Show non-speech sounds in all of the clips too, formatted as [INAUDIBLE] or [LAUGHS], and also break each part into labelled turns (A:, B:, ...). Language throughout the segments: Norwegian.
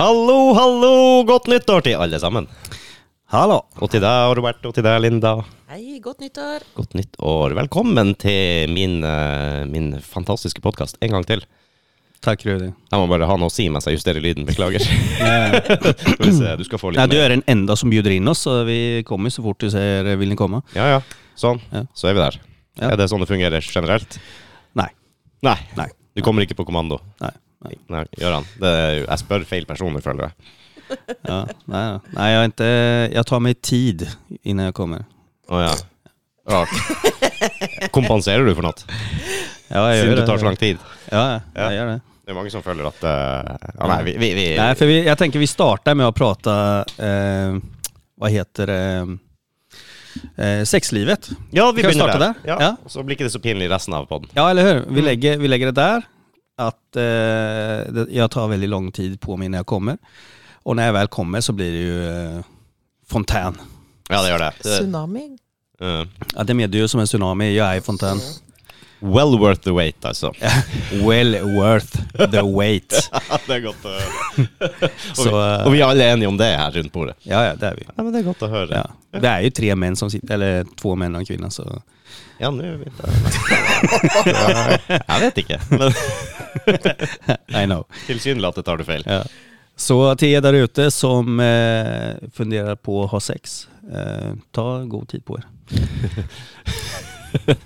A: Hallo, hallo! Godt nyttår til alle sammen.
B: Hallo.
A: Og til deg, Robert, og til deg, Linda.
C: Hei, godt nyttår!
A: Godt nyttår. Velkommen til min, eh, min fantastiske podkast en gang til.
B: Takk, Rudi.
A: Jeg må bare ha noe å si mens jeg justerer lyden. Beklager.
B: Nei,
A: [LAUGHS] Skal vi se, du skal få litt
B: du
A: mer.
B: er den enda som bjuder inn oss, så vi kommer så fort du ser eh, vil ni komme.
A: Ja, ja. Sånn.
B: Ja.
A: Så er vi der.
B: Ja.
A: Er det sånn det fungerer generelt?
B: Nei.
A: Nei.
B: Nei.
A: Du kommer ikke på kommando.
B: Nei. Nei.
A: Nei, Gøran. det er jo- Jeg spør feil personer, føler jeg.
B: Ja, nei, ja. nei jeg, er ikke, jeg tar meg tid innan jeg kommer.
A: Å ja.
C: [LAUGHS]
A: Rart. Kompenserer du for noe?
B: Ja, jeg
A: Siden
B: gjør
A: det tar så lang tid.
B: Ja, ja,
A: Ja.
B: jeg gjør det.
A: Det er mange som føler at eh, ja, Nei, vi, vi, vi
B: Nei, for vi, jeg tenker vi starter med å prate eh, Hva heter det eh, Sexlivet.
A: Ja, vi
B: Kan vi
A: begynner
B: starte
A: der.
B: der?
A: Ja.
B: Ja.
A: og Så blir ikke det så pinlig resten av podden.
B: Ja, eller hur?
A: Mm.
B: Vi legger, vi legger det der. At eh, det, jeg tar veldig lang tid på meg når jeg kommer. Og når jeg vel kommer, så blir det jo eh, fontan.
A: Ja, det gjør det. det
C: Tsunami?
A: eh,
B: Ja, det medger jo som en tsunami. Jeg er i fontan.
A: well worth the wait, altså.
B: Well worth the wait.
A: [LAUGHS] det er godt å
B: [LAUGHS] Så eh,
A: Og vi er alle enige om det her rundt bordet.
B: [LAUGHS] ja, ja, det er vi.
A: Ja, men Det er godt å høre.
B: Ja. Det er jo tre menn som sitter, eller to menn og en kvinne, så
A: Ja, nå er vi
B: [LAUGHS]
A: der. Jeg vet ikke, men [LAUGHS]
B: I know.
A: tilsynelatende tar du feil.
B: Ja. Så til dere der ute som eh, funderer på å ha sex, eh, ta god tid på dere.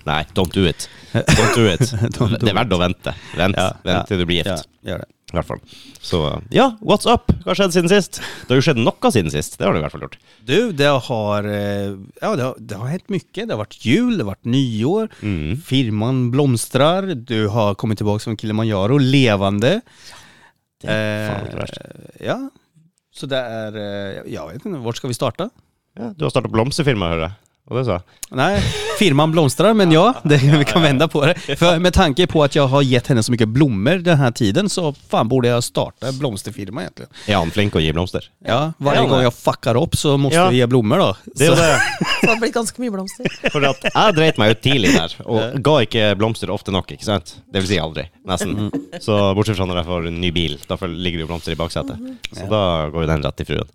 A: Nei, don't do it. Don't do it.
B: [LAUGHS] Don't do
A: det er verdt å vente. Vent,
B: Ja, ja,
A: vent til du blir
B: Ja,
A: gift.
B: gjør det.
A: I hvert fall. Så ja, what's up? Hva har skjedd siden sist? Det har jo skjedd noe siden sist. Det har det i hvert fall gjort.
B: Du, det har, eh, ja, det har, det har hendt mye. Det har vært jul, det har vært nyår.
A: Mm.
B: Firmaen blomstrer. Du har kommet tilbake som Kilimanjaro, levende.
A: Det er faen ikke verst.
B: ja. Så det er eh, ja, Jeg vet ikke, hvor skal vi starte?
A: Ja, du har starta blomsterfirma, hører jeg. Og det sa jeg.
B: Nei, firmaen blomstrar, men ja, det, vi kan vända på det. För med tanke på att jag har gett henne så mycket blommor den här tiden så fan borde jag starta en blomsterfirma egentligen.
A: Er han flink å gi blomster?
B: Ja, varje
A: Ja,
B: gång
A: nej.
B: jag fuckar upp så måste
A: Ja.
B: vi ge blommor då.
A: Det er jo
B: Så,
A: det.
C: Det har blitt ganske mye blomster.
A: For at [LAUGHS] jeg dreit meg ut tidlig der, og ga ikke blomster ofte nok. ikke sant? Det vil si aldri, nesten. Så bortsett fra når jeg får en ny bil, da får- ligger det jo blomster i baksetet. Så da går jo den rett til fruen.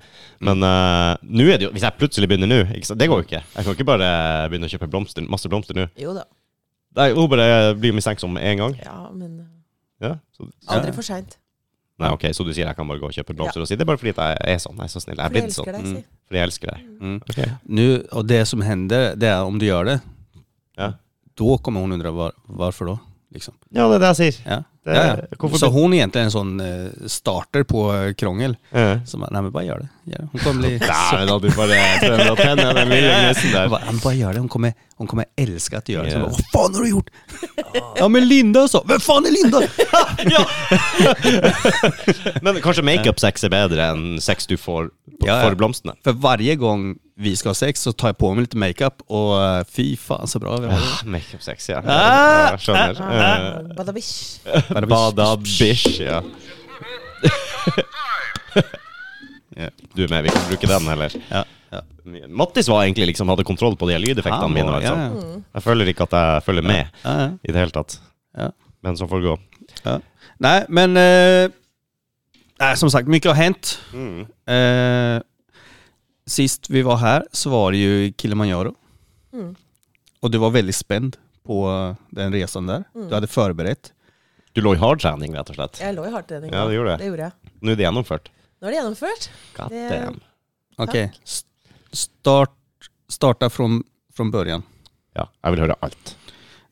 A: Men eh, nå er det jo, hvis jeg plutselig begynner nå ikke sant? Det går jo ikke. Jeg kan ikke bare begynne å kjøpe blomster, masse blomster nå.
C: [LAUGHS] Jo da.
A: Nei, Hun bare blir mistenksom med en gang.
C: Ja, men eh,
A: Ja, så,
C: aldri for seint.
A: nei, ok, Så du sier jeg kan bare gå og kjøpe blomster og si det er bare fordi at jeg er sånn? Jeg er så snill. Jeg er
C: For jeg
A: blitt sånn.
C: elsker deg, si.
A: Fordi jeg elsker deg.
B: mm.
A: Ok.
B: nu, och det som händer, det är om du gör det,
A: Ja.
B: då kommer hon undra var, varför då. Liksom.
A: Ja, det er det jeg sier.
B: Ja.
A: Det-
B: ja, ja.
A: hvorfor-
B: Så hon är egentligen en sån eh, starter på eh, krångel.
A: Ja.
B: Så bara, nej men bara gör det. Gör det. Hon
A: [LAUGHS]
B: kommer bli...
A: Dæven, da du bare prøver å tenne den lille gnisten
B: Hon
A: der.
B: bara, "Ja, men bara gör det, hon kommer, hon kommer älska att du gör det. Så
A: Ja.
B: bara, Vad fan har du gjort? [LAUGHS] ja men Linda sa, vem fan är Linda? [LAUGHS]
A: Men kanskje makeup-sex er bedre enn sex du får på-
B: Ja, ja.
A: for blomstene?
B: För varje gång vi ska ha sex så tar jag på mig lite makeup och eh, fy fan så bra vi har det.
A: Ah, Makeup-sex, ja. ja. Skjønner. Eh,
C: Badabish.
A: ah. Bada bish, ja. [LAUGHS] Ja, Du er med, vi kan bruke den heller.
B: Ja, ja.
A: Mattis var egentlig liksom hadde kontroll på de her lydeffektene
B: Han
A: mine.
B: var-
A: vet du.
B: ja,
A: Jeg føler ikke at jeg følger med
B: Ja, ja,
A: i det hele tatt.
B: ja,
A: Men så får det gå.
B: ja. Nej men, eh, nej, som sagt mycket har hänt.
A: Mm.
B: Eh, sist vi var här så var det ju Kilimanjaro.
C: Mm.
B: Och du var väldigt spänd på eh, den resan där.
C: Mm.
B: Du hade förberett.
A: Du lå i hard trening, rett og slett.
C: Jeg lå i hardtrening.
A: Ja, det gjorde jeg.
C: Det gjorde jeg.
A: Nå er det gjennomført.
C: Nå er det gjennomført.
A: God
C: Det-
A: damn.
B: Okej. S- Start, starta från, från början.
A: Ja, jeg vil høre alt.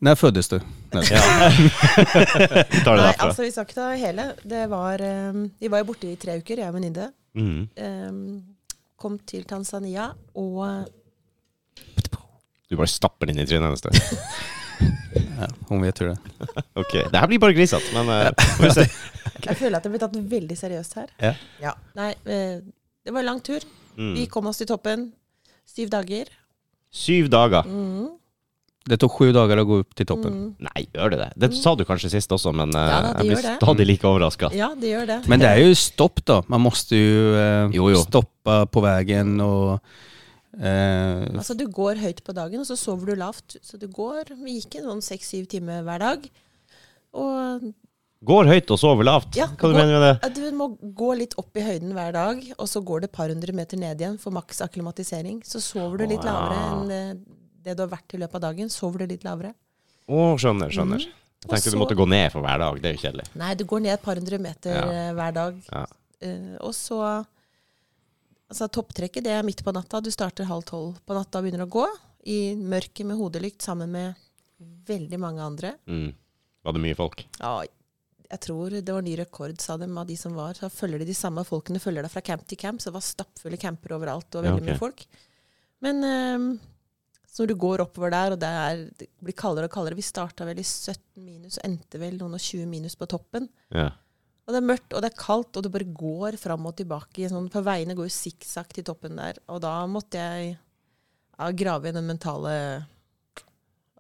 B: När föddes du? Nej.
A: Vi tar det
C: Nei,
A: derfra.
C: altså, vi skal ikke ta hele. Det var ehm, Vi var jo borte i tre uker, jeg og venninne.
A: Mm.
C: Ehm, kom til Tanzania og eh,
A: Du bare stapper den inn i trynet hennes.
B: Ja, hon vet hur det är.
A: Ok, Det her blir bare grisete, men eh, får vi se.
C: Jeg føler at det blir tatt veldig seriøst her.
B: Ja.
C: Nei, eh, det var en lang tur. Vi
A: Mm.
C: kom oss til toppen. Syv dager.
A: Syv dager.
C: Mm.
B: Det tog sju dagar att gå upp till toppen.
C: Mm.
A: Nei, gjør det det? Det sa du kanskje sist også, men eh,
C: Ja da, det
A: jeg
C: gjør
A: blir
C: det.
A: stadig like overraska.
C: Ja, det gjør det.
B: Men det är ju stopp då. Man måste ju eh,
A: Jo, jo.
B: stoppa på vägen och... Eh,
C: Altså, du går høyt på dagen, og så sover du lavt. Så du går Vi gikk en sånn seks-syv timer hver dag. Og
A: Går høyt og sover lavt.
C: Ja,
A: Hva du
C: går-
A: mener med det?
C: ja, du må gå litt opp i høyden hver dag, og så går det et par hundre meter ned igjen for maks akklimatisering. Så sover du litt
A: Wow.
C: lavere enn eh, det du har vært i løpet av dagen. Sover du litt lavere.
A: Å, skjønner, skjønner. Jeg tenkte
C: Mm. Og
A: du
C: så-
A: måtte gå ned for hver dag. Det er jo kjedelig.
C: Nei, du går ned et par hundre meter
A: Ja.
C: eh, hver dag.
A: Ja.
C: Eh, og så Altså, topptrekket det er midt på natta. Du starter halv tolv på natta og begynner å gå i mørket med hodelykt sammen med veldig mange andre.
A: Mm. Var det mye folk?
C: Ja, jeg tror det var ny rekord, sa de, av de som var. Så følger de de samme folkene følger deg fra camp til camp, så det var stappfulle camper overalt. og
A: Ja,
C: veldig
A: ok.
C: mye folk. Men ehm, så når du går oppover der, og det, er, det blir kaldere og kaldere Vi starta vel i 17 minus og endte vel noen og 20 minus på toppen.
A: Ja.
C: Og det er mørkt, og det er kaldt, og du bare går fram og tilbake. i Sånn, på veiene går jo sikksakk til toppen der. Og da måtte jeg ja, grave i den mentale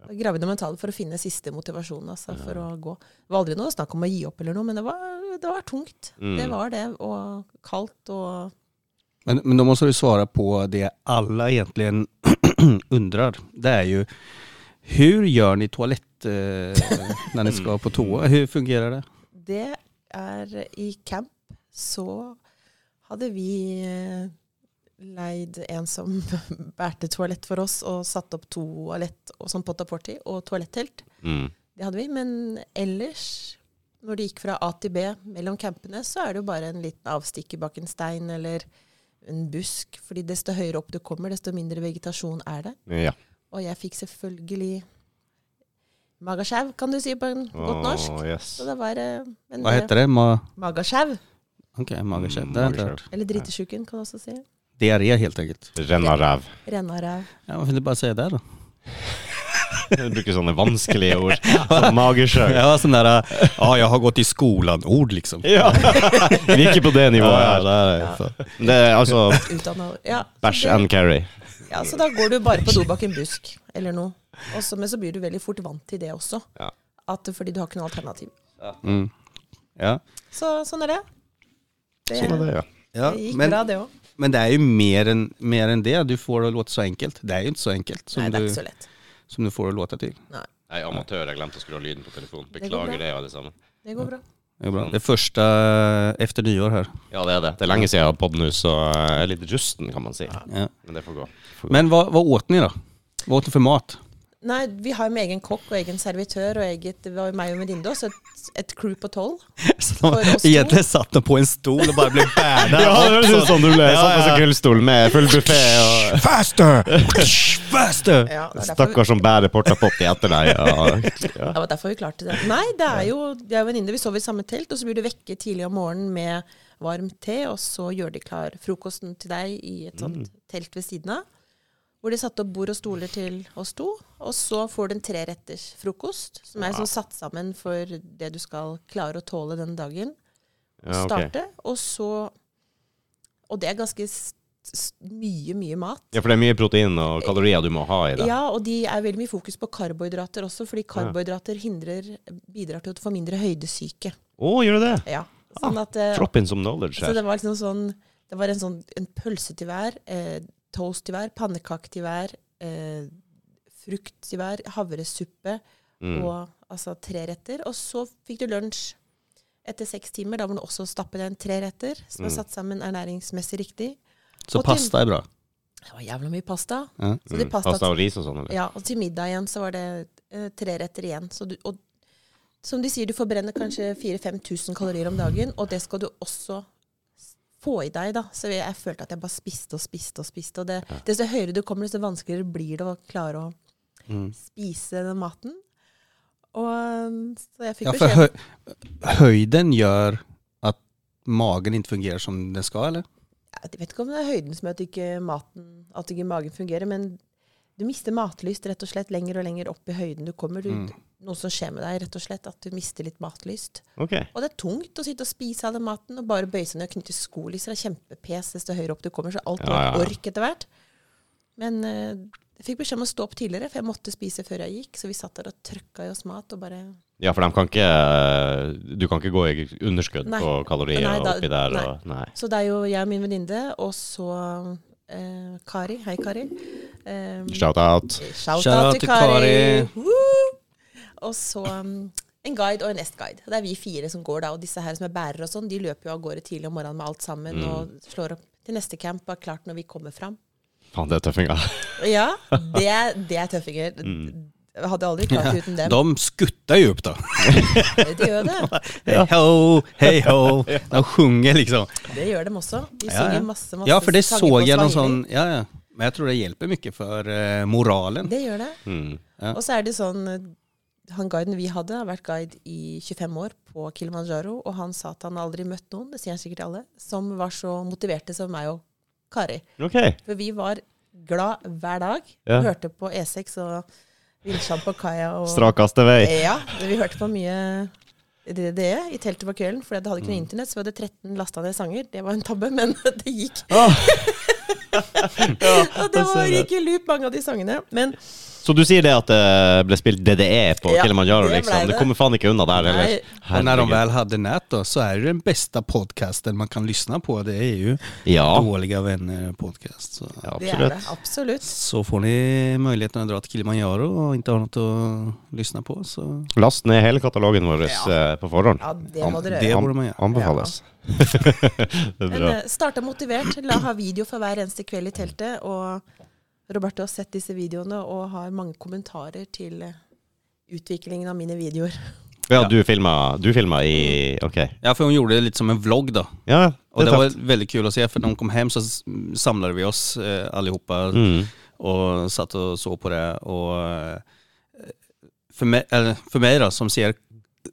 C: Grave i den mentale for å finne siste motivasjon altså, for å gå. Det var aldri noe snakk om å gi opp eller noe, men det var, det var tungt.
A: Mm.
C: Det var det. Og kaldt og
B: Men, men då måste du svara på det alla egentligen [CLEARS THROAT] undrar. Det är ju, hur gör ni toalett [LAUGHS] eh, när ni ska på toa? Hur fungerar det?
C: Det er I camp så hadde vi eh, leid en som [LAUGHS] bærte toalett for oss, og satt opp toalett og sånn potta-porti og toalettelt.
A: Mm.
C: Det hadde vi. Men ellers, når det gikk fra A til B mellom campene, så er det jo bare en liten avstikker bak en stein eller en busk. Fordi desto høyere opp du kommer, desto mindre vegetasjon er det.
A: Ja.
C: Og jeg fikk selvfølgelig magasjau, kan du si på en godt norsk.
A: Å, yes.
C: Så det var eh, men
B: Vad heter det? Ma
C: Magasjau,
B: Okej, mageskäpp.
A: Mm,
B: Det har jag inte
A: mageskäpp.
B: hört.
C: eller dritesjuken, kan du også si.
B: Diarré helt enkelt.
A: Renna
C: [LAUGHS]
A: ræv.
C: Rennaræv.
B: Ja, varför inte bara säga det då?
A: Du bruker sånne vanskelige ord. Som magesjø.
B: Ja, sån där, eh, ja jag har gått i skolan-ord liksom.
A: Ja. Vi er ikke på det nivået
B: Ja,
A: her. Det er altså
C: Utdanna ja, så
A: bæsj
C: det-
A: and carry.
C: Ja, så da går du bare på do bak en busk eller noe. Og så- men så blir du veldig fort vant til det også.
A: Ja.
C: At, fordi du har ikke noe alternativ.
B: Mm. Ja.
C: Så sånn er det. Det,
A: Sånn er det, ja.
B: Ja,
C: det gikk bra,
B: men,
C: det òg.
B: men det är ju mer än, mer än det. Du får det att låta så enkelt. Det är ju inte så enkelt som,
C: Nei, det er
B: du,
C: ikke så lett.
B: som du får det att låta till.
A: Nei, amatør. Jeg glemte å skru av lyden på telefonen.
C: går Beklager bra.
A: Beklager det, alle sammen.
C: Det går bra.
B: Det är, bra. det är första eh, efter nyår här.
A: Ja, det er det. Det er lenge siden jeg har podd nå, så jeg er litt rusten, kan man si.
B: Ja.
A: Men det får gå.
B: Men vad, vad åt ni då? Vad åt ni för mat?
C: Nei, vi har jo med egen kokk og egen servitør og eget Det var jo meg og en venninne, og så et, et crew på tolv.
B: Så
C: För
B: [LAUGHS]
C: oss
B: de,
C: två.
B: egentligen satt de på en stol och bara blev
A: [LAUGHS]
B: bärda.
A: Ja, det høres ut som du ble
B: Ja,
A: satt på
B: ja.
A: en gullstol med full buffé og
B: Faster! Faster!
C: Ja, det, er derfor vi,
A: Stakkar som bærer porta potti etter deg. [LAUGHS] Ja.
C: det var derfor vi klarte det. Nei, det er jo vi er jo venninner. Vi sover i samme telt, og så blir du vekket tidlig om morgenen med varm te, og så gjør de klar frokosten til deg i et sånt
A: Mm.
C: telt ved siden av. Hvor de satte opp bord og stoler til oss to. Og så får du en treretters frokost, som er sånn satt sammen for det du skal klare å tåle den dagen.
A: Ja, ok.
C: starte, og så Og det er ganske s s mye, mye mat.
A: ja, for det er mye protein og kalorier du må ha i det.
C: Ja, og de er veldig mye fokus på karbohydrater også, fordi karbohydrater hindrer, bidrar til at du får mindre høydesyke.
A: Å, gjør du det?
C: Ja. Sånn at, eh,
A: Drop in some knowledge
C: så
A: her.
C: det var liksom sånn Det var en sånn en pølse til hver, eh, toast til hver, pannekake til hver, eh, frukt til hver, havresuppe og altså tre retter. Og så fikk du lunsj etter seks timer. Da må du også stappe deg en tre retter som er satt sammen ernæringsmessig riktig.
B: Så
C: Och till-
B: pasta är bra.
C: Det var jævla mye pasta.
B: Ja.
C: Så det Mm. pasta,
A: Mm. Pasta og ris og sånn, eller?
C: ja, og til middag igjen så var det eh, tre retter igjen. Så du, og som de sier, du forbrenner kanskje 4000-5000 kalorier om dagen, og det skal du også s- få i deg, da. Så jeg, jeg følte at jeg bare spiste og spiste og spiste. Og det, desto høyere du kommer, desto vanskeligere blir det å klare å spise den maten. Og um, så jeg fikk
B: Ja, för
C: beskjed
B: hö, höjden gör att magen inte fungerar som den ska eller?
C: Jeg vet ikke om det er høyden som gjør at ikke maten At ikke magen fungerer, men Du mister matlyst rett og slett lenger og lenger opp i høyden du kommer. Du,
B: Mm.
C: Noe som skjer med deg, rett og slett, at du mister litt matlyst.
A: Ok.
C: Og det er tungt å sitte og spise all den maten og bare bøye seg ned og knytte skolisser. Det er kjempepes desto høyere opp du kommer, så alt
A: Ja,
C: var
A: ja, ja.
C: ork etter hvert. Men eh, jeg fikk beskjed om å stå opp tidligere, for jeg måtte spise før jeg gikk. Så vi satt der og trøkka i oss mat og bare
A: Ja, for de kan ikke Du kan ikke gå i underskudd
C: Nei.
A: på kalorier
C: Nei, da-
A: oppi der og Nei.
C: Så det er jo jeg og min venninne, og så eh, Kari. Hei, Kari. Eh,
A: Shout-out.
C: shout
B: Shout
C: out
B: out
C: til
B: til
C: Kari!
B: Kari.
C: Woo! Og så um, en guide og en nestguide. Det er vi fire som går da, og disse her som er bærere og sånn, de løper jo av gårde tidlig om morgenen med alt sammen
A: Mm.
C: og slår opp til neste camp og er klart når vi kommer fram.
A: Faen, det er tøffinger.
C: Ja, det, er- det er tøffinger. Jeg hadde aldri klart det uten dem.
B: De skuttar ju
C: [LAUGHS]
B: upp då.
C: De gjør det.
B: Hej ho, hej ho. De sjunger liksom.
C: Det gjør dem også. De
B: Ja, ja.
C: synger masse, masse
B: Ja, för det
C: sanger på
B: såg jag någon
C: swahili.
B: sån, ja, ja. Men jag tror det hjälper mycket för eh, moralen.
C: Det gjør det.
A: Mm.
B: Ja.
C: Og så er det sånn eh, Han guiden vi hadde, har vært guide i 25 år på Kilimanjaro, og han sa at han aldri møtt noen, det sier han sikkert til alle, som var så motiverte som meg og Kari.
A: [LAUGHS] Ok.
C: For vi var glad hver dag.
A: Ja.
C: Vi hørte på E6 og Villsjamp og Kaja og
A: Strakeste vei.
C: Ja, vi hørte på mye DDE i teltet på kvelden, fordi det
A: Mm.
C: hadde ikke noe internett, så vi hadde 13 lasta ned sanger. Det var en tabbe, men [LAUGHS] det gikk.
A: Ah. jeg
C: og det
A: ser
C: var,
A: det.
C: gikk i loop, mange av de sangene. Men
A: Så du sier det at det ble spilt DDE på
C: Ja,
A: Kilimanjaro,
C: det ble
A: liksom. Det
C: det.
A: kommer faen ikke unna der heller.
C: Nei.
B: Och när de
A: Herregud.
B: väl hade nät då, så är det den bästa podcasten man kan lyssna på. Det är ju
A: Ja.
B: Dåliga vänner podcast. Så.
A: ja,
C: det er det.
A: absolutt.
C: Absolutt.
B: så får ni möjligheten att dra till Kilimanjaro och inte har något att lyssna på. Så.
A: Last ned hele katalogen vår eh, på forhånd.
C: Ja, det må dere
B: Det
C: gjøre.
B: burde man gjøre.
C: [LAUGHS]
A: Anbefales. det er
C: Men
A: bra.
C: eh, starta motivert. La ha video for hver eneste kveld i teltet. Og Roberto har sett disse videoene og har mange kommentarer til eh, utviklingen av mine videoer. [LAUGHS]
A: Ja, du filma, du filma i Ok.
B: Ja, för hon gjorde det lite som en vlogg då.
A: Ja,
B: Och det
A: er
B: var
A: tøft.
B: väldigt kul att se, för när hon kom hem så s- samlade vi oss eh, allihopa
A: Mm.
B: och satt och såg på det. Och, eh, för, mig, eller, för mig då, som ser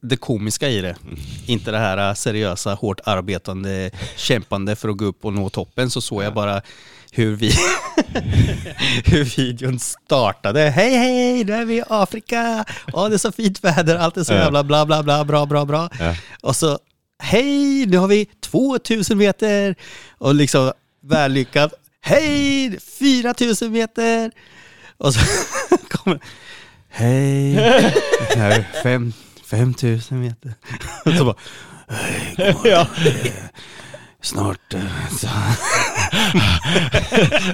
B: det komiska i det, inte det här eh, seriösa, hårt [LAUGHS] arbetande, kämpande för att gå upp och nå toppen, så såg jag bara hur, vi [LAUGHS] hur videon startade. Hej, hej, nu är vi i Afrika! Åh, det är så fint väder, allt är så
A: Ja.
B: jävla bla, bla, bla, bra, bra, bra.
A: Ja.
B: Och så, hej, nu har vi 2000 meter! Och liksom, väl lyckat. Hej, 4000 meter! Och så [LAUGHS] kommer Hej,
A: [LAUGHS]
B: det här är fem, 5000 meter. [LAUGHS] Och så bara, hej, god morgon. Det är Snart eh, så.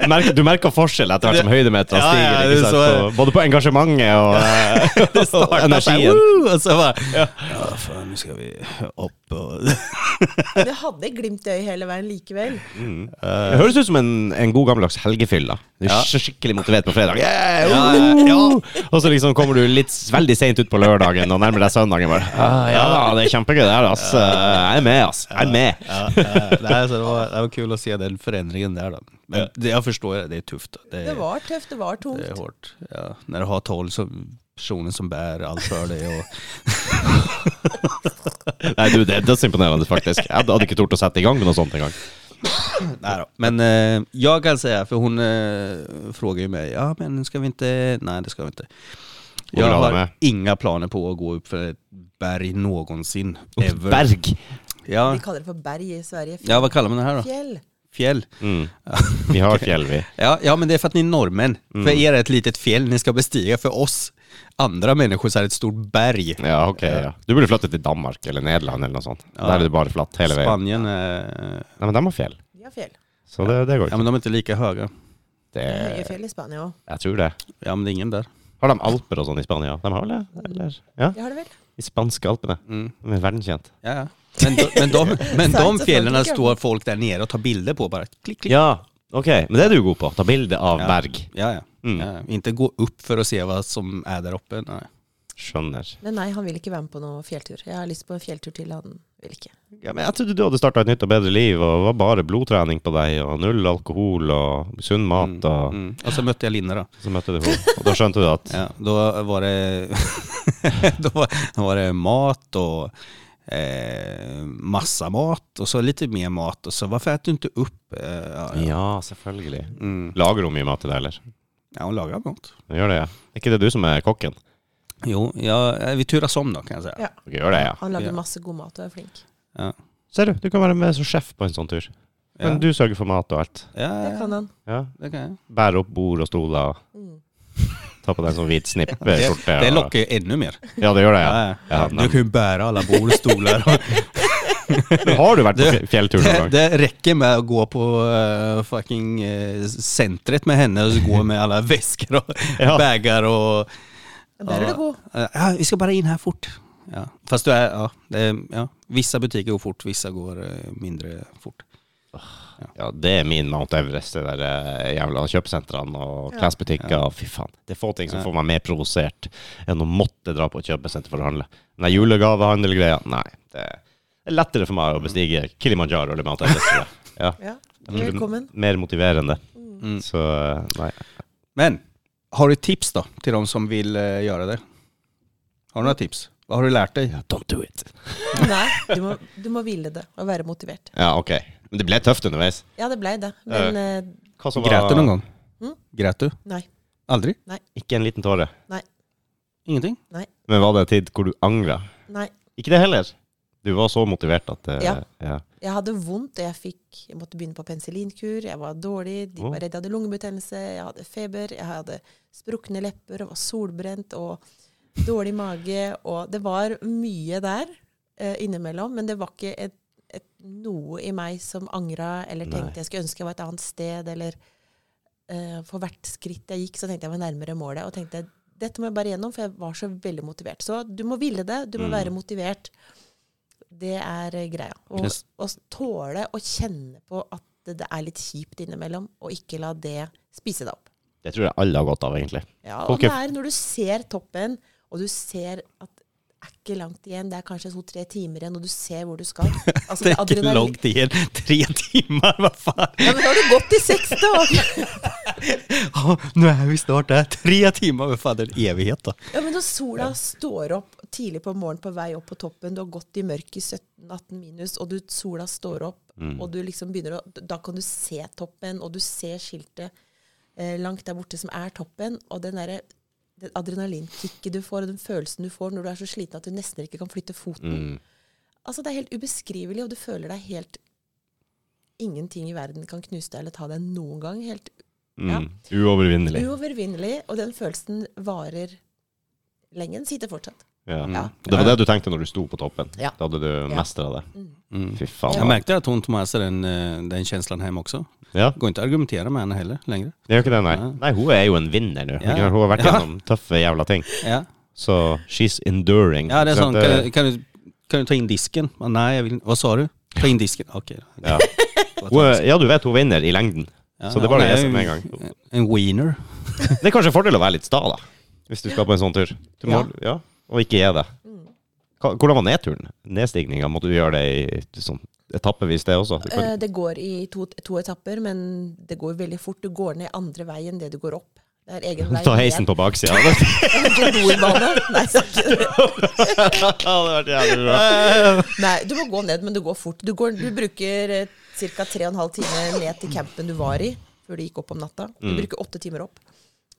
A: Merker- Du merker forskjell etter hvert som høydemeteren
B: Ja, ja,
A: stiger.
B: det
A: Ikke sant?
B: så-
A: På- både på engasjementet og, [LAUGHS] eh, og energien.
B: Woo! Och så bara, ja. fan nu ska vi upp och...
C: Men jeg hadde et glimt i øyet hele veien likevel.
A: Det høres ut som en, en god gammeldags helgefyll. da. Du er
B: Ja.
A: så skikkelig motivert på fredag. Yeah,
B: Ja,
A: woo!
B: ja.
A: Og så liksom kommer du litt s- veldig seint ut på lørdagen og nærmer deg søndagen. Bare. Ah, ja, da, det er kjempegøy, det her. Ass. Jeg er med, ass. Jeg er med.
B: [LAUGHS] Ja, eh, nej, så det, var, det var kul att se den förändringen där. Då. Men det, jag förstår det, det är tufft. Det är,
C: Det var tøft, det var tungt.
B: det är hårt. Ja, när du har tolv som, personer som bär allt för dig. [LAUGHS] Och,
A: Nei, du, det er dødsimponerende, faktisk. Jeg hadde ikke tort å sette i gang med noe sånt engang.
B: Nej då. Men eh, jag kan säga, för hon eh, frågar ju mig, ja men ska vi inte, nej det ska vi inte.
A: Hon
B: Jag
A: vill ha dig
B: har
A: med.
B: inga planer på att gå upp för ett berg någonsin. Ever.
A: Berg.
B: Ja.
C: Vi kaller det for berg i Sverige.
B: ja, vad kallar man det här då?
C: Fjell.
B: Fjäll.
A: Mm. Vi har fjell, vi.
B: Ja, ja, men det är för att ni är norrmän. För
A: Mm.
B: er är det ett litet fjäll ni ska bestiga. För oss andra människor så är det ett stort berg.
A: Ja, ok. Ja. Du burde flytte til Danmark eller Nederland eller noe sånt. Der er det bare flatt hele veien.
B: Spanien är...
A: Nei, men de har fjell,
C: Vi har fjell.
A: så det, det går
B: Ja,
A: ikke.
B: men de är inte lika høye.
A: Det,
C: Det er Høye fjell i Spania òg.
A: jeg tror det.
B: Ja, men det är ingen där.
A: Har de alper og sånn i Spania? De har vel det? Eller? Ja,
C: Det har det vel.
A: de spanske alpene.
B: Mm.
A: De er verdenskjent.
B: Ja, ja. Men, de,
A: [LAUGHS]
B: men, de, men de
C: Frankrike.
B: fjällen står folk där nere och tar bilder på bara. Klick, klick.
A: Ja, ok. Men det er du god på. Ta bilde av
B: Ja.
A: berg.
B: Ja, ja.
A: Mm.
B: ja. Inte gå upp för att se vad som är där uppe. Nej.
A: Skjønner.
C: Men nei, han vil ikke være med på noen fjelltur. Jeg har lyst på en fjelltur til, han vil ikke.
A: Ja, men jeg trodde du hadde starta et nytt og bedre liv, og var bare blodtrening på deg, og null alkohol og sunn mat, og
B: Mm. Och så mötte jag Linda då.
A: så møtte du henne. Og da skjønte du [LAUGHS] at
B: Ja, då var det, [LAUGHS] då var, då var det mat och eh, massa mat och så lite mer mat och så varför äter du inte upp? Eh, ja, ja.
A: Ja, selvfølgelig.
B: Mm.
A: Lager hun mye mat til deg, eller?
B: Ja, hon lagar mat.
A: Du Gjør det, ja. Er ikke det du som er kokken?
B: Jo, ja, eh, vi turas om då kan jag säga.
C: Ja.
A: Ok, gjør det, ja.
C: Han lager
B: Ja.
C: masse god mat og er flink.
B: Ja.
A: Ser du, du kan være med som sjef på en sånn tur.
B: Ja.
A: Men du sørger for mat og alt.
B: Ja,
C: Det kan han.
A: Ja.
B: det kan jag.
A: Bærer opp bord og stoler og
C: Mm.
A: tar på deg en sånn hvit
B: Det,
A: snippeskjorte.
B: det lockar ju ännu mer.
A: Ja, det gjør det, ja.
B: Ja.
A: Ja,
B: du
A: men-
B: kan ju bära alla bord och stolar.
A: [LAUGHS]
B: och-
A: Men Har du vært på
B: Det-
A: fj- fjelltur noen
B: Det,
A: gang?
B: det räcker med att gå på eh, fucking eh, centret med henne och så gå med alla [LAUGHS] väskor och
A: Ja.
B: bagar och...
C: Ja, Der er du god.
B: Eh, Ja, vi ska bara in här fort. Ja. Fast du är, ja, det är, ja, vissa butiker går fort, vissa går eh, mindre fort.
A: Ja, det er min Mount Everest, det der eh, jævla kjøpesentrene og
C: Ja.
A: klesbutikker. Fy faen. Det er få ting som
B: Ja.
A: får meg mer provosert enn å måtte dra på et kjøpesenter for å handle. Den der julegavehandelgreia, nei. Det er lettere for meg å bestige
B: Mm.
A: Kilimanjaro eller Mount Everest. tror jeg. Ja.
C: Ja.
A: blir det
C: Velkommen.
A: Mer motiverende.
B: Mm.
A: Så eh, nei.
B: Men, har du tips då till de som vill eh, göra det? Har du några tips? Vad har du lärt dig?
A: Don't do it.
C: Nei, du må, du må hvile det og være motivert.
A: Ja, ok. Men det ble tøft underveis.
C: Ja, det blei det. Men eh,
A: Hva som
B: Grät du någon gång?
C: Mm.
B: Grät du?
C: nei.
B: Aldrig?
A: Ikke en liten tåre.
B: Ingenting?
A: Men var det en tid hvor du angra?
C: Nei.
A: Ikke det heller. Du var så motivert at eh,
C: Ja.
A: ja.
C: Jeg hadde vondt, og jeg fikk Jeg måtte begynne på penicillinkur. Jeg var dårlig. De
A: Å.
C: var redd jeg hadde lungebetennelse. Jeg hadde feber. Jeg hadde sprukne lepper og var solbrent og dårlig mage. Og det var mye der eh, innimellom, men det var ikke et, et, noe i meg som angra eller
A: Nei.
C: tenkte jeg skulle ønske jeg var et annet sted, eller eh, For hvert skritt jeg gikk, så tenkte jeg var nærmere målet. Og tenkte dette må jeg bare gjennom, for jeg var så veldig motivert. Så du må ville det. Du må
A: Mm.
C: være motivert. Det er eh, greia. Og,
B: Yes.
C: å tåle å kjenne på at det, det er litt kjipt innimellom, og ikke la det spise deg opp.
A: Det tror jeg alle har godt av, egentlig.
C: Ja, og
A: Ok.
C: det er når du ser toppen, og du ser at det er ikke langt igjen, det er kanskje to-tre timer igjen, og du ser hvor du
A: [LAUGHS]
C: skal. Altså,
B: Det är inte
C: adrenalin-
B: lång tid. [LAUGHS] Tre timmar, vad fan?
C: Ja, men har du gått i seks dager?
B: Ja, nu är vi snart där. Tre timmar, vad fan det är en evighet då.
C: Ja, men når sola står opp tidlig på morgenen på vei opp på toppen, du har gått i mørket i 17-18 minus, og du, sola står opp,
A: Mm.
C: og du liksom begynner å Da kan du se toppen, og du ser skiltet eh, langt der borte som er toppen, og den derre det adrenalinkicket du får, og den følelsen du får når du er så sliten at du nesten ikke kan flytte foten
A: Mm.
C: Altså, det er helt ubeskrivelig, og du føler deg helt Ingenting i verden kan knuse deg eller ta deg noen gang. Helt Ja.
A: Mm. Uovervinnelig.
C: uovervinnelig, og den følelsen varer lenge. Den sitter fortsatt.
A: Ja.
B: Ja.
A: Det var det du tenkte når du sto på toppen.
C: Ja.
A: Da hadde du mestra det.
B: Mm.
A: Fy faen.
B: Jag märkte att hon tog med sig den, eh, den känslan hem också.
A: Ja,
B: Går inte att argumentera med henne heller längre.
A: det gjør ikke det, nei.
B: Ja.
A: Nei, hun er jo en vinner nå.
B: Ja.
A: Hun har vært
B: Ja.
A: gjennom tøffe jævla ting.
B: Ja,
A: Så she's enduring.
B: ja det sånn är
A: Så eh,
B: sånt. Kan, kan, du, kan du ta in disken? Ah, nej, jag vill, vad sa du? Ta in disken. Okej. [LAUGHS]
A: Ja. Hun er, ja, du vet hun vinner i lengden.
B: Ja,
A: Så det var
B: hon
A: det jeg
B: är
A: sa med
B: ju
A: en gang.
B: En wiener.
A: Det er kanskje en fordel å være litt sta, da. Hvis du skal på en sånn tur. Du må, ja. Og ikke gi deg. Hva- Hvordan var nedturen? Nedstigninga, måtte du gjøre det i sånn etappevis, det også? Du kan,
C: Eh, Det går i to, to etapper, men det går veldig fort. Du går ned andre veien det du går opp. Det er egen vei.
A: ta heisen
C: [LAUGHS]
A: på baksida. ja,
C: Dorbane. Nei, så er ikke det.
A: [LAUGHS] det hadde vært jævlig bra.
C: [LAUGHS] Nei, du må gå ned, men du går fort. Du, går, du bruker eh, ca. 3 15 timer ned til campen du var i, før du gikk opp om natta. Du bruker åtte timer opp.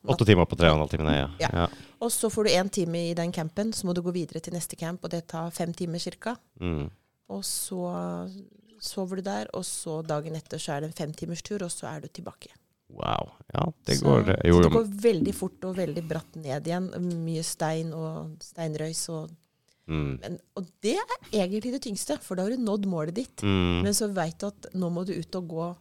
A: Åtte timer på tre og en halv time, nei, ja.
C: Ja.
A: ja.
C: Og så får du én time i den campen, så må du gå videre til neste camp, og det tar fem timer ca.
A: Mm.
C: Og så sover du der, og så dagen etter så er det en femtimerstur, og så er du tilbake.
A: Wow. Ja, det
C: Så-
A: går
C: så
A: Jo,
C: det
A: jo.
C: går veldig fort og veldig bratt ned igjen. Mye stein og steinrøys. Og,
A: Mm.
C: men, og det er egentlig det tyngste, for da har du nådd målet ditt.
A: Mm.
C: Men så veit du at nå må du ut og gå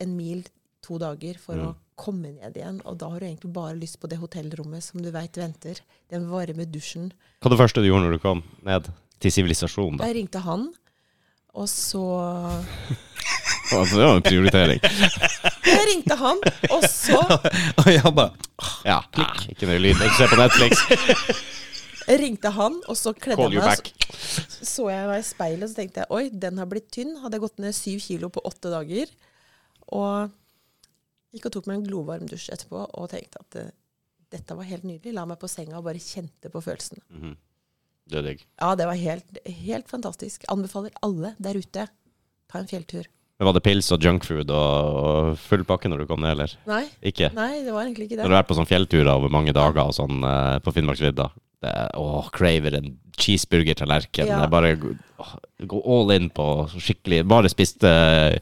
C: en mil to dager for
A: Mm.
C: å komme ned igjen. Og da har du egentlig bare lyst på det hotellrommet som du veit venter. Den varme dusjen.
A: Hva var det første du gjorde når du kom ned til sivilisasjonen, da?
C: Jeg ringte han, og så
A: Altså, det var en prioritering.
C: [LAUGHS] Jeg ringte han, og så
B: [LAUGHS] Och jag bara,
A: Ja. Ah, ikke noe lyd. Ikke se på Netflix.
C: ringte han, og så kledde
A: Call
C: jeg
A: you
C: meg.
A: back.
C: så jeg meg i speilet, så tenkte jeg oi, den har blitt tynn. Hadde jeg gått ned syv kilo på åtte dager. Og gikk og tok meg en glovarm dusj etterpå og tenkte at eh, dette var helt nydelig. La meg på senga og bare kjente på følelsen.
A: Det er digg.
C: Ja, det var helt, helt fantastisk. Anbefaler alle der ute. Ta en fjelltur.
A: Men Var det pils og junkfood og, og full pakke når du kom ned, eller?
C: Nei,
A: Ikke?
C: nei, det var egentlig ikke
A: Når du
C: det.
A: har vært på sånn fjellturer over mange dager og sånn eh, på Finnmarksvidda. Det er- Åh, craver en cheeseburger-tallerken.
C: Ja.
A: Jeg Bare g- åh, gå all in på skikkelig Bare spiste eh,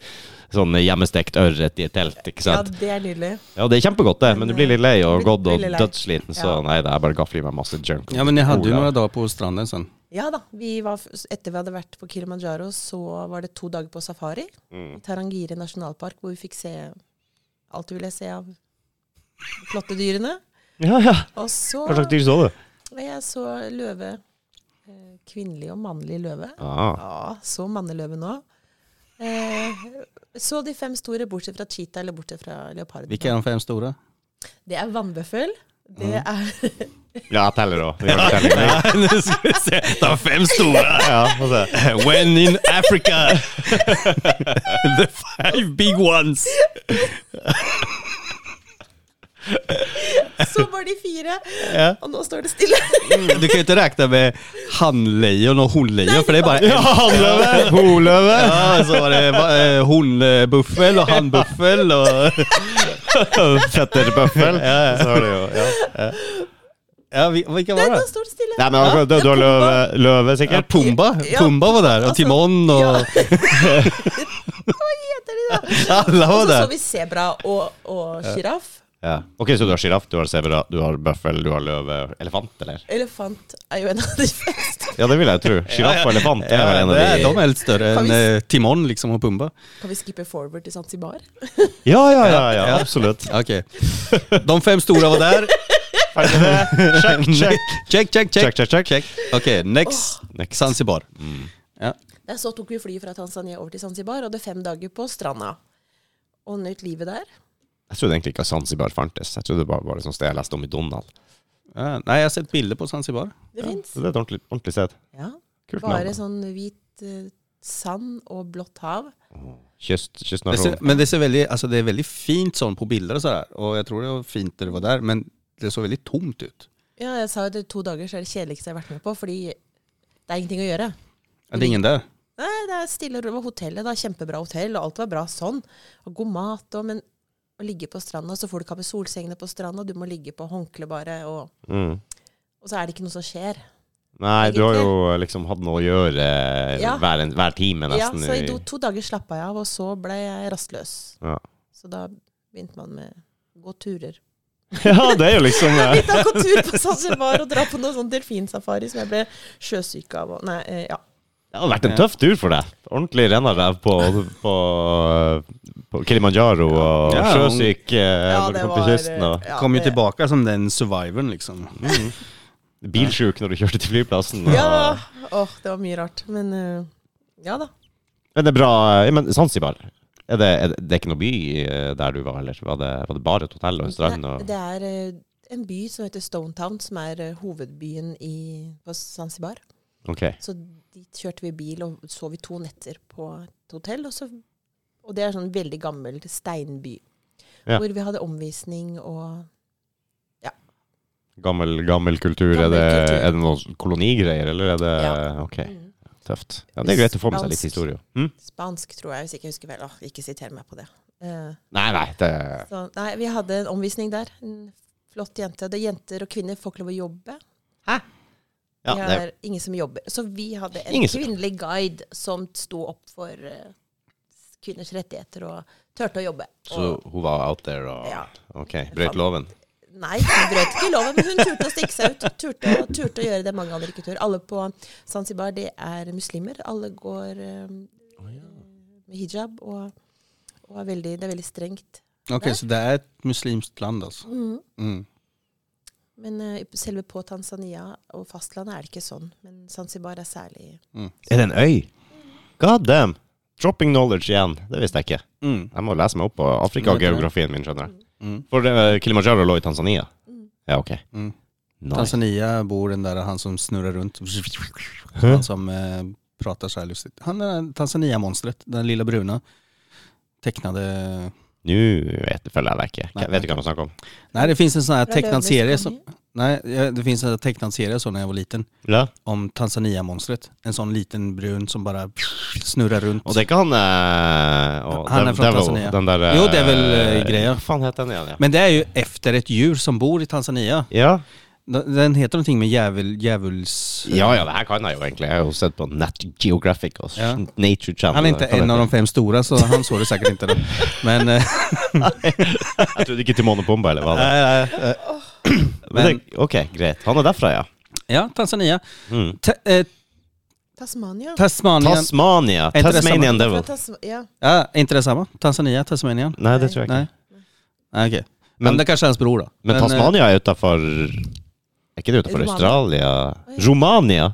A: sånn hjemmestekt ørret i et telt, ikke
C: Ja,
A: sant?
C: det er nydelig.
A: Ja, det er kjempegodt, det, men du blir litt lei og
C: Du
A: gått
C: eh, blir
A: og
C: litt lei.
A: dødsliten, så
C: Ja.
A: nei, det er bare gafler i meg masse junk. og
B: Ja, men jeg hadde jo
A: cola.
B: några dager på stranden sen.
C: Ja da. Vi var, f- etter vi hadde vært på Kilimanjaro, så var det to dager på safari. I Tarangire nasjonalpark, hvor vi fikk se alt du ville se av de flotte dyrene.
A: Ja, ja.
C: Og så
A: Hva slags dyr så du?
C: Jeg så løve. eh, Kvinnelig og mannlig løve.
A: Ah.
C: Ja, så manneløve nå. Eh, så de fem store, bortsett fra cheetah eller bortsett fra leoparden.
B: Vilka är de fem [LAUGHS] stora?
C: Det er vannbøffel. Det er [LAUGHS]
A: Ja, jeg teller òg. [LAUGHS] Ja,
B: nu ska vi se. De fem stora!
A: få se.
B: [LAUGHS] When in Africa! [LAUGHS] The five big ones!
C: Så var de fire! Og nå står det stille.
B: Mm, Du kan ju inte räkna med handlejon och honlejon för det är bara en.
A: Hannløve! Holøve!
B: Ja, så var det eh, honbuffel och handbuffel och...
A: Fetterbøffel. Så har du jo ja.
B: Ja, vi- vilka
C: Nei,
B: var
C: [LAUGHS] nå
B: det?
C: står det stille.
A: Nei, men akkurat det, du har løve, løve
B: Ja,
A: sikkert?
B: Pumba.
C: Ja.
B: Pumba var där och
C: Alltså,
B: Timon
C: Altså, ja.
A: [LAUGHS]
B: [LAUGHS] och
C: Hva heter de, da?
B: alla
C: Og
B: var
C: Altså, så så
B: där.
C: vi sebra og, og sjiraff.
A: Ja. Ok, så du har sjiraff, du har sebra, du har bøffel, du har løve Elefant, eller?
C: Elefant er jo en av de fremste.
A: [LAUGHS] Ja, det vil jeg tro. Sjiraff og elefant er vel
B: Ja,
A: en av
B: det är- de
A: de
B: är lite större
C: Kan
B: än
C: vi-
B: eh, Timon liksom och Pumba.
C: Kan vi skippe forward til Zanzibar?
A: Ja, ja, ja, ja absolutt.
B: Okej. De fem stora var där.
A: Ferdig med det. [LAUGHS] Check, check.
B: Check, check, check.
A: [LAUGHS] Check, check, check.
B: Okej, next.
A: Next.
B: Zanzibar. Ja.
C: Der så tok vi flyet fra Tanzania over til Zanzibar, og det er fem dager på stranda. Og nøt livet der.
A: Jeg trodde egentlig ikke at Zanzibar fantes. Jeg trodde det bare var et sånt sted jeg leste om i Donald.
B: Ja, nej, jeg har sett bilder på Zanzibar.
C: Det fins.
A: Så det er et ordentlig, ordentlig sted.
C: Ja.
A: Kult navn.
C: Bare sånn hvit eh, sand og blått hav.
A: Kyst,
B: Det ser,
A: kystnasjon.
B: men det, ser veldig, altså det er veldig fint sånn på bilder og sånn. Og jeg tror det var fint det var der, men det så veldig tomt ut.
C: Ja, jeg sa jo det to dager, så er det kjedeligste jeg har vært med på, fordi det er ingenting å gjøre.
B: Er det ingen der?
C: Nei, det er stille og rolig. Det var Hotellet, da. Kjempebra hotell, og alt var bra sånn. Og god mat og Men å ligge på stranda, så får du ikke ha med solsengene på stranda, du må ligge på håndkle bare, og,
A: Mm.
C: og så er det ikke noe som skjer.
A: Nei, du har jo liksom hatt noe å gjøre eh,
C: Ja.
A: hver, en, hver time,
C: Ja,
A: nesten.
C: så i to, to dager slappa jeg av, og så ble jeg rastløs.
A: Ja.
C: Så da begynte man med å gå [LAUGHS] turer.
A: [LAUGHS] ja, det er jo liksom
C: [LAUGHS]
A: eh,
C: Begynte å gå tur på Zanzibar og dra på noe sånn delfinsafari som jeg ble sjøsyk av. Og, nei, eh, ja.
A: Det hadde vært en tøff tur for deg. Ordentlig rennaræv på, på, på Kilimanjaro og
B: Ja, hun-
A: sjøsyk eh,
C: Ja,
A: når du
C: det
A: kom til
C: var, eh,
A: kysten. Og
C: ja,
B: Kom jo
C: det-
B: tilbake som den survivoren, liksom.
A: bilsjuk når du kjørte til flyplassen. Og,
C: Ja, åh, det var mye rart. Men eh, ja da.
A: Men det er bra ja, Men Zanzibar, er det, er det, det er ikke noe by eh, der du var, eller? Var det, var det bare et hotell og en strand?
C: Nei,
A: Og,
C: det er eh, en by som heter Stonetown, som er eh, hovedbyen i, på Zanzibar.
A: ok.
C: Så dit kjørte vi bil og sov i to netter på et hotell. Og, så, og det er en sånn veldig gammel steinby.
A: Ja.
C: Hvor vi hadde omvisning og
A: Gammel, gammel kultur.
C: Gammel
A: er, det,
C: kultur.
A: er det noen kolonigreier, eller er det
C: Ja.
A: Ok,
C: Mm.
A: tøft. Ja, det er greit å få med seg litt
C: Spansk.
A: historie. Mm?
C: spansk, tror jeg, hvis ikke jeg husker feil. Åh, ikke siter meg på det. Eh,
A: Nei, nei, det
C: så, nei, vi hadde en omvisning der. En flott jente. Det er jenter og kvinner får ikke lov å jobbe.
A: ja,
C: vi
A: det,
C: har ingen som jobber. Så vi hadde en
A: Ingen som-
C: kvinnelig guide som sto opp for eh, kvinners rettigheter og turte å jobbe.
A: Så
C: Og,
A: hun var out there og
C: Ja.
A: Ok, brøt loven.
C: nei, hun brøt ikke loven, men hun turte å stikke seg ut. Turte, å- turte å gjøre det mange andre ikke tør. Alle på Zanzibar det er muslimer. Alle går eh, med hijab og, og er veldig, det er veldig strengt.
B: Ok, så det er et muslimskt land, altså. Mm.
C: Men eh, selve på Tanzania og fastlandet er det ikke sånn. Men Zanzibar er særlig
A: Er det en øy? God damn! Dropping knowledge igjen. Det visste jeg ikke.
B: Mm.
A: Jeg må lese meg opp på Afrika-geografien min, skjønner jeg. For eh, Kilimanjaro lå i Tanzania? Ja, ok.
B: Mm.
A: Nice.
B: Tanzania bor den der han som snurrer rundt. Han som eh, prater så här lustigt. Han är Tanzania-monstret, den lilla bruna tecknade
A: Nå vet, følger jeg deg ikke.
B: Nei,
A: vet du hva han snakker om?
B: Nej, det finns en sån här
C: Fra
B: tecknad
C: Løvenes
B: serie som...
C: konge.
B: Nej, ja, det finns en tecknad serie som när jag var liten.
A: Ja.
B: Om Tanzania-monstret. En sån liten brun som bara snurrar runt.
A: Og det er ikke han eh, å,
B: Han er
A: Dev-
B: fra
A: Devil,
B: Tanzania.
A: Den der,
B: Jo, det er vel, eh, greia.
A: Hva faen heter den igjen? Ja.
B: Men det är ju efter ett djur som bor i Tanzania.
A: ja.
B: Den den heter någonting med djävul, djävuls...
A: ja ja, det her kan jeg jo egentlig. Jeg har jo sett på Nat Geographic og
B: Ja.
A: Nature Channel.
B: Han är inte
A: Hva faen
B: en av
A: heter
B: de fem stora så han såg det säkert
A: [LAUGHS]
B: inte. Då. Men... eh,
A: det? Jeg trodde ikke Timon og Pumba, eller hva det
B: nej, nej, eh,
A: er. Men det, ok, greit. Han er derfra, ja.
B: ja, Tanzania.
A: Mm.
B: Ta, eh,
C: Tasmania.
B: Tasmanien.
A: Tasmania.
B: Er ikke det
A: Tasmanian
C: Fra
A: Devil.
C: Tasma ja.
B: ja, inte detsamma. Tanzania, Tasmanien.
A: Nei, det tror jeg
B: Nej.
A: ikke.
B: Ah, Okej. Men,
A: Men-
B: det kanske är hans bror då.
A: Men
B: eh,
A: Tasmania er utafor Er ikke det utafor
C: Romania.
A: Australia?
C: Oi.
A: Romania?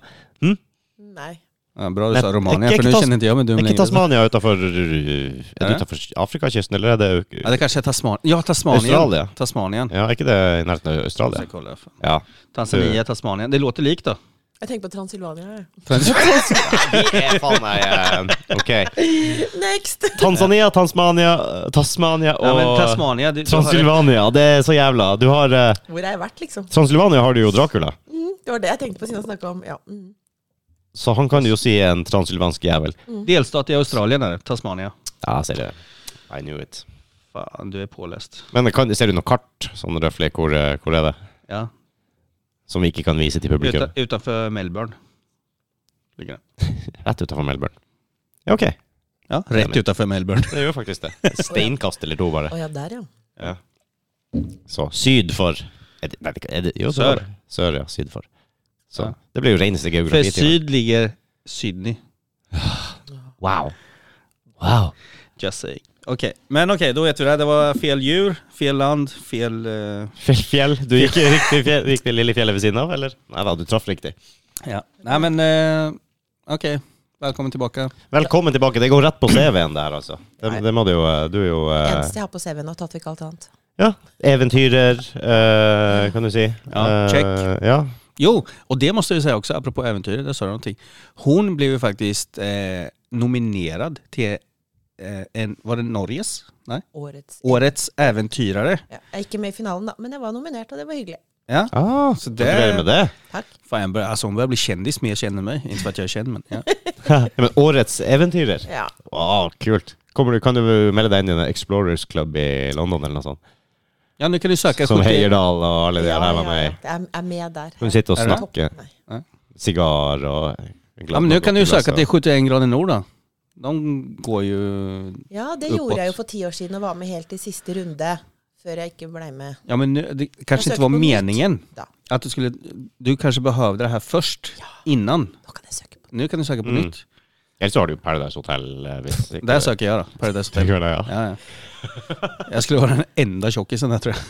C: Nei.
B: Ja, bra du
A: Men
B: sa
A: är-
B: Romania,
A: är
B: för nu
A: Tas-
B: känner inte jag mig dum
A: Er ikke
B: längre.
A: Tasmania utafor Er det utafor Afrikakysten, eller er det Uk-
B: Ja, det kanske är Tasman ja, Tasmanien.
A: Australia?
B: Tasmanien.
A: Ja, er ikke det i nærheten av
B: Jag
A: Australia?
B: ska kolla. Fan.
A: Ja.
B: Tanzania, Tasmanien. Det låter likt då.
A: [LAUGHS]
C: Jeg tenker på Transilvania. jeg.
A: Vi er faen meg eh, Ok.
C: Next!
A: Tanzania, Tasmania, eh, Tasmania
B: Ja,
A: og
B: men Tasmania, du, du har det.
A: Transylvania. Det er så jævla Du har eh,
C: Hvor har jeg vært, liksom?
A: Transylvania har du jo Dracula,
C: Mm, det var det jeg tenkte på siden jeg snakka om. Ja. Mm.
A: så han kan jo si en transylvansk jævel.
B: delstat i Australien är det, Tasmania.
A: Ja, ser du. I knew it.
B: Fan, du är påläst.
A: Men kan, ser du noe kart, sånn røfflig, hvor, eh, hvor er det?
B: Ja.
A: Som vi ikke kan vise til publikum?
B: Utan, utanför Melbourne. Ligger det.
A: Rett utenfor Melbourne. Ja, ok.
B: Ja, rätt utanför Melbourne.
A: Det gjør faktisk det. Et [LAUGHS] steinkast eller to, bare.
C: Å ja, der, ja.
A: Ja. Så syd for er det, nei, det- er det, jo,
B: Sør.
A: sør. Sør, ja. Syd for. Så
B: Ja.
A: det blir jo reneste
B: För
A: geografi. til.
B: syd ligger Sydney.
A: Wow. Wow.
B: Just saying. Okej, men okej, då vet vi det. Det var fel djur, fel land, fel... eh,
A: Fjell, fjell. Du gikk i riktig fjell, gikk det lille fjellet ved siden av, eller? Nei da, du traff riktig.
B: ja. Nej men, eh, okej. Välkommen tillbaka.
A: Velkommen tilbake. Det går rett på CV-en, det her, altså. Det,
B: Nei.
A: det må du jo eh, Du er jo eh,
C: Eneste jeg har på CV-en, har tatt vekk alt annet.
A: Ja. Eventyrer, eh, kan du si.
B: Ja,
A: Eh,
B: check.
A: Ja.
B: Jo, och det måste jag ju säga också, apropå äventyret, där sa du någonting. Hon blev ju faktiskt eh, nominerad till, eh, en, var det Norges? Nej?
C: Årets
B: Årets äventyrare.
C: ja. Jeg er ikke med i finalen, da, men jeg var nominert, og det var hyggelig.
B: Ja,
A: Ah, så
B: det-
A: Gratulerer med
B: [LAUGHS]
A: det.
C: Takk.
B: fan jag börjar, alltså hon börjar bli kändis mer känd än mig. Inte för att jag är känd men ja.
A: Ja, men årets eventyrer.
C: Ja.
A: Wow, kult. Kommer du, kan du melde deg inn i en Explorers Club i London eller noe sånt?
B: ja, nu kan du söka
A: Som
B: 70
A: Heyerdahl og alle de
C: Ja,
A: der her var
C: ja,
A: med
C: ja.
A: i.
C: Jeg er- er med der.
A: Hun sitter og
B: Er det det?
A: snakker.
C: Nei.
A: Sigar og glatt
B: Ja men nu kan du ju söka till
A: til
B: 71 grader nord då. De går ju...
C: Ja, det
B: Uppåt.
C: gjorde jeg jo for ti år siden og var med helt i siste runde. Før jeg ikke blei med.
B: Ja men nu, det
C: Jag
B: kanske inte
C: söker
B: var
C: på nytt.
B: meningen
C: Da.
B: att du skulle... Du kanske behövde det här först, innan.
C: Nå kan jeg søke på
B: Nu kan du söka på
A: Mm.
B: nytt.
A: Ellers så har du jo Paradise Hotel. eh, Hvis ikke-
B: Där söker jag då, Paradise
A: [LAUGHS]
B: Hotel.
A: Det gjør det, ja.
B: Ja, ja. Jag skulle vara den enda tjockisen där tror jag.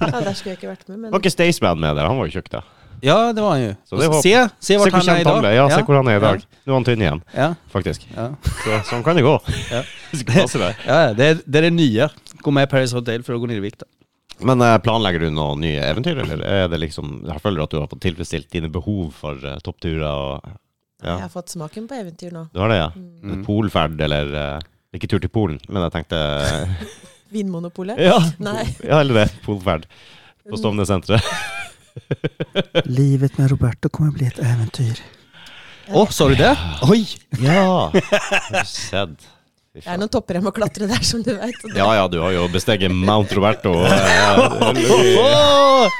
C: Ja, Der skulle jeg ikke vært med, men
A: Var ikke Staysman med der? Han var jo tjukk, da.
B: Ja, det var han ju.
A: Så det var-
B: Se, se vart
A: Se hvor
B: han är
A: kjent han
B: idag.
A: ble. Ja, se hvor han er i dag. Nå er han tynn igjen,
B: Ja,
A: faktisk.
B: ja,
A: Så, sånn kan det gå.
B: Ja.
A: Du [LAUGHS] skal passe deg.
B: ja. ja det, är, det är det nya. Gå med i Paris Hotel för att gå ner i vikt. då.
A: Men eh, planlegger du noen nye eventyr, eller er det liksom Jeg føler at du har fått tilfredsstilt dine behov for eh, toppturer og
C: jeg
A: Ja,
C: har fått smaken på eventyr nå.
A: du har det, ja?
B: Mm.
A: Polferd eller eh, Ikke tur til Polen, men jeg tenkte eh,
C: Vinmonopolet?
A: Ja,
C: Nei.
A: ja eller det. Polferd på Stovner-senteret.
B: Livet med Roberto kommer bli ett äventyr. Åh, sa du det? Oj!
A: Ja! Har du sett? Fy
C: Det er
A: faen.
C: noen topper jeg må klatre der, som du veit.
A: Ja ja, du har jo besteget Mount Roberto. eh,
B: Åh!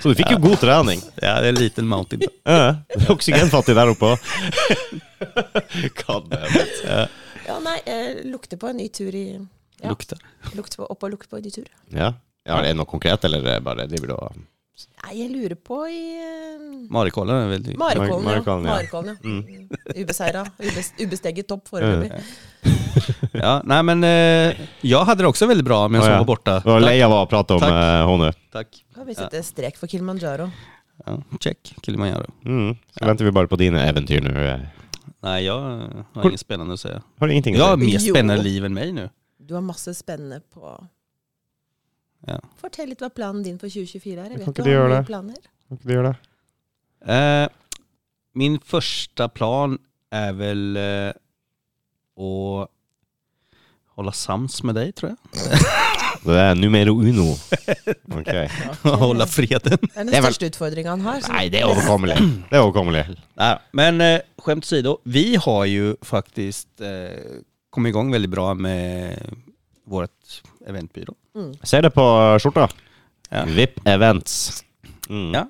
A: Så du fikk jo god trening.
B: Ja, det är en liten mountain. då.
A: Ja, det er oksygenfattig der oppe òg. [LAUGHS] God damn it.
C: Ja, nei, jeg lukter på en ny tur i Ja.
B: Luktar.
C: Lukt på, opp og lukt på en ny tur.
A: Ja. ja, er det noe konkret, eller bare driver du og
C: Nei, jag lurer på i eh,
B: Marikollen är väldigt...
C: Marekollen,
A: Mar-
C: ja.
A: Marekollen, ja. Mm.
C: Marekollen, ja. Mm. Ubeseira. Ubes, ubesteget topp foreløpig.
B: Ja, nej men eh, jag hade det också väldigt bra men
A: Å,
B: som
A: ja.
B: var borta.
A: Du var lei av å prate om
B: Takk.
A: eh, henne.
B: Tack.
C: Da har vi sette strek for Kilimanjaro.
B: Ja, check, Kilimanjaro.
A: Mm. Så venter vi bare på dine eventyr nå. eh.
B: Nej, jag eh, har
A: Cool.
B: inget spännande att säga.
A: Har du ingenting
B: Jag har
A: å si?
B: mer
C: Jo.
B: spännande liv än mig nu.
C: Du har masse spennende på
B: Ja.
C: Fortell litt hva planen din for 2024 er. Jeg
A: Kan
C: vet
A: ikke
C: du
A: du
C: har
A: gjøre
C: mye
A: det?
C: planer.
A: Kan ikke du gjøre det?
B: Eh, min första plan är väl eh, att Hålla sams med deg, tror jeg.
A: Det er numero [LAUGHS] uno. Ok.
B: [LAUGHS] Hålla freden.
C: Det er
A: Det er
C: den
A: vel-
C: største utfordringa han har. så-
A: Nei, det er overkommelig. Det er overkommelig.
B: Nej, men eh, skämt åsido, vi har ju faktiskt eh, kommit igång väldigt bra med vårt eventbyrå.
A: Ser det på skjorta.
B: Ja.
A: VIP Events. Mm.
B: Ja,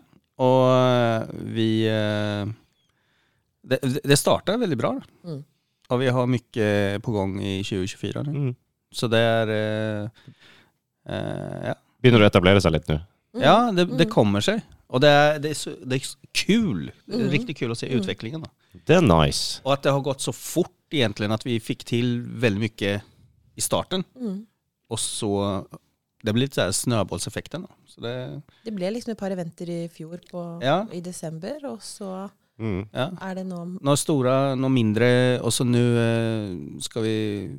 B: och eh, vi... Eh, det, det startar väldigt bra.
C: Mm.
B: Och vi har mycket på gång i 2024 nu.
A: Mm.
B: Så det är... Eh, eh, ja.
A: Begynner å etablere seg litt nå.
B: ja, det, det kommer sig. Och det är, det är, så, det är så kul. Det är riktigt kul att se utvecklingen. Då.
A: Det er nice.
B: Och att det har gått så fort egentligen att vi fick till väldigt mycket i starten.
C: Mm.
B: Och så det blir lite så här snöbollseffekten. Då. Så det,
C: Det ble liksom et par eventer i fjor på,
B: Ja.
C: i desember, og så
A: Mm.
B: ja.
C: er det nå
B: Några stora, några mindre och så nu eh, ska vi...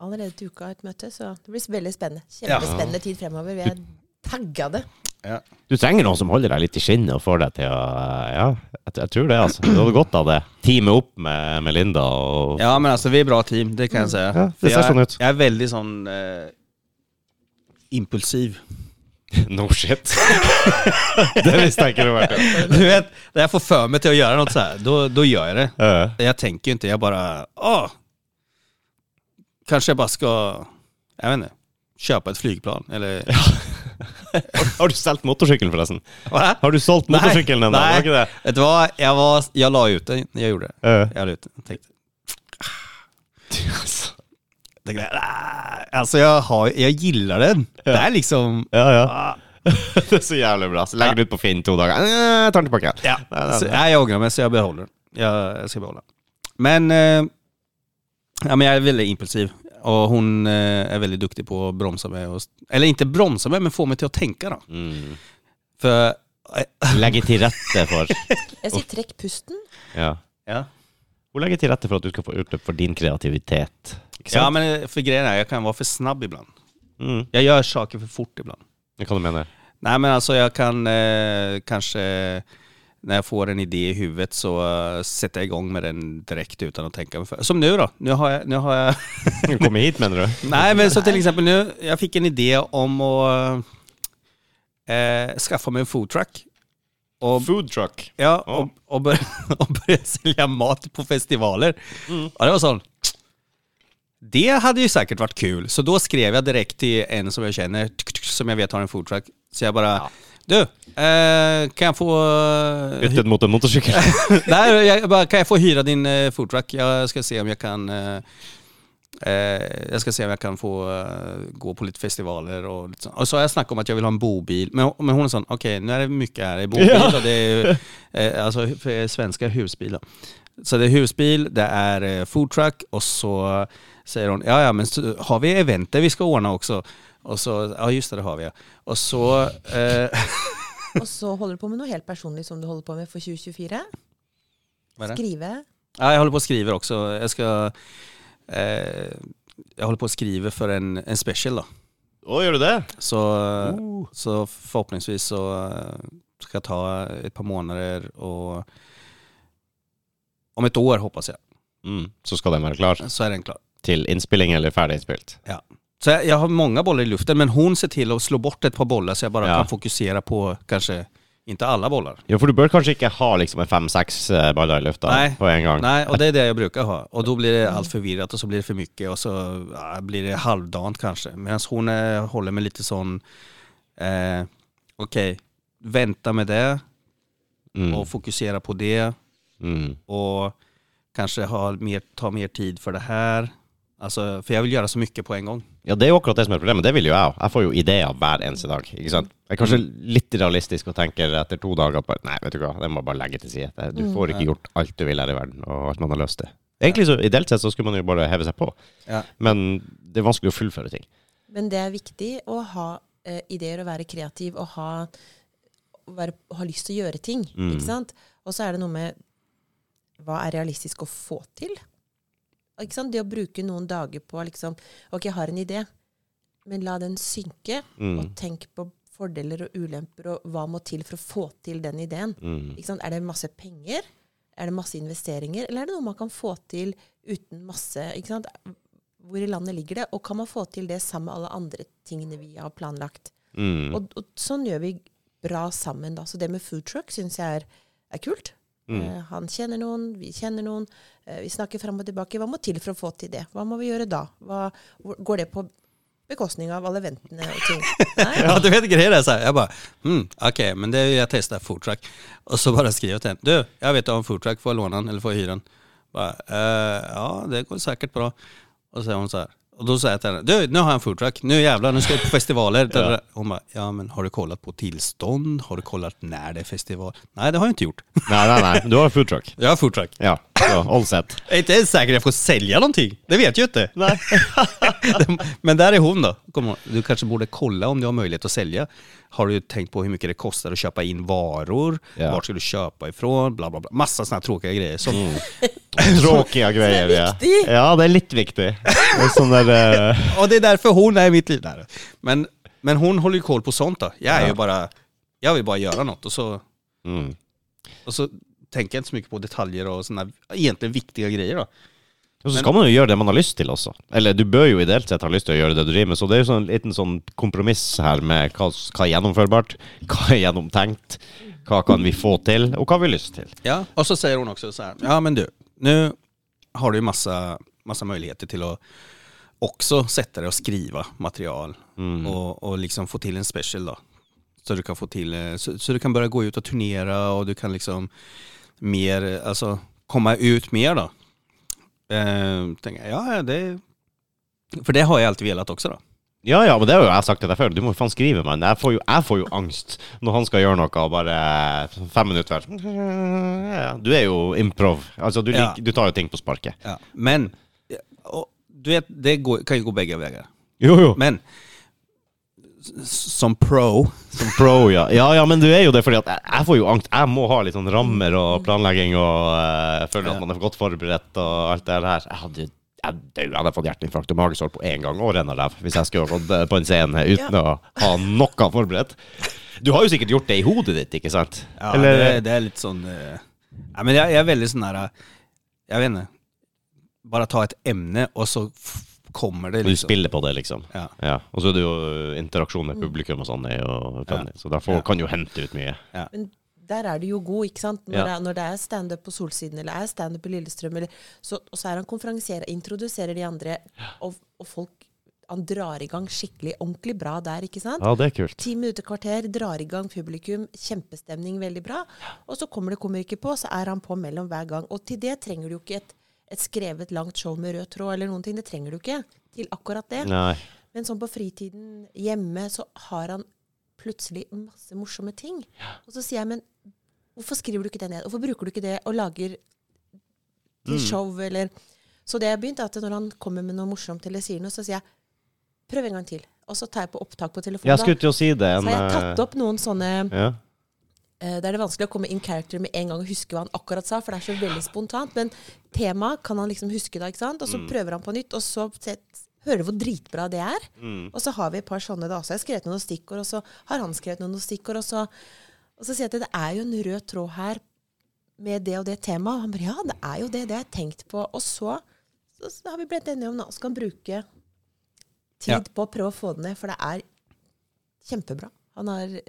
C: allerede til uka et møte, så det blir veldig spennende. Kjempespennende tid fremover. Vi er tagga det.
A: Du trenger noen som holder deg litt i skinnet og får deg til å Ja, jeg, jeg tror det, altså. Du hadde godt av det. Teame opp med, med Linda og
B: Ja men alltså vi är bra team, det kan jag säga.
A: Ja, det
B: För
A: ser
B: jag,
A: sånn ut.
B: Jag är väldigt sån eh, impulsiv.
A: [LAUGHS]
B: [LAUGHS]
A: No shit. [LAUGHS] det visste jeg ikke det var verdt. [LAUGHS]
B: Du vet, när jag får för mig till att göra något så här, då, då gör jag det.
A: Ja.
B: Jag tänker ju inte, jag bara... Åh, kanske jag bara ska... Jag vet inte. Köpa ett flygplan
A: [LAUGHS]
B: eller...
A: Har du solgt motorsykkelen, forresten?
B: Va?
A: Har du solgt
B: Nei,
A: motorsykkelen ennå?
B: nei.
A: Var ikke det? Øh.
B: Vet du hva, jeg, var, jeg la ut den. Jeg gjorde det. [LAUGHS]
A: Ja.
B: Jeg la ut den. Jeg Tenkte, tenkte jeg, "Nei, altså, jeg, har, jeg gillar den. Det er liksom
A: Ja, ja. [LAUGHS] det er så jævlig bra. Så legger du ut på Finn to dager. Eh, Jeg tar den tilbake.
B: ja.
A: nei, nei.
B: Så, nei, jeg angrer meg, så jeg beholder den. Jeg, jeg skal beholde den. Men, eh, ja, men jeg er veldig impulsiv. Og hun eh, er veldig duktig på å bromse meg. Og, eller ikke bromse meg, men få meg til å tenke. Da.
A: Mm.
B: For eh, [LAUGHS]
A: Legge til rette for
C: Jeg sier trekk pusten.
A: Ja.
B: ja.
A: Hun legger til rette for at du skal få utløp for din kreativitet. Ikke
B: ja,
A: sant?
B: men eh, for greien er jeg kan være for snabb iblant.
A: Mm.
B: Jeg gjør saker for fort iblant.
A: Hva du mener
B: Nej men alltså jag kan eh, kanske när jag får en idé i huvudet så eh, sätter jag igång med den direkt utan att tänka mig för. Som nu då. Nu har jag, nu har jag
A: du? Komme hit, mener du?
B: Nej men så till exempel nu, jag fick en idé om att eh, skaffa mig en foodtruck. Och,
A: Food truck.
B: ja, och, och, [LAUGHS] börja, och börja sälja mat på festivaler. Ja det var sån. Det hade ju säkert varit kul. Så då skrev jag direkt till en som jag känner, som jag vet har en foodtruck. Så jag bara, du, eh, kan jag få... eh,
A: Byttet mot en motorsykkel.
B: [LAUGHS] Nej, jag bara, kan jag få hyra din eh, foodtruck? Jag ska se om jag kan... Eh, eh, jag ska se om jag kan få eh, gå på lite festivaler och lite sånt. Och så har jag snackat om att jag vill ha en bobil. Men, men hon är sån, okej nu är det mycket här. Det är bobil
A: Ja.
B: och det är eh, alltså, för svenska husbilar. Så det är husbil, det är eh, foodtruck och så säger hon, ja ja men så, har vi eventer vi ska ordna också? Och så, ja just det, det har vi ja. Och så... Eh, [LAUGHS]
C: Og så holder du på med noe helt personlig som du holder på med for 2024.
B: vad är det?
C: Skrive.
B: Ja, jag håller på och skriver också. Jag ska... Eh, jag håller på och skriver för en, en special då.
A: Å, gjør du det? Uh.
B: Så,
A: Oh.
B: så förhoppningsvis så eh, ska jag ta ett par månader och... Om ett år hoppas jag,
A: Mm. Så skal den være klar
B: så är den klar.
A: til innspilling eller ferdig innspilt.
B: Så jag, jag har många bollar i luften, men hon ser till att slå bort ett par bollar så jag bara
A: Ja.
B: kan fokusera på kanske, inte alla bollar.
A: Ja, for du bør kanskje ikke ha liksom en fem-seks eh, baller i lufta
B: Nei.
A: på en gang.
B: Nej, och det är det jag brukar ha. Och då blir det allt förvirrat och så blir det för mycket och så ja, blir det halvdant kanske. Medan hon eh, håller med lite sån, eh, okej, vänta med det
A: Mm.
B: och fokusera på det
A: Mm.
B: och kanske ha mer, ta mer tid för det Altså, här. Alltså, för jag vill göra så mycket på en gång.
A: Ja, det er jo akkurat det som er problemet. Det vil jo jeg òg. Jeg får jo ideer hver eneste dag. Ikke sant? Det er kanskje
C: Mm.
A: litt realistisk å tenke etter to dager på Nei, vet du hva, det må jeg bare legge til side. Du
C: Mm.
A: får ikke gjort alt du vil her i verden, og alt man har lyst til. Egentlig så, Ideelt sett så skulle man jo bare heve seg på,
B: Ja.
A: men det er vanskelig å fullføre ting.
C: Men det er viktig å ha eh, ideer og være kreativ og ha, å være, ha lyst til å gjøre ting. Ikke sant? Og så er det noe med hva er realistisk å få til? Ikke sant? Det å bruke noen dager på liksom Ok, jeg har en idé, men la den synke,
A: Mm.
C: og tenk på fordeler og ulemper, og hva må til for å få til den ideen. Ikke sant? Er det masse penger? Er det masse investeringer? Eller er det noe man kan få til uten masse ikke sant? hvor i landet ligger det, og kan man få til det sammen med alle andre tingene vi har planlagt.
A: Mm.
C: Og, og sånn gjør vi bra sammen, da. Så det med food truck syns jeg er, er kult.
A: Mm.
C: Eh, han kjenner noen, vi kjenner noen. Eh, vi snakker fram og tilbake. Hva må til for å få til det? Hva må vi gjøre da? Hva, hvor, går det på bekostning av alle ventene og
A: [LAUGHS]
C: ting? Nei?
B: [LAUGHS] Ja, du vet grejer är så här. Jag bara, mm, okej, men det är ju jag testar foodtruck. Och så bara skriver jag till henne, du, jag vet du har en foodtruck, får jag låna den eller får jag hyra den? Bara, eh, ja, det går säkert bra. Och så säger hon så här, och då säger jag till henne, du, nu har jag en foodtruck, nu jävlar, nu ska jag på festivaler. Hon bara, ja men har du kollat på tillstånd? Har du kollat när det är festival? Nej, det har jag inte gjort. [LAUGHS]
A: Nei, nei, nei. Du har food truck.
B: Jag har foodtruck.
A: Ja, så all set.
C: [LAUGHS]
B: Jag är inte ens säker att jag får sälja någonting, det vet jag inte.
A: Nei.
B: [LAUGHS] Men där är hon då. Kom ihåg, du kanske borde kolla om du har möjlighet att sälja. Har du tänkt på hur mycket det kostar att köpa in varor?
A: Ja.
B: Vart ska du köpa ifrån? Bla, bla, bla. Massa sådana tråkiga grejer. Som,
A: Tråkiga greier.
C: Så det er
A: ja.
C: viktig.
A: Ja, det er litt viktig. Det er sånn der
C: [LAUGHS]
A: eh,
B: [LAUGHS] Och det är därför hon är i mitt liv. Där. Men, men hon håller ju koll på sånt då. Jag, är ju bara, jag vill bara göra något och så,
A: mm.
B: och så tänker jag inte så mycket på detaljer och sådana egentligen viktiga grejer då.
A: Og så skal man jo gjøre det man har lyst til også. Eller du bør jo ideelt sett ha lyst til å gjøre det du driver med, så det er jo sånn, en liten sånn kompromiss her med hva, hva er gjennomførbart, hva er gjennomtenkt, hva kan vi få til, og hva har vi lyst til.
B: Ja, och så säger hon också så här, ja men du, nu har du ju massa, massa möjligheter till att också sätta dig och skriva material och, och liksom få till en special då. Så du kan få till, eh, så, så du kan börja gå ut och turnera och du kan liksom mer, eh, alltså komma ut mer då. Eh, tänker jag, ja, ja, det, för det har jag alltid velat också då.
A: Ja, ja, men det har jo jeg sagt til deg før. Du må jo faen skrive meg. Jeg får jo, jeg får jo angst når han skal gjøre noe, og bare fem minutter hver. Du er jo improv. Altså, du,
B: Ja.
A: lik, du tar jo ting på sparket.
B: Ja. Men, eh, och, du vet, det går, kan ju gå bägge vägar.
A: Jo, jo.
B: Men, s- som pro,
A: Som pro, ja. Ja, ja, men du er jo det fordi at jeg, jeg får jo angst. Jeg må ha litt sånn rammer og planlegging og eh, føle
B: Mm. Ja.
A: at man er godt forberedt og alt det her. Jeg hadde jo jeg døde, jeg hadde fått hjerteinfarkt og magesår på én gang og renna ræv hvis jeg skulle ha gått eh, på en scene uten å ha noe forberedt. Du har jo sikkert gjort det i hodet ditt, ikke sant?
B: Ja,
A: Eller-
B: det, det er litt sånn eh, ja, men jeg, jeg er veldig sånn her eh, Jeg vet ikke. Bare ta et emne, og så f- kommer det
A: Du
B: liksom.
A: spiller på det, liksom.
B: Ja. Mm.
A: Ja. Og så er det jo eh, interaksjon med publikum og sånn, er jo funny. så derfor kan du jo hente ut mye.
C: Men der er du jo god, ikke sant? Når,
A: Ja.
C: det, er- når det er standup på Solsiden, eller er standup på Lillestrøm, eller, så, og så er han konferansier, introduserer de andre, og, og folk Han drar i gang skikkelig, ordentlig bra der, ikke sant?
A: Ja, det er kult.
C: Ti minutter, kvarter, drar i gang publikum, kjempestemning, veldig bra. Og så kommer det kommer ikke på, så er han på mellom hver gang. Og til det trenger du jo ikke et, et skrevet langt show med rød tråd eller noen ting. Det trenger du ikke til akkurat det.
A: Nei.
C: Men sånn på fritiden hjemme, så har han plutselig masse morsomme ting. Og så sier jeg, men hvorfor skriver du ikke det ned? Hvorfor bruker du ikke det og lager til show, eller Så det jeg begynte, er at når han kommer med noe morsomt eller sier noe, så sier jeg prøv en gang til. Og så tar jeg på opptak på telefonen.
A: Jeg
C: da.
A: skulle til å si det. eh,
C: så har jeg tatt opp noen sånne
A: Ja.
C: eh, Der det er vanskelig å komme in character med en gang og huske hva han akkurat sa, for det er så veldig spontant. Men temaet kan han liksom huske da, ikke sant? Og så prøver han på nytt, og så sett- hører du hvor dritbra det er. Og så har vi et par sånne da. Så har jeg skrevet ned noen stikkord, og så har han skrevet ned noen stikkord, og så, og så sier jeg at det er jo en rød tråd her med det og det temaet. Og han bare ja, det er jo det. Det har jeg tenkt på. Og så, så, så har vi blitt enige om da, så skal han bruke tid
B: Ja.
C: på å prøve å få det ned, for det er kjempebra. Han har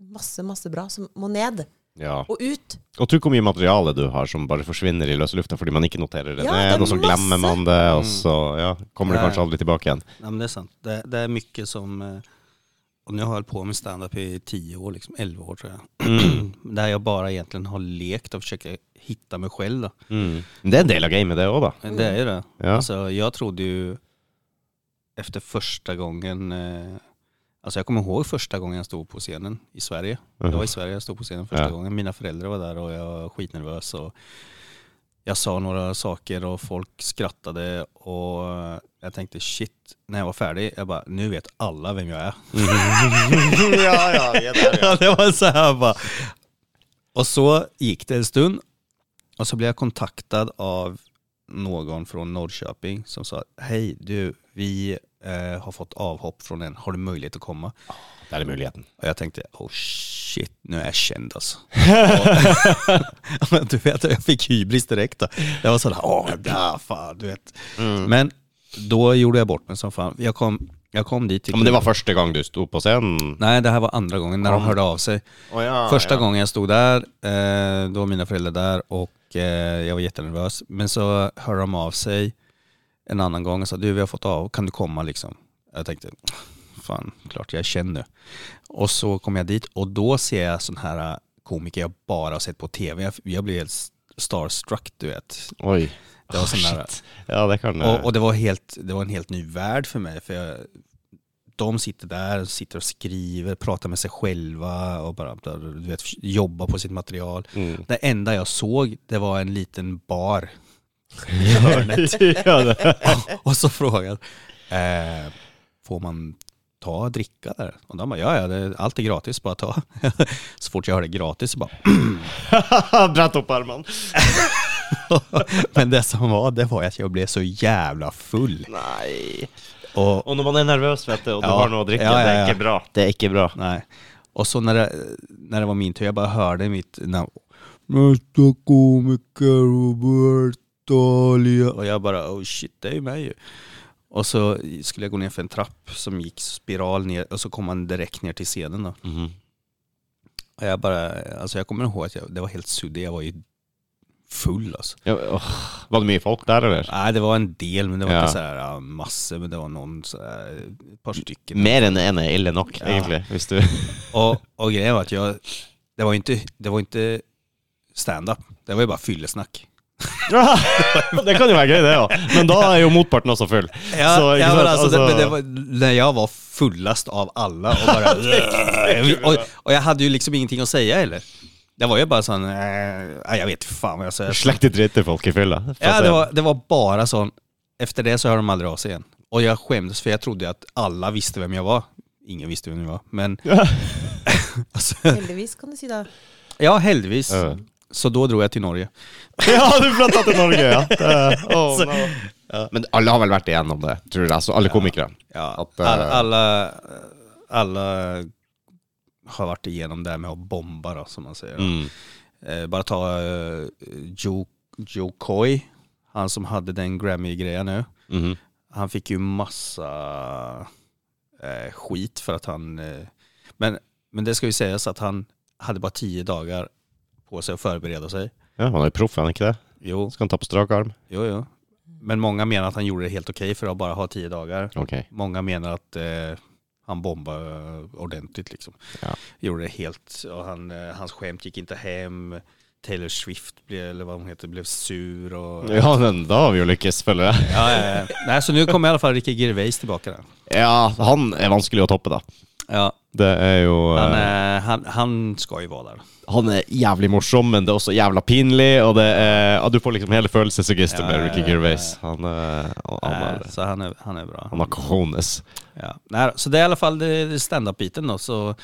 C: masse, masse bra som må ned
A: ja.
C: og ut.
A: Og tro hvor mye materiale du har som bare forsvinner i løse lufta fordi man ikke noterer det
C: Ja, det
A: ned,
C: er
A: og så glemmer man det, og så Mm. ja, kommer det
B: Ja.
A: kanskje aldri tilbake igjen.
B: Ja, men det er sant. Det, det er mye som eh, Og nå har jeg holdt på med standup i ti år, liksom elleve år, tror jeg.
A: Mm.
B: [CLEARS THROAT] Der jeg bare egentlig har lekt og forsøkt å finne meg selv. Da.
A: Men det er en del av gamet, det òg, da.
B: Men Det er jo det.
A: Ja.
B: Alltså, Altså, jeg trodde jo Etter første gangen eh, Altså, jeg kommer ihåg første gangen jeg stod på scenen i Sverige. Det var i Sverige jeg stod på scenen første
A: Mhm. Ja.
B: gangen. Mina föräldrar var där och jag var skitnervös. Och jag sa några saker och folk skrattade. Och jag tänkte shit, när jag var färdig, jag bara, nu vet alla vem jag är.
A: ja, ja, vi [LAUGHS] er der,
B: [LAUGHS] Ja, det var så här bara. Och så gick det en stund och så blev jag kontaktad av någon från Norrköping som sa Hej du, vi eh, har fått avhopp från en, har du möjlighet att komma?
A: Der er muligheten.
B: Och jag tänkte, oh shit, nu är jag känd
A: [LAUGHS]
B: alltså. [LAUGHS]
A: Mm.
B: Ja, sånn, Men du vet, jag fick hybris direkt. Då. Jag var sådär, åh, där fan, du vet. Men Då gjorde jag bort mig som fan. Jag kom, jag kom dit. till-
A: Ja, men det var første gang du sto på scenen?
B: Nej, det här var andra gången när de hörde av sig.
A: Å ja,
B: Första
A: ja.
B: gången jag stod där, eh, då var mina föräldrar där och eh, jag var jättenervös. Men så hörde de av sig en annan gång och sa du vi har fått av, kan du komma liksom? Jag tänkte, fan, klart jag är känd nu. Och så kom jag dit och då ser jag sån här eh, komiker jag bara har sett på tv. Jag, jag blir helt starstruck du vet.
A: Oi.
B: Det var sån
A: Åh,
B: där-
A: Ah, shit. Ja, det kan eh,
B: Och, och det, var helt, det var en helt ny värld för mig. För jag, de sitter där, sitter och skriver, pratar med sig själva och bara du vet, jobbar på sitt material.
A: Mm.
B: Det enda jag såg, det var en liten bar.
A: [LAUGHS] ja, det. [LAUGHS]
B: Och så frågade jag, eh, får man ta och dricka där? Och de bara, ja ja, det, allt är gratis, bara ta. [LAUGHS] så fort jag hörde gratis så bara, [LAUGHS]
A: Brett opp armene.
B: men det som var, det var att jag blev så jävla full.
A: Nei.
B: Och,
A: Og når man er nervøs, vet du, og du
B: Ja.
A: har noe å drikke,
B: Ja, ja,
A: det er
B: ja.
A: ikke bra. Det er ikke bra.
B: Nej. Och så när det, när det var min tur, jag bara hörde mitt namn. Nästa komiker Roberto Alia. Och jag bara, oh shit, det är ju mig ju. Och så skulle jeg gå ner för en trapp som gick spiral ner och så kom man direkt ner till scenen då.
A: Mhm.
B: Och jag bara, alltså jag altså, kommer ihåg att jag, det var helt suddig, jag var ju full alltså.
A: ja, åh. Var det mye folk der, eller?
B: Nej det var en del men det var
A: Ja.
B: inte så här ja, massor men det var någon så här, ett par stycken.
A: Mer enn en er ille nok, egentlig. Hvis du
B: Och, och grejen var att jag, det var ju inte, det var inte stand-up, det var ju bara fyllesnack.
A: Det kan jo være gøy, det òg. Men da er jo motparten også full.
B: Ja,
A: Så, ikke
B: ja, men
A: sant,
B: alltså,
A: altså-
B: Det, men det var, när jag var fullast av alla och bara...
A: [LAUGHS]
B: [LAUGHS] och, och jeg hadde jo liksom ingenting att säga heller. Det var ju bara sånn, eh, jag vet fan vad jag säger.
A: Slekte dritt til folk i fylla.
B: Ja, det var, det var bara sån. Efter det så hörde de aldrig av sig igen. Och jag skämdes för jag trodde att alla visste vem jag var. Ingen visste vem jag var, men... [LAUGHS] alltså,
C: Heldigvis, kan du si da.
B: ja, heldigvis.
A: Ja.
B: Så då drog jag till Norge.
A: [LAUGHS] Ja, du flytta til Norge,
B: [LAUGHS]
A: ja. Det- åh, no. Men alle har vel vært igjennom det, tror jeg. Altså, alle komikere.
B: Ja,
A: Att, eh,
B: alla, alla, alla har varit igenom det här med att bomba då, som man säger.
A: Mm.
B: Eh, bara ta eh, Joe, Joe Coy, han som hade den Grammy-grejen nu.
A: Mhm.
B: Han fick ju massa eh, skit för att han... Eh, men, men det ska ju sägas att han hade bara tio dagar på sig att förbereda sig.
A: Ja, Han er jo proff, er han ikke det?
B: Jo,
A: Skal han ta på strak arm?
B: jo, jo. Men många menar att han gjorde det helt okej för att bara ha tio dagar.
A: Ok.
B: Många menar att eh, han bombade eh, ordentligt liksom.
A: Ja.
B: Gjorde det helt, och han, eh, hans skämt gick inte hem. Taylor Swift, blev, eller vad hon heter, blev sur och...
A: Ja, men da har vi jo lykkes, føler jeg.
B: Ja, ja, ja. Nej, så nu kommer i alla fall Ricky Gervais tillbaka där.
A: Ja, han er vanskelig å toppe, da.
B: Ja,
A: Det er jo
B: han,
A: eh,
B: eh, han, han ska ju vara där.
A: Han er jævlig morsom, men det er også jævla pinlig, og det er ja, Du får liksom hele følelsesregisteret
B: Ja, ja,
A: med Ricky
B: ja, ja.
A: Gervais. Han, er- han, han,
B: Eh,
A: er-
B: Så han är, han är bra.
A: han har cojones.
B: Ja. Nej, så det är i alla fall det- det stand-up-biten då, så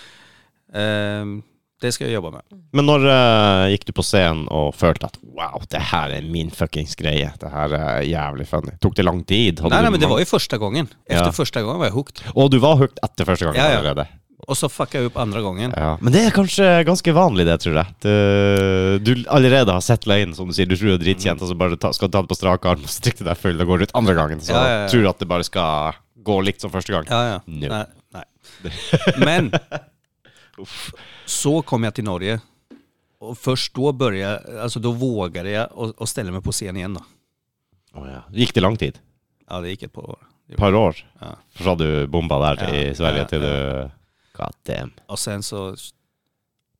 B: ehm, det ska jag jobba med.
A: Men når eh, gikk du på scenen og følte at wow, det her er min fuckings greie? Det her er jævlig funny. Tok det lang tid? Hadde
B: Nej,
A: du
B: nej, men det
A: mange-
B: var ju första gången. Efter
A: Ja.
B: första gången var jag hooked.
A: Og du var hooked etter første gangen
B: Ja, ja.
A: allerede?
B: Och så fuckade jag upp andra gången.
A: Ja. Men det er kanskje ganske vanlig, det, tror jeg. Du, du allerede har sett løgnen, som du sier. Du tror du er
B: Mm.
A: dritkjent, og så bare ta, skal du ta den på strak arm, og så drikker du deg full og går ut andre gangen. Så
B: Ja, ja, ja.
A: tror du at det bare skal gå likt som første gang.
B: Ja, ja.
A: No.
B: Nej,
A: [LAUGHS]
B: nej. Men så kom jag till Norge. Och först då började, alltså då vågade jag och, och ställa mig på scen igen då.
A: Å, ja. Gikk det lang tid?
B: Ja, det gick ett par år.
A: Et par år?
B: Ja.
A: Fra du bomba der
B: Ja,
A: i Sverige
B: ja,
A: til du God damn.
B: Och sen så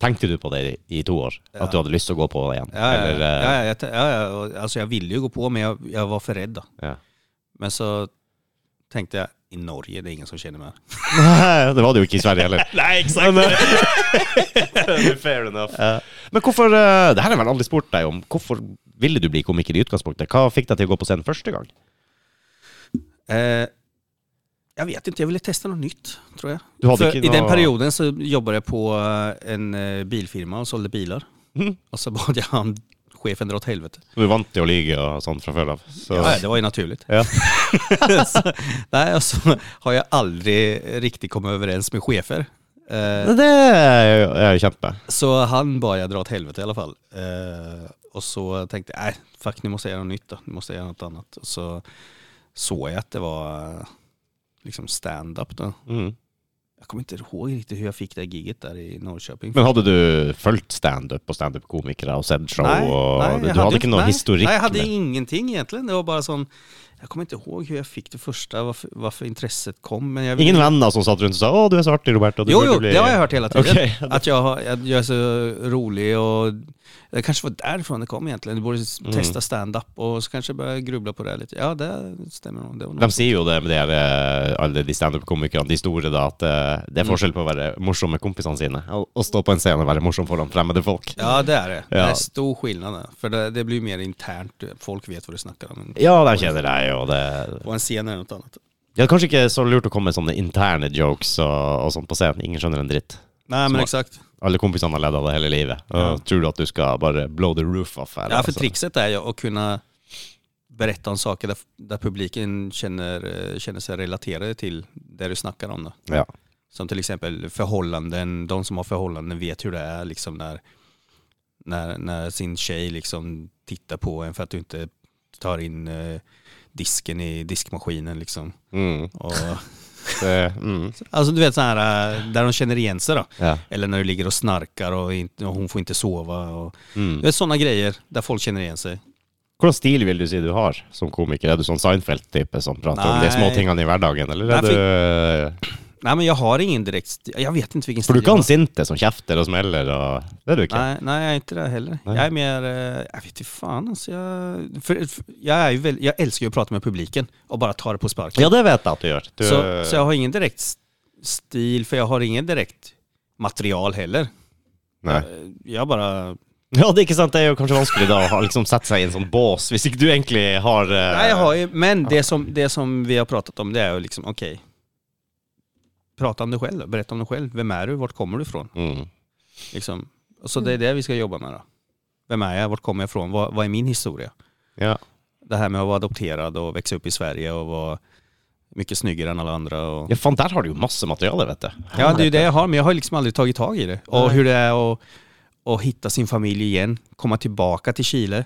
A: Tenkte du på det i, i to år? At du hadde lyst til å gå på det igjen?
B: Ja, ja,
A: Eller, eh,
B: ja, ja, jag t- ja, ja. och- Alltså jag ville ju gå på men jag, jag var för rädd. Då.
A: Ja.
B: Men så tänkte jag, i Norge det är ingen som känner mig.
A: [LAUGHS] Nei, det var det jo ikke i Sverige
B: [LAUGHS]
A: heller.
B: Nej exakt! [LAUGHS]
A: Fair enough. Men hvorfor eh, Det her har jeg vel aldri spurt deg om. Hvorfor ville du bli komiker i utgangspunktet? Hva fikk deg til å gå på scenen første gang?
B: Eh, jag vet inte, jag ville testa något nytt tror jag.
A: Du hadde
B: För
A: ikke
B: I den
A: noe-
B: perioden så jobbade jag på eh, en eh, bilfirma och sålde bilar.
A: Mhm.
B: Och så bad jeg han chefen dra åt helvete.
A: Du vant til å lyge og sånn fra før av. Så
B: Ja, det var ju
A: [LAUGHS]
B: naturligt.
A: Ja.
B: så, nej, och så har jag aldrig riktigt kommit överens med chefer. Eh,
A: Men det er jo- er jo kjempe.
B: Så han bad jag dra åt helvete i alla fall. Eh, och så tänkte jag, nej, fuck nu måste jag göra något nytt då. Nu måste jag göra något annat. Och så såg jag att det var eh, liksom stand-up då.
A: Mm.
B: Jag kommer inte ihåg riktigt hur jag fick det giget där i Norrköping.
A: Men hadde du fulgt standup og standup-komikere og sett show? og du
B: jag
A: hadde, ikke noe
B: nej,
A: historikk? liksom.
B: Nej, jag hade
A: med-
B: ingenting egentligen. Det var bara sån, jag kommer inte ihåg hur jag fick det första, varför, varför intresset kom. Men jag
A: Ingen venner som satt rundt og sa 'Å, du er så artig, Roberto'? Du
B: Jo,
A: burde
B: jo,
A: bli-
B: det har jag hört hela tiden.
A: Okej.
B: [LAUGHS] Att jag, har, jag, jag är så rolig och det kanske var därifrån det kom egentligen. Du borde s-
A: Mm.
B: testa stand-up och så kanske börja grubbla på det här lite. Ja, det stämmer nog. Det var
A: De
B: nog.
A: sier jo det med de her, eh, alle de standup-komikerne, de store, da, at eh, det er
B: Mm.
A: forskjell på å være morsom med kompisene sine og og stå på en scene og være morsom foran fremmede folk.
B: Ja, det är det. Det
A: Ja.
B: är stor skillnad. där. För det, det blir mer internt. Folk vet vad du snackar om. Men
A: Ja, de kjenner deg, og det
B: På en scen är det något annat.
A: Ja, kanskje ikke så lurt å komme med sånne interne jokes og, og sånt på scenen. Ingen skjønner en dritt.
B: Nej, men
A: Smart.
B: exakt.
A: Alle kompisene har ledd av det hele livet. Og
B: Ja.
A: Tror du at du skal bare blow the roof off her?
B: Ja, för
A: altså?
B: trickset är ju att kunna berätta om saker där, där publiken känner, eh, känner sig relaterade till det du snackar om. Då.
A: Ja.
B: Som till exempel förhållanden, de som har förhållanden vet hur det är liksom när, när, när sin tjej liksom tittar på en för att du inte tar in eh, disken i diskmaskinen liksom.
A: Mm.
B: Och, [LAUGHS]
A: Det, mm.
B: alltså du vet så här eh, där de känner igen sig då.
A: ja.
B: Eller när du ligger och snarkar och, inte, och hon får inte sova. Och, du
A: Mm.
B: vet sådana grejer där folk känner igen sig.
A: Hvordan stil vil du si du har som komiker? Er du sånn Seinfeld-type som prater om de
B: Nei.
A: små tingene i hverdagen, eller er
B: Nei,
A: du eh,
B: Nej men jag har ingen direkt, sti- jag vet inte vilken
A: For du
B: stil jag
A: kan
B: har.
A: sinte som kjefter og smeller, og Det er du ikke.
B: Nej, nej, jag är inte det heller.
A: Nej.
B: Jag är mer, eh, jag vet inte fan alltså. Jag, för, för, jag, är ju väl, jag älskar ju att prata med publiken och bara ta det på sparken.
A: Ja, det vet jeg at du gjør. Du,
B: Så, så jag har ingen direkt s- stil, för jag har ingen direkt material heller.
A: Nei.
B: Eh, Jag bara...
A: Ja, det er ikke sant. Det er jo kanskje vanskelig da å ha- liksom sette seg i en sånn bås, hvis ikke du egentlig har eh,
B: Nej, jag har ju, men det som, det som vi har pratat om det är ju liksom, okej. prata om dig själv då. berätta om dig själv. Vem är du? Vart kommer du ifrån?
A: mm.
B: Liksom. Och Så det är det vi ska jobba med då. Vem är jag? Vart kommer jag ifrån? Vad, vad är min historia?
A: Ja.
B: det här med att vara adopterad och växa upp i Sverige och vara mycket snyggare än alla andra. Och...
A: Ja, faen, der har du jo masse materiale, vet du.
B: Ja, det är ju det jag har, men jag har liksom aldrig tagit tag i det. Och
A: Nej.
B: hur det är att, att hitta sin familj igen, komma tillbaka till Chile.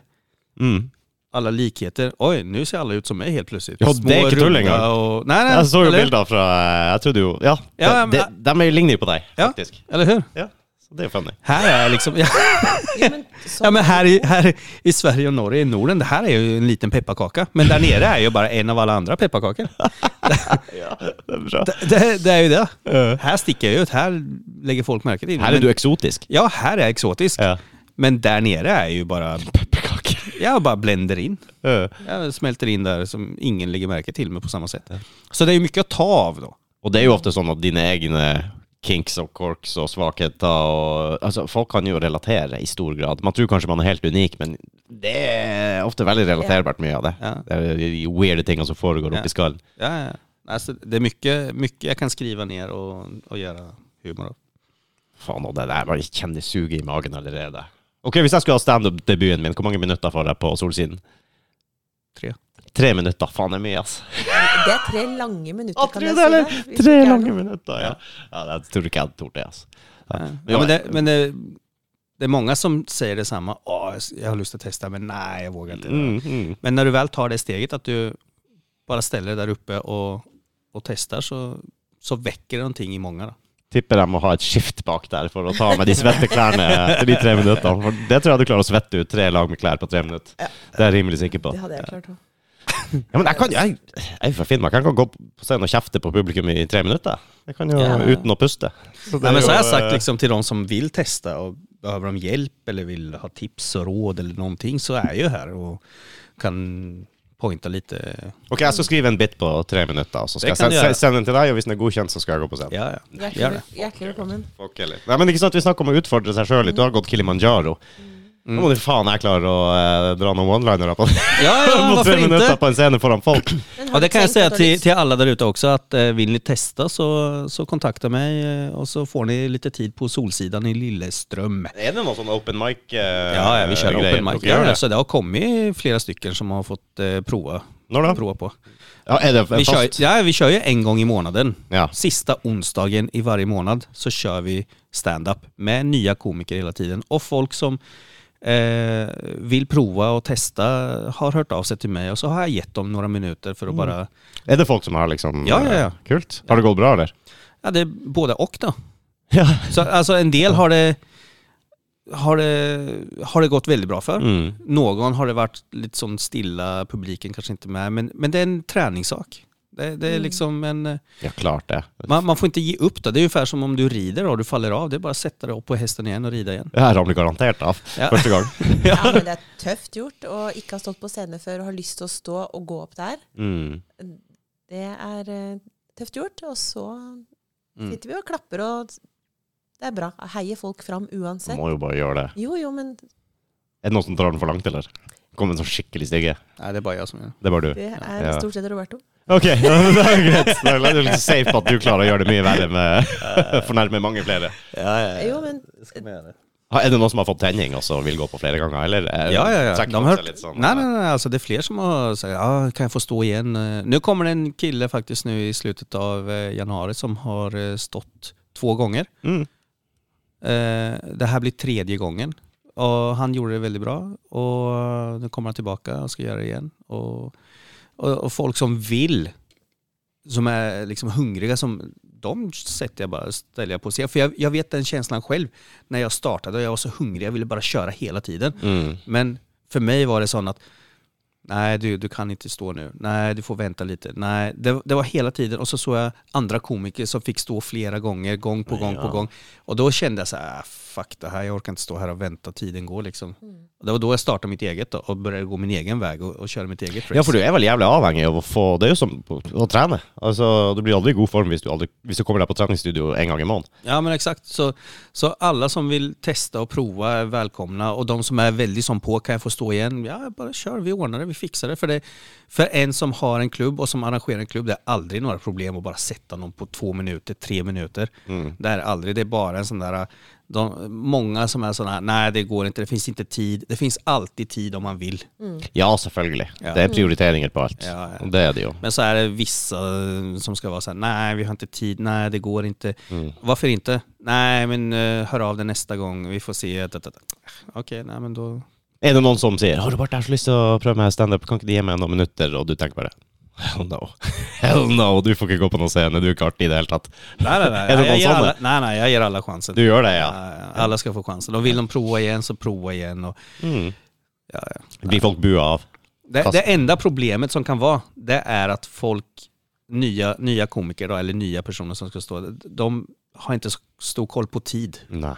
A: Mm.
B: Alla likheter. Oj, nu ser alla ut som mig helt plötsligt.
A: Ja, det är inte tull en gång.
B: runda och... Nej, nej.
A: Jeg så jo
B: eller,
A: bilder fra eh, Jeg trodde jo Ja,
B: Ja,
A: de,
B: men-
A: de, de er jo ligner jo på deg,
B: Ja.
A: faktisk.
B: eller hur?
A: Ja, så det er jo funny.
B: Här är jag liksom... [LAUGHS]
C: Jo, men, sånn-
B: Ja men här i, här i Sverige och Norge, i Norden, det här är ju en liten pepparkaka. Men där nere är ju bara en av alla
A: [LAUGHS]
B: andra pepparkakor.
A: Det er bra.
B: Det, det, det är ju det. Här sticker jag ut, här lägger folk märke till.
A: Her
B: Men-
A: er du eksotisk.
B: Ja, här är exotisk.
A: Ja.
B: Men där nere är ju bara,
A: Pepperkake.
B: jag bara bländer in.
A: Ja.
B: Jag smälter in där som ingen lägger märke till mig på samma sätt. Så det är ju mycket att ta av då.
A: Og det er jo ofte sånn at dine egne kinks og corks og svakheter og Altså, folk kan jo relatere i stor grad. Man tror kanskje man er helt unik, men det er ofte veldig relaterbart, mye av det.
B: Ja.
A: Det er de weirde tingene som foregår
B: Ja.
A: oppi skallen.
B: Ja, ja. Alltså, det är mycket, mycket jag kan skriva ner och, och göra humor av.
A: Faen, og det der bare kjenner suget i magen allerede. Ok, hvis jeg skulle ha standup-debuten min, hvor mange minutter får jeg på Solsiden?
B: Tre.
A: Tre minutter. Faen, det er mye, ass.
C: Det er tre lange minutter,
A: Å,
C: kan
A: tror
C: jeg
A: du det,
C: si deg,
A: Tre
C: hvis det ikke er
A: lange
C: noe.
A: minutter, ja. ja jeg tror ikke jeg hadde tort det, ass.
B: Ja.
A: Ja,
B: men det, men det, det är många som säger detsamma. Åh, jag har lust att testa, men nej, jag vågar inte.
A: Mm, mm.
B: Men när du väl tar det steget att du bara ställer dig där uppe och, och testar så, så väcker det någonting i många. Då.
A: Tipper jeg må ha et skift bak der for å ta med de svette klærne etter de tre minuttene. For det tror jeg du klarer å svette ut tre lag med klær på tre minutter.
C: Ja.
A: Det er jeg rimelig sikker på.
C: Det hadde jeg klart òg.
A: Ja, men jeg, kan, jeg, jeg er fra Finnmark. Jeg kan gå på scenen og kjefte på publikum i tre minutter. Jeg kan jo
B: Ja.
A: uten å puste. Så det
B: Nej,
A: er
B: men så har
A: jo,
B: jag sagt
A: eh,
B: liksom, till de som vill testa och behöver de hjälp eller vill ha tips og råd eller någonting så är jag ju här och kan eh, pointa lite.
A: Ok, jeg skal skrive en bit på tre minutter, og så skal jeg
B: Det kan
A: sende,
B: du gjøre.
A: se- sende den til deg, og hvis den er godkjent, så skal jeg gå på scenen.
B: Ja, ja. Gör
C: Hjertelig,
B: det.
C: hjertelig velkommen.
A: Fuck heller. Nei, men ikke sant, vi snakker om å utfordre seg sjøl litt. Du har gått Kilimanjaro.
C: Mm.
A: Nå må du faen jeg klare å eh, dra noen one-linere på,
B: Ja,
A: [LAUGHS]
B: ja,
A: på tre
B: varför
A: minutter
B: inte?
A: på en scene foran folk.
C: Men har
B: Ja, det
C: du
B: kan jag
C: tenkt
B: säga
C: at du har
B: till,
C: lyst-
B: till alla där ute också att eh, vill ni testa så, så kontakta mig eh, och så får ni lite tid på Solsidan i Lilleström.
A: Er det noe sånn open mic? eh,
B: Ja, ja vi kör
A: greier?
B: open mic.
A: Dere gjør
B: Ja,
A: det?
B: så det har kommit flera stycken som har fått eh, prova,
A: Når da?
B: prova på.
A: Ja, er det
B: Vi
A: fast?
B: kör, ja, vi kör ju en gång i månaden.
A: Ja.
B: Sista onsdagen i varje månad så kör vi stand-up med nya komiker hela tiden och folk som eh, vill prova och testa har hört av sig till mig och så har jag gett dem några minuter för att
C: Mm.
B: bara...
A: Er det folk som har liksom
B: Ja, ja, ja.
A: Kult. Har det gått bra, eller?
B: Ja, det är både och då.
A: Ja.
B: Så alltså en del har det, har det, har det gått väldigt bra för.
A: Mm.
B: Någon har det varit lite sån stilla, publiken kanske inte med, men, men det är en träningssak. Det, det är liksom en... eh,
A: Ja, klart det.
B: Man, man får inte ge upp det. Det är ungefär som om du rider och du faller av. Det är bara att sätta dig upp på hästen igen och rida igen.
A: Det her ramler garantert av
B: Ja.
A: første
B: [LAUGHS]
A: gang.
C: Ja, men det er tøft gjort å ikke ha stått på scene før og har lyst til å stå og gå opp der.
A: Mm.
C: Det er eh, tøft gjort. Og så
B: Mm.
C: sitter vi og klapper, og det er bra. Heier folk fram
A: Man
C: uansett.
A: må jo bare gjøre det.
C: Jo, jo, men
A: Er det noen som drar den for langt, eller? Kommer en sånn skikkelig stygge.
B: Nej, det är bara jag som gör
A: Det er bare du.
C: det er
A: Ja.
C: stort sett Roberto.
A: Ok, [LAUGHS] ja, men det er jo greit. Da er Det litt safe på at du klarer å gjøre det mye verre med [LAUGHS] fornærme mange flere.
B: Ja, ja,
C: Jo, men
A: Ha- Er det noen som har fått tenning og så vil gå på flere ganger, eller? Eh,
B: Ja, ja, ja.
A: trekker
B: De
A: på
B: har
A: seg
B: hört...
A: litt sånn,
B: nej,
A: eh,
B: nej, nej. Alltså altså, det är fler som har sagt, ja, kan jag få stå igen? Eh, Nu kommer det en kille faktiskt nu i slutet av eh, januari som har eh, stått två gånger.
A: Mm.
B: Eh, Det här blir tredje gången. Och han gjorde det väldigt bra. Och nu kommer han tillbaka och ska göra det igen. Och, och, och folk som vill, som är liksom hungriga, som, de sätter jag bara, ställer jag på scen. För jag, jag vet den känslan själv när jag startade. Jag var så hungrig, jag ville bara köra hela tiden.
A: Mm.
B: Men för mig var det sån att Nej, du, du kan inte stå nu. Nej, du får vänta lite. Nej, det, det var hela tiden. Och så såg jag andra komiker som fick stå flera gånger, gång på gång på
A: Ja.
B: gång. Och då kände jag så här, "Ah, fuck det här, jag orkar inte stå här och vänta, tiden går liksom. Och det var då jag startade mitt eget då, og började gå min egen väg och, och köra mitt eget race.
A: Ja, for du er vel jævlig avhengig av å få Det er jo som på- å trene. Altså, du blir aldri i god form hvis du, aldri, hvis du kommer deg på treningsstudio en gang i måneden.
B: Ja men exakt, så, så alla som vill testa och prova är välkomna och de som är väldigt som på, kan jag få stå igen? Ja, bara kör, vi ordnar det, vi fixar det. För, det. för en som har en klubb och som arrangerar en klubb, det är aldrig några problem att bara sätta någon på två minuter, tre minuter. Det är aldrig, det är bara en sån där, de, många som är sådana här, nej det går inte, det finns inte tid. Det finns alltid tid om man vill.
A: Ja, selvfølgelig.
B: Ja.
A: Det er prioriteringer på alt.
B: Ja, ja.
A: Og Det er det jo.
B: Men så är det vissa eh, som ska vara så här, nej vi har inte tid, nej det går inte.
A: Mm.
B: Varför inte? Nej men eh, hör av dig nästa gång, vi får se. Da, da, da. Okej, nej men då...
A: Er det noen som sier 'Å, Robert, jeg har så lyst til å prøve meg standup, kan ikke de gi meg noen minutter?' Og du tenker bare Hell no. [LAUGHS] Hell no, du får ikke gå på noen scene, du er ikke artig i det hele tatt. [LAUGHS]
B: Nej nej nej,
A: Är det
B: jag
A: någon
B: ger
A: sån
B: alla,
A: där?
B: nej, nej, jag ger alla chansen.
A: Du gjør det, ja.
B: Eh, Alla ska få chansen. Och vill de prova igen så prova igen. Och,
A: Mm.
B: ja, ja.
A: Blir folk bua av?
B: Det,
A: Fast-
B: det enda problemet som kan vara, det är att folk, nya, nya komiker då, eller nya personer som ska stå, de har inte så stor koll på tid.
A: Nei.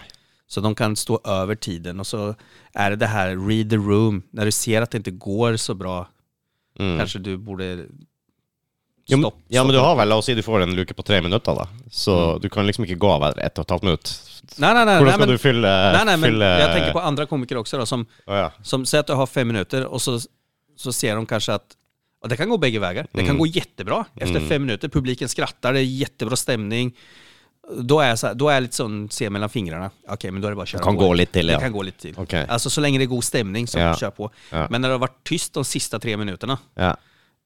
B: Så de kan stå över tiden och så är det det här read the room. När du ser att det inte går så bra
A: Mm.
B: kanske du borde
A: Jo, men-
B: stopp, Mm.
A: ja, men
B: stoppa.
A: du har vel, la oss si du får en luke på tre minutter, da. Så du kan liksom ikke gå av etter ett og et halvt minutt.
B: Nej, nej, nej.
A: Hvordan
B: nej,
A: skal
B: men,
A: du fylle
B: nej, nej, men
A: fylle...
B: jag tänker på andra komiker också då, som,
A: Å, ja.
B: som säger att du har fem minuter och så, så ser de kanske att och det kan gå bägge vägar. Det kan
A: Mm.
B: gå jättebra efter
A: Mm.
B: fem minuter. Publiken skrattar, det är jättebra stämning. Då är jag, så här, då är jag lite sån, ser mellan fingrarna. Okej, men då är det bara att köra
A: Det kan
B: på.
A: gå litt til, ja.
B: Det kan gå lite till.
A: Okej.
B: Alltså så länge det är god stämning så
A: Ja.
B: kör på.
A: Ja.
B: Men när det har varit tyst de sista tre minuterna,
A: ja.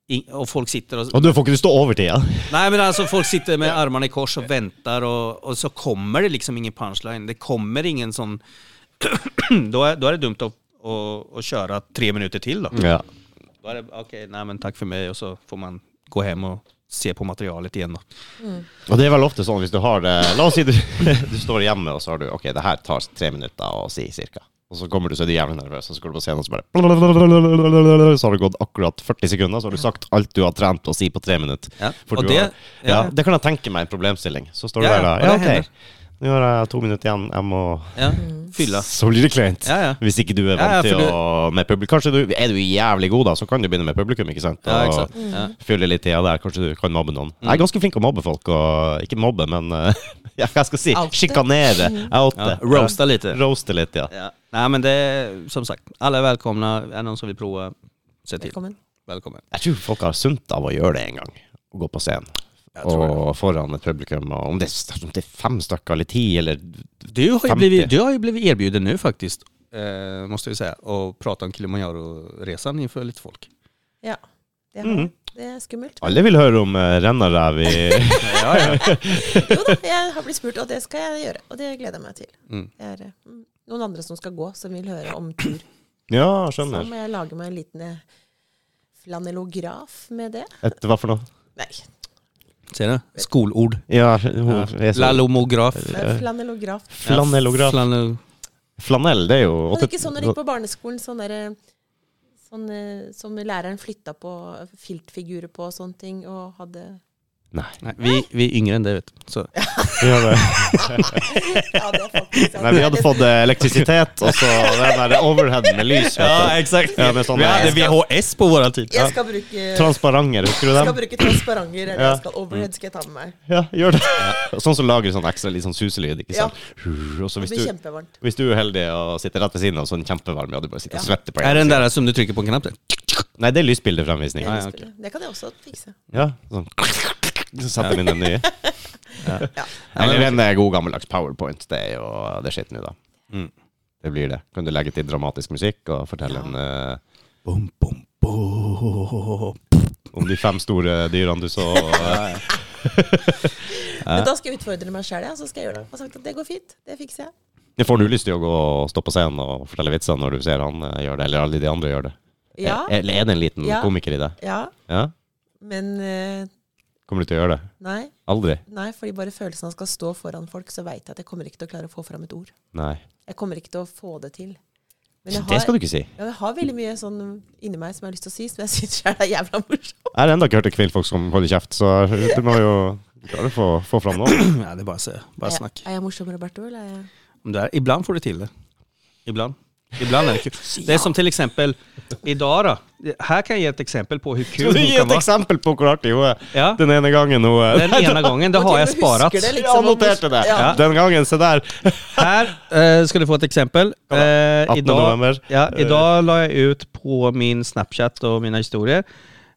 B: In- och folk sitter och...
A: Og du får ikke du stå over tida.
B: Nej men alltså folk sitter med armarna i kors og väntar och, och så kommer det liksom ingen punchline. Det kommer ingen sån... [CLEARS THROAT] då, är, då är det dumt att, att, att köra tre minuter till då.
A: Ja.
B: Då är det okej, nej men tack för mig och så får man gå hem och se på materialet igen då.
A: Og det er vel ofte sånn hvis du har det La oss si du, [LAUGHS] du står hjemme, og så har du Ok, det her tar tre minutter å si, cirka. Og så kommer du, så er du jævlig nervøs, og så går du på scenen, og så bare Så har det gått akkurat 40 sekunder, så har du sagt alt du har trent å si på tre minutter.
B: Ja.
A: For
B: Och
A: du
B: det-
A: har, ja,
B: ja.
A: det kan jeg tenke meg en problemstilling. Så står du
B: Ja, ja,
A: der da.
B: og
A: Ja,
B: det hender.
A: ok. Nå har jeg to minutter igjen. Jeg må
B: Ja,
A: Mm.
B: fylla.
A: Så blir det kleint.
B: Ja, ja.
A: Hvis ikke du er
B: Ja, ja,
A: vant til
B: for
A: å med publikum. Kanskje du er du jævlig god, da, så kan du begynne med publikum, ikke sant?
B: Ja,
A: Og
B: exakt. Ja. Mm.
A: Fylle litt tida der. Kanskje du kan mobbe noen. Jeg er ganske flink til å mobbe folk, og ikke mobbe, men eh, [LAUGHS] ja, hva skal jeg si?
C: Oute.
A: Sjikanere. Jeg åtte.
B: Ja, roasta lite.
A: Roaste litt, ja.
B: Ja. Nej men det är som sagt, alla är välkomna. Är det någon som vill prova, se till.
C: Velkommen.
B: Välkommen.
A: Jeg tror folk har sunt av å gjøre det en gang. Å gå på scenen.
B: Jag tror det.
A: Og foran et publikum. Og om det, er- om det er fem stykker eller ti, eller
B: Du har, ju
A: 50.
B: blivit, du har ju blivit erbjuden nu faktiskt, eh, måste vi säga, att prata om Kilimanjaro-resan inför lite folk.
C: Ja. Det, har,
B: Mm.
C: det er skummelt. men-
A: Alle vil høre om uh, rennaræv i
B: [LAUGHS] Ja, ja.
C: Jo da, jeg har blitt spurt, og det skal jeg gjøre. Og det gleder jeg meg til.
B: Mm.
C: Det er, eh, mm. noen andre som skal gå, som vil høre om tur.
A: Ja,
C: Så
A: [CLEARS THROAT] skjønner.
C: må jeg lage meg en liten eh, flanellograf med det.
A: Et hva for noe?
C: Nei,
B: Ser du? Skolord.
A: Ja, hun er så
B: Lalomograf.
C: eh, flanellograf.
A: Flanellograf.
B: Flanell-
A: Flanell, det er jo
C: Men ikke sånn når de gikk på barneskolen, sånn derre Sånn, eh, som læreren flytta på filtfigurer på og sånne ting, og hadde [LAUGHS]
A: Nei.
B: Nei, vi, vi er yngre enn det, vet du. Så.
A: Vi hadde,
C: Ja, det er faktisk sant.
A: nei, vi hadde fått eh, elektrisitet, og så den der overheaden med lys. Vet du.
B: exakt.
A: Ja, med sånne-
B: vi hadde VHS på vår tid.
C: Jeg skal bruke,
A: Transparenter, husker du
C: skal
A: dem?
C: bruke transparenter, eller
A: Ja.
C: jeg skal overhead skal jeg ta med meg.
A: Ja, gjør det. Sånn som lager sånn ekstra litt sånn suselyd, ikke
C: Ja.
A: sant. Og så
C: Det
A: hvis du,
C: blir kjempevarmt.
A: hvis du er uheldig og sitter rett ved siden av sånn kjempevarm, ja, du bare sitter og svetter på
B: Er det
A: en
B: den
A: gang.
B: der som du trykker på en knapp? [CLEARS THROAT] til?
A: Nei, det er lysbildefremvisning.
B: Ja, ja,
C: Spiller. Det kan jeg også fikse.
A: Ja, sånn. Så setter vi inn den nye.
C: Ja.
A: Eller en eh, god gammeldags powerpoint. Det er jo det er skitt nå, da.
B: Mm.
A: Det blir det. Kan du legge til dramatisk musikk og fortelle
C: Ja.
A: en, eh,
B: Bom, bom, bom.
A: om de fem store dyrene du
B: [LAUGHS]
A: så? eh,
C: Men da skal jeg utfordre meg sjøl, ja, så skal jeg gjøre det. Jeg har sagt at det går fint. Det fikser jeg.
A: Det får du lyst til å gå og stå på scenen og fortelle vitser når du ser han eh, gjør det, eller alle de andre gjør det? Eh,
C: Ja.
A: Eller er det en liten
C: Ja.
A: komiker i deg?
C: ja.
A: Ja?
C: Men eh,
A: Kommer du til å gjøre det?
C: nei.
A: Aldri?
C: Nei, fordi bare følelsen av å skal stå foran folk, så veit jeg at jeg kommer ikke til å klare å få fram et ord.
A: Nei.
C: Jeg kommer ikke til å få det til. Men jeg
A: Det
C: har,
A: skal du ikke si.
C: ja, jeg har veldig mye sånn inni meg som jeg har lyst til å si, som jeg [LAUGHS] syns sjøl er jævla morsomt.
A: Jeg har ennå ikke hørt kvinnfolk som holder kjeft, så du må jo du klarer å få, få fram noe.
B: Ja, det er bare, å se. bare
C: Er,
B: snakk.
C: er jeg morsom, Roberto? Eller er jeg
B: Om det er, ibland får du til det. Ibland. Ibland er det kul. Det er som till exempel idag då. Här kan jag ge ett exempel på hur
A: Skal
B: kul
A: [LAUGHS] du
B: hon
A: gi
B: kan
A: et
B: vara.
A: eksempel på hvor artig hun er?
B: Ja.
A: Den ene gangen hun er sånn
B: Den ena gången, det
C: Og
B: har
C: til
B: jag
C: og med husker
B: sparat.
C: det, liksom,
A: Ja,
C: om-
A: noterte det!
C: Ja.
A: Den gangen, se der.
B: Här eh, ska du få ett exempel. Eh,
A: 18 november.
B: Ja, idag la jag ut på min Snapchat och mina historier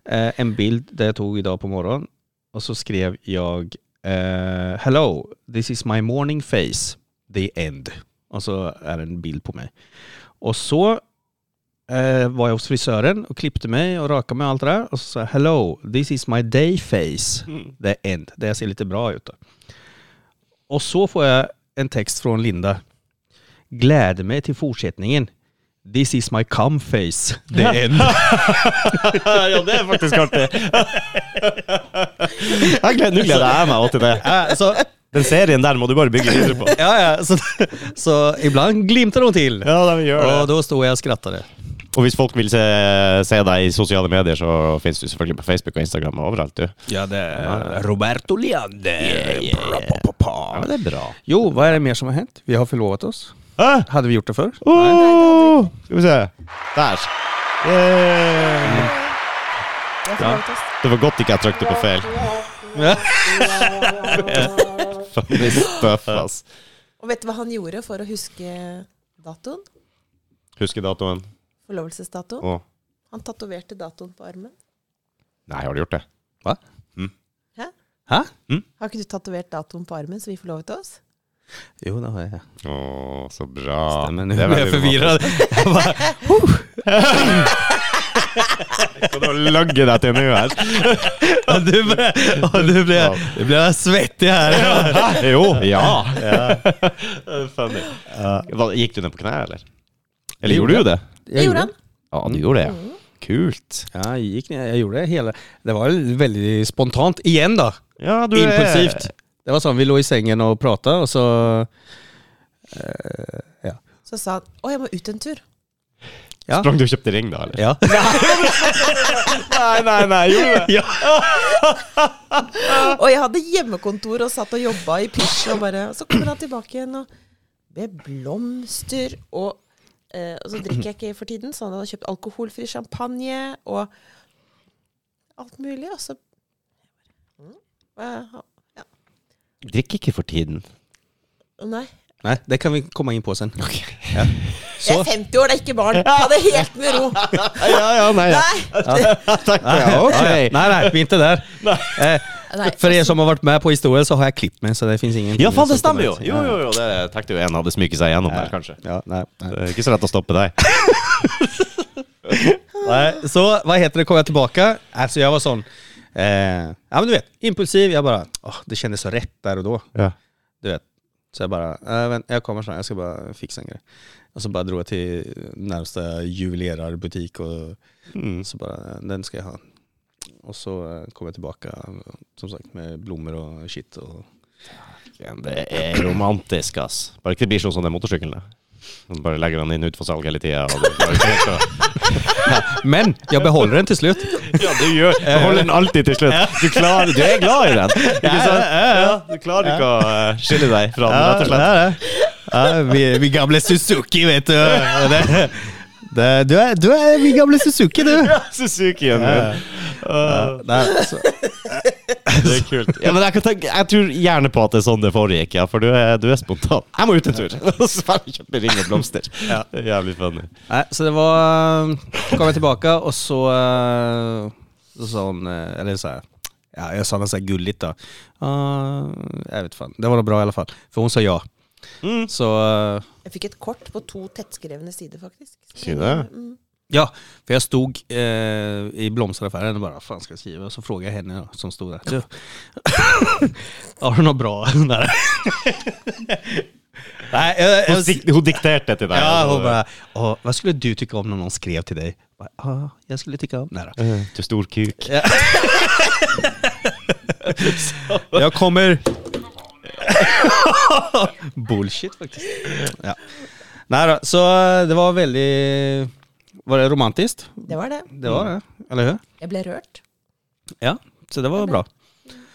B: eh, en bild där jag tog idag på morgonen. Och så skrev jag eh, Hello, this is my morning face, the end. Och så är det en bild på mig. Och så eh, var jag hos frisören och klippte mig och rakade mig och allt det där. Och så sa jag Hello, this is my day face, the end. Där jag ser lite bra ut. Då. Och så får jag en text från Linda. Gläder mig till fortsättningen. This is my cum face, the end. [LAUGHS]
A: Ja, det er faktisk [LAUGHS] artig. Jeg gleder, nå gleder jeg meg også til det.
B: Ja, så,
A: Den serien der må du bare bygge videre på.
B: ja, ja, så, så ibland glimtar hon till.
A: Ja, de gjør
B: Och då står jag och skrattade.
A: Og hvis folk vil se, se deg i sosiale medier, så finnes du selvfølgelig på Facebook og Instagram og overalt, du.
B: Ja, det är Roberto Leander.
A: Ja, men det er bra.
B: Jo, vad är det mer som har hänt? Vi har förlovat oss.
A: Hæ?
B: Hade vi gjort det förr?
A: Åh! skal vi se. Der. Eh. Yeah.
C: Jeg får lov til å s-
A: Det var godt ikke jeg trykte på feil. [LAUGHS]
B: Ja.
A: Funny stuff, ass.
C: Og vet du hva han gjorde for å huske datoen?
A: Husker datoen?
C: Forlovelsesdatoen?
A: Å.
C: Han tatoverte datoen på armen.
A: Nei, har du gjort det?
B: Va?
C: Hæ?
B: Hæ?
C: Har ikke du tatovert datoen på armen, så vi forlovet oss?
B: Jo, det har jeg.
A: Å, så bra.
B: Men
A: Det
B: nu
A: er
B: ble jeg
A: veldig
B: forvirret.
A: romantisk. Skal du logge deg til nå [LAUGHS] her?
B: Og du ble, og du ble, du ble svettig her.
A: Hæ? Jo. Ja. Funny. Hva, Gikk du ned på knær, eller? Eller gjorde du det?
C: Det gjorde han.
A: Ja, du gjorde det, ja. Kult.
B: Ja, jeg gikk ned. Jeg gjorde det hele. Det var veldig spontant igjen, da.
A: Ja, du er-
B: Impulsivt. Det var sånn, vi lå i sengen og prata, og så eh, Ja.
C: Så sa han å, jeg må ut en tur.
B: Ja.
A: Sprang du og kjøpte ring, da? eller?
B: ja.
A: [LAUGHS] Nei, nei, nei, gjorde du det?
C: Og jeg hadde hjemmekontor og satt og jobba i pysjen. Og bare, og så kommer han tilbake igjen og med blomster. Og, eh, og så drikker jeg ikke for tiden, så han hadde kjøpt alkoholfri champagne og alt mulig. Og så mm, eh,
A: Drikker ikke for tiden.
C: Nei.
B: Nei, det kan vi komme inn på sen. Ja.
C: Jeg
B: Så,
C: er 50 år, det er ikke barn. Ta det helt med ro.
A: Ja, ja, nei, ja.
C: Nei.
A: [LAUGHS] Jeg tenkte, ja,
B: Ah, nei,
A: ok.
B: nei, vi er ikke der. Eh,
C: Nei.
B: for dere som har vært med på historien, så har jeg klippet meg, så det fins ingen
A: Ja, faen, det stemmer jo! Jo, jo, jo, det tenkte jo en hadde smyget seg gjennom der, kanskje.
B: Ja, nei, nei.
A: Det er ikke så lett å stoppe [LAUGHS] deg.
B: Nej, så vad heter det, kom jag tillbaka. Alltså jag var sånn, sån, eh, ja men du vet, impulsiv. Jag bara, åh, det kändes så rätt där och då. Du vet. Så jag bara, äh, vänt, jag kommer snart, jag ska bara fixa en grej. Och så bara drog jag till närmsta juvelerarbutik och
A: Mm.
B: så bara, den ska jag ha. Och så eh, kom jag tillbaka som sagt med blommor og shit. Og
A: Det er romantisk, ass. Bare ikke det blir sånn som den motorsykkelen. da. Man Bare legger den inn ut for salg hele tida.
B: Men jeg beholder den til slutt.
A: [LAUGHS] Ja, du gjør Du holder den alltid til slutt. Du, klarer, du er glad i den. Ikke sant? Ja, du klarer ikke å eh, skille deg fra den, rett og slett.
B: vi, vi gamle Suzuki, vet du. Det, det, du, er, du er vi gamle Suzuki, du.
A: Ja, Suzuki igjen.
B: Ja.
A: Åh,
B: Nei, så,
A: Det er kult. Ja, men jeg, kan tenke, jeg tror gjerne på at det er sånn det foregikk, ja, for du er, du er spontan. Jeg må ut en tur! [LAUGHS] Og så bare kjøpe ring og blomster.
B: Ja.
A: Det er Jævlig funny.
B: nei, så det var Så kom jeg tilbake, og så eh, Så sa hun eh, Eller så her Ja, jeg sa noe sånn gulligt, da. Ah, jeg vet faen. Det var noe bra, i alle fall. For hun sa ja.
A: Mm.
B: Så eh,
C: Jeg fikk et kort på to tettskrevne sider, faktisk.
A: Sier du det?
C: Mm.
B: Ja, för jag stod eh, i blomsteraffären och bara, fan ska jag skriva? Och så frågade jag henne då, som stod där. Du, [LAUGHS] har du något bra? [LAUGHS] där? Nej, jag,
A: Hun,
B: jag,
A: dik hun dikterte til deg.
B: ja,
A: altså.
B: hon bara, "Åh, vad skulle du tycka om när någon skrev till dig? Jag bara, "Ah, jag skulle tycka om det.
A: Eh, Du stor kuk.
B: Jag kommer... [LAUGHS] Bullshit faktiskt. Ja. Nej då, så eh, det var väldigt... Var det romantiskt?
C: Det var det.
B: Det var det, eller hur?
C: Jeg ble rørt.
B: Mm. Ja, så det var bra.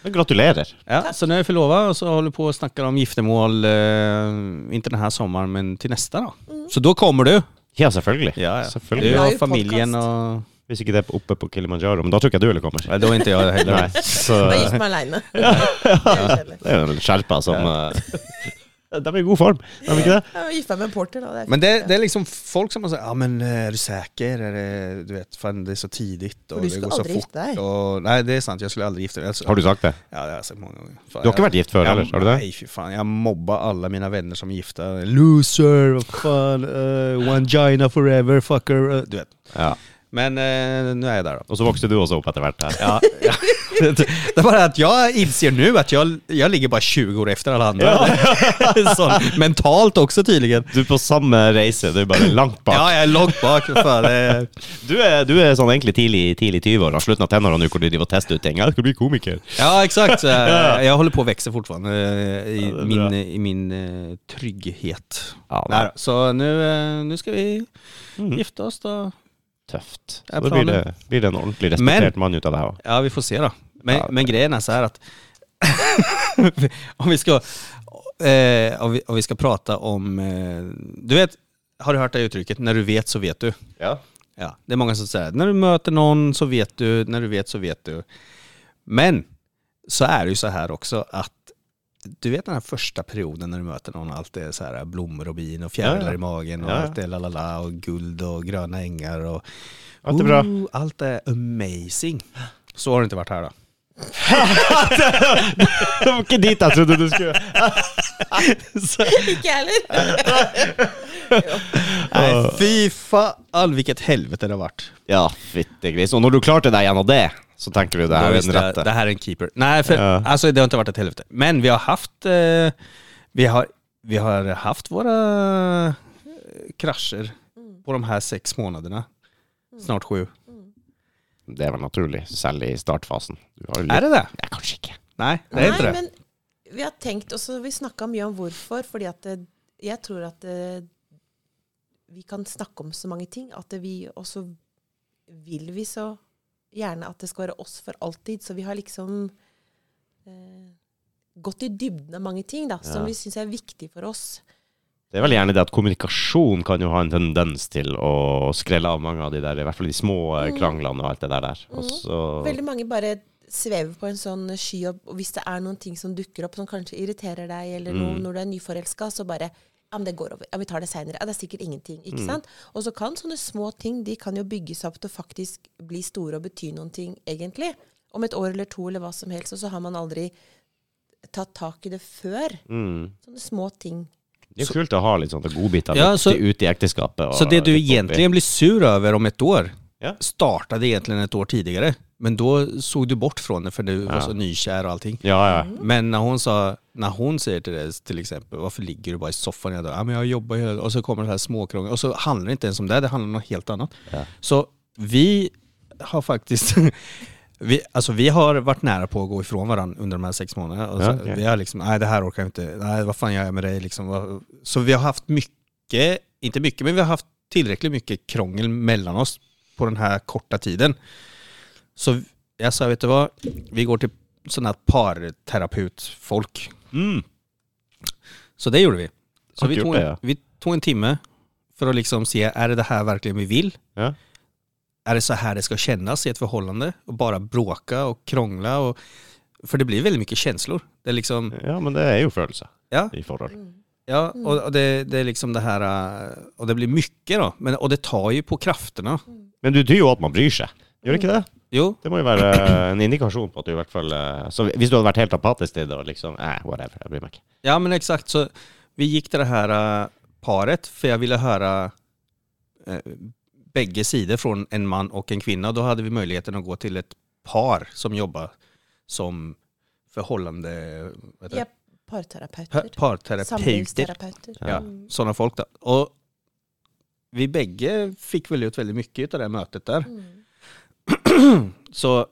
A: Men gratulerer.
B: Ja,
C: Tack.
B: så nu är jag förlovad och så håller på och snackar om giftermål, eh, inte den här sommaren men till nästa då. Så då kommer du.
A: Ja, selvfølgelig.
B: Ja, ja.
A: selvfølgelig.
B: Du
C: Ja,
B: och
C: ju
B: familjen
C: podcast.
B: och...
A: Hvis ikke det er oppe på Kilimanjaro, men da tror jeg ikke du heller kommer.
B: Nej, då är inte jag
A: Nei,
B: heller.
A: så
C: Jeg var
A: det
C: gift meg aleine. Jeg
A: er jo en skjerpa som eh, [LAUGHS] De er i god form, de er ikke det?
C: var gift meg med en porter, da. Det er
B: Men
C: fint,
B: det, det är liksom folk som har sagt, ja men eh, är du säker? Är det, du vet, fan det är så tidigt och
C: Och du
B: det
C: skulle
B: går så
C: aldrig
B: fort.
C: gifta dig.
B: Och, nej det är sant, jag skulle aldrig gifta mig. Alltså,
A: Har du sagt det?
B: altså. Ja det har jag sagt många gånger. Fan,
A: Du har ikke vært gift før,
B: Ja,
A: eller? Har du det?
B: Nej, fy fan. Jag mobbar alla mina vänner som är gifta. Loser, vad fan, eh, Wangina forever, fucker. eh, du vet.
A: Ja.
B: Men eh, nu är jag där då.
A: Og så vokste du også opp etter hvert. her.
B: Ja, ja. [LAUGHS] Det, det er bare at jeg innser nå at jeg, jeg ligger bare 20 år etter alle andre. [LAUGHS] sånn, mentalt også, tydelig.
A: Du er på samme reise, du er bare langt
B: Ja,
A: bak.
B: jeg er langt bak. For det.
A: Du er, du er sånn egentlig tidlig tidlig 20-åra, slutten av tenåra nå, hvor du driver og tester ut ting. Jeg skal bli komiker.
B: Ja, [LAUGHS] exakt. Så Jeg, jeg holder på å vokse fortsatt i
A: det er
B: min,
A: bra.
B: i min eh, trygghet.
A: Ja, det er-
B: Neida, så nå eh, nå skal vi gifte oss, da.
A: Tøft.
B: Jeg
A: Så da blir det,
B: planer.
A: blir det en ordentlig
B: Men-
A: respektert mann ut av det her.
B: Ja, vi får se da. Men,
A: Ja.
B: men grejen är så här att [LAUGHS] om vi ska eh, om, vi, om vi ska prata om eh, du vet har du hört det här uttrycket när du vet så vet du.
A: Ja.
B: Ja, det är många som säger när du möter någon så vet du, när du vet så vet du. Men så är det ju så här också att du vet den här första perioden när du möter någon, allt är så här blommor och bin och fjärilar
A: Ja, ja.
B: i magen och
A: Ja, ja.
B: allt är la la la och guld och gröna ängar och
A: Allt är bra.
B: Ooh, allt är amazing. Så har det inte varit här då.
A: [LAUGHS] Det var ikke dit jeg trodde du skulle.
C: det. Ikke jeg heller.
B: Nej, fy fan vilket helvete det har varit.
A: Ja, fytte gris. Og når du klarte deg gjennom det, så tenker du det
B: Ja,
A: her er
B: visst,
A: den
B: det,
A: rette.
B: det här är en keeper. Nej, för,
A: Ja.
B: alltså, det har inte varit ett helvete. Men vi har haft, eh, vi har, vi har haft våra eh, krascher på de här sex månaderna. Snart sju.
A: Det er vel naturlig, selv i startfasen. Du har jo litt...
B: Är det det?
A: Ja, kanskje ikke.
B: Nej, det är inte
C: Nei,
B: det.
C: men vi har tenkt også, vi snakka mye om hvorfor, fordi at det, jeg tror at det, vi kan snakke om så mange ting at det, vi også vil vi så gjerne at det skal være oss for alltid. Så vi har liksom eh, gått i dybden av mange ting da, som
A: Ja.
C: vi syns er viktig for oss.
A: Det er vel gjerne det at kommunikasjon kan jo ha en tendens til å skrelle av mange av de der, i hvert fall de små eh, kranglene og alt det der der. Og så
C: Veldig mange bare svever på en sånn sky, og og hvis det er noen ting som dukker opp som kanskje irriterer deg, eller noe,
A: Mm.
C: når du er nyforelska, så bare ja, men det går over. Ja, vi tar det seinere. Ja, det er sikkert ingenting.
A: Mm.
C: ikke sant? Og så kan sånne små ting de kan jo bygges opp til å faktisk bli store og bety noen ting, egentlig. Om et år eller to eller hva som helst, og så har man aldri tatt tak i det før.
A: mm.
C: Sånne små ting.
A: Det er jo kult å ha litt sånne godbiter
B: Ja, så-
A: litt ute i ekteskapet. og
B: Så det du
A: litt oppi.
B: egentligen blir sur över om ett år
A: Ja.
B: startade egentligen ett år tidigare. Men då såg du bort från det för du var
A: Ja.
B: så nykär och allting.
A: Ja, ja.
B: Men när hon, sa, när hon säger till dig till exempel, varför ligger du bara i soffan hela dagen? Ja, men jag jobbar hela dagen. Och så kommer det här småkrångel. Och så handlar det inte ens om det, det handlar om något helt annat.
A: Ja.
B: Så vi har faktiskt, [LAUGHS] vi, alltså vi har varit nära på att gå ifrån varandra under de här sex månaderna. Och så,
A: Ja, okej.
B: Vi har liksom, nej det här orkar jag inte, nej vad fan gör jag med dig liksom. Vad- Så vi har haft mycket, inte mycket, men vi har haft tillräckligt mycket krångel mellan oss på den här korta tiden. Så jag sa, vet du vad? Vi går till sådana här parterapeutfolk.
A: Mm.
B: Så det gjorde vi. Så
A: Har
B: vi
A: du
B: tog,
A: gjort
B: en,
A: det, ja?
B: vi tog en timme för att liksom se, är det det här verkligen vi vill?
A: Ja.
B: Är det så här det ska kännas i ett förhållande? Och bara bråka och krångla och... För det blir väldigt mycket känslor. Det är liksom,
A: Mm. ja, men det er jo følelser
B: Ja.
A: i forhold.
B: ja, och och det, det är liksom det här... äh, Och det blir mycket då. Men, och det tar ju på krafterna.
A: Men du tyder jo at man bryr seg. Gjør ikke det?
B: Jo,
A: Det må jo være en indikasjon på at du i hvert fall eh, Så hvis du hadde vært helt apatisk til det og liksom eh, whatever, jeg bryr meg ikke.
B: Ja men exakt, så vi gick till det här äh, paret för jag ville höra eh, bägge sidor från en man och en kvinna. Då hade vi möjligheten att gå till ett par som jobbar som förhållande... vad heter det?
C: Ja,
B: Pa-
C: parterapeuter.
B: Parterapeuter.
C: Samlivsterapeuter.
A: Ja.
C: Mm.
B: Sådana folk då. Och vi bägge fick väl ut väldigt mycket av det här mötet där.
C: Mm.
B: Så,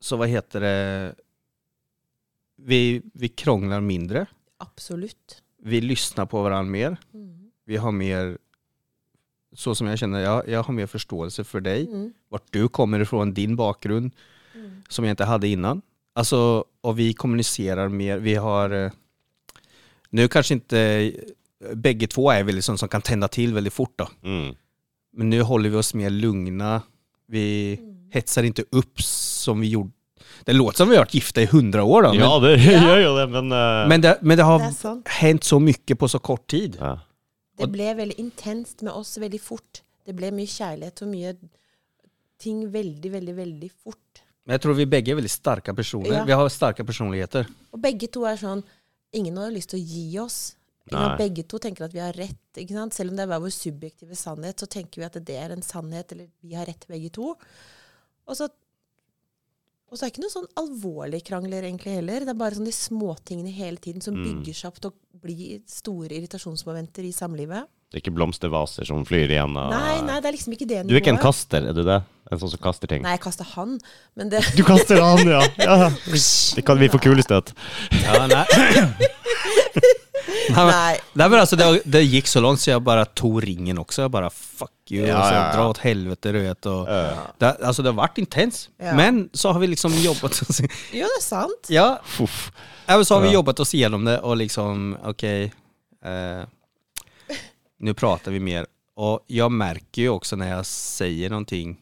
B: så vad heter det? Vi, vi krånglar mindre.
C: Absolutt.
B: Vi lyssnar på varandra mer.
C: Mm.
B: vi har mer, så som jag känner, jag, jag har mer förståelse för dig,
C: Mm.
B: vart du kommer ifrån, din bakgrund,
C: Mm.
B: som jag inte hade innan. Alltså, och vi kommunicerar mer, vi har, eh, nu kanske inte, eh, bägge två är väl liksom som kan tända till väldigt fort då,
A: Mm.
B: men nu håller vi oss mer lugna, vi hetsar inte upp som vi gjorde, det låter som vi har varit gifta i hundra år då,
A: Ja, det [LAUGHS] gjør jo det, men eh,
B: men, men, det, men det har
C: Det er sant.
B: hänt så mycket på så kort tid.
A: ja.
C: Det ble veldig intenst med oss veldig fort. Det ble mye kjærlighet og mye ting veldig, veldig, veldig fort.
B: Men jag tror vi bägge är väldigt starka personer,
C: Ja.
B: vi har starka personligheter.
C: Og begge to er sånn Ingen har lyst til å gi oss. Ikke sant?
A: Nei.
C: Begge to tenker at vi har rett. Ikke sant? Selv om det er hver vår subjektive sannhet, så tenker vi at det er en sannhet, eller vi har rett begge to. Og så, og så er det ikke noen sånn alvorlige krangler egentlig heller. Det er bare sånn de småtingene hele tiden som
A: Mm.
C: bygger seg opp til å bli store irritasjonsmomenter i samlivet.
A: Det er ikke blomstervaser som flyr igjen og eh.
C: Nei, nei, det er liksom ikke det
A: Ah. Du er ikke en kaster, er du det? En sånn som kaster ting?
C: Nei, jeg kasta han, men
A: [LAUGHS]
C: det
A: Du kaster han, ja! ja. Det kan vi få kulestøt.
B: Ja, nei. nei, men,
C: Nei.
B: nei, men altså, det, det gikk så langt, så jeg bare tok ringen også. Jeg bare fuck you,
A: Ja,
B: altså,
A: ja, ja.
B: dra åt helvete, du vet. Og, det, altså, det har vært intens,
C: Ja.
B: men så har vi liksom jobbet oss
C: Jo, det er sant.
B: Ja,
A: Fuff.
B: ja, men så har vi
A: Ja.
B: jobbet oss igenom det, og liksom, okej, eh, nu pratar vi mer. Och jag märker ju också när jag säger någonting,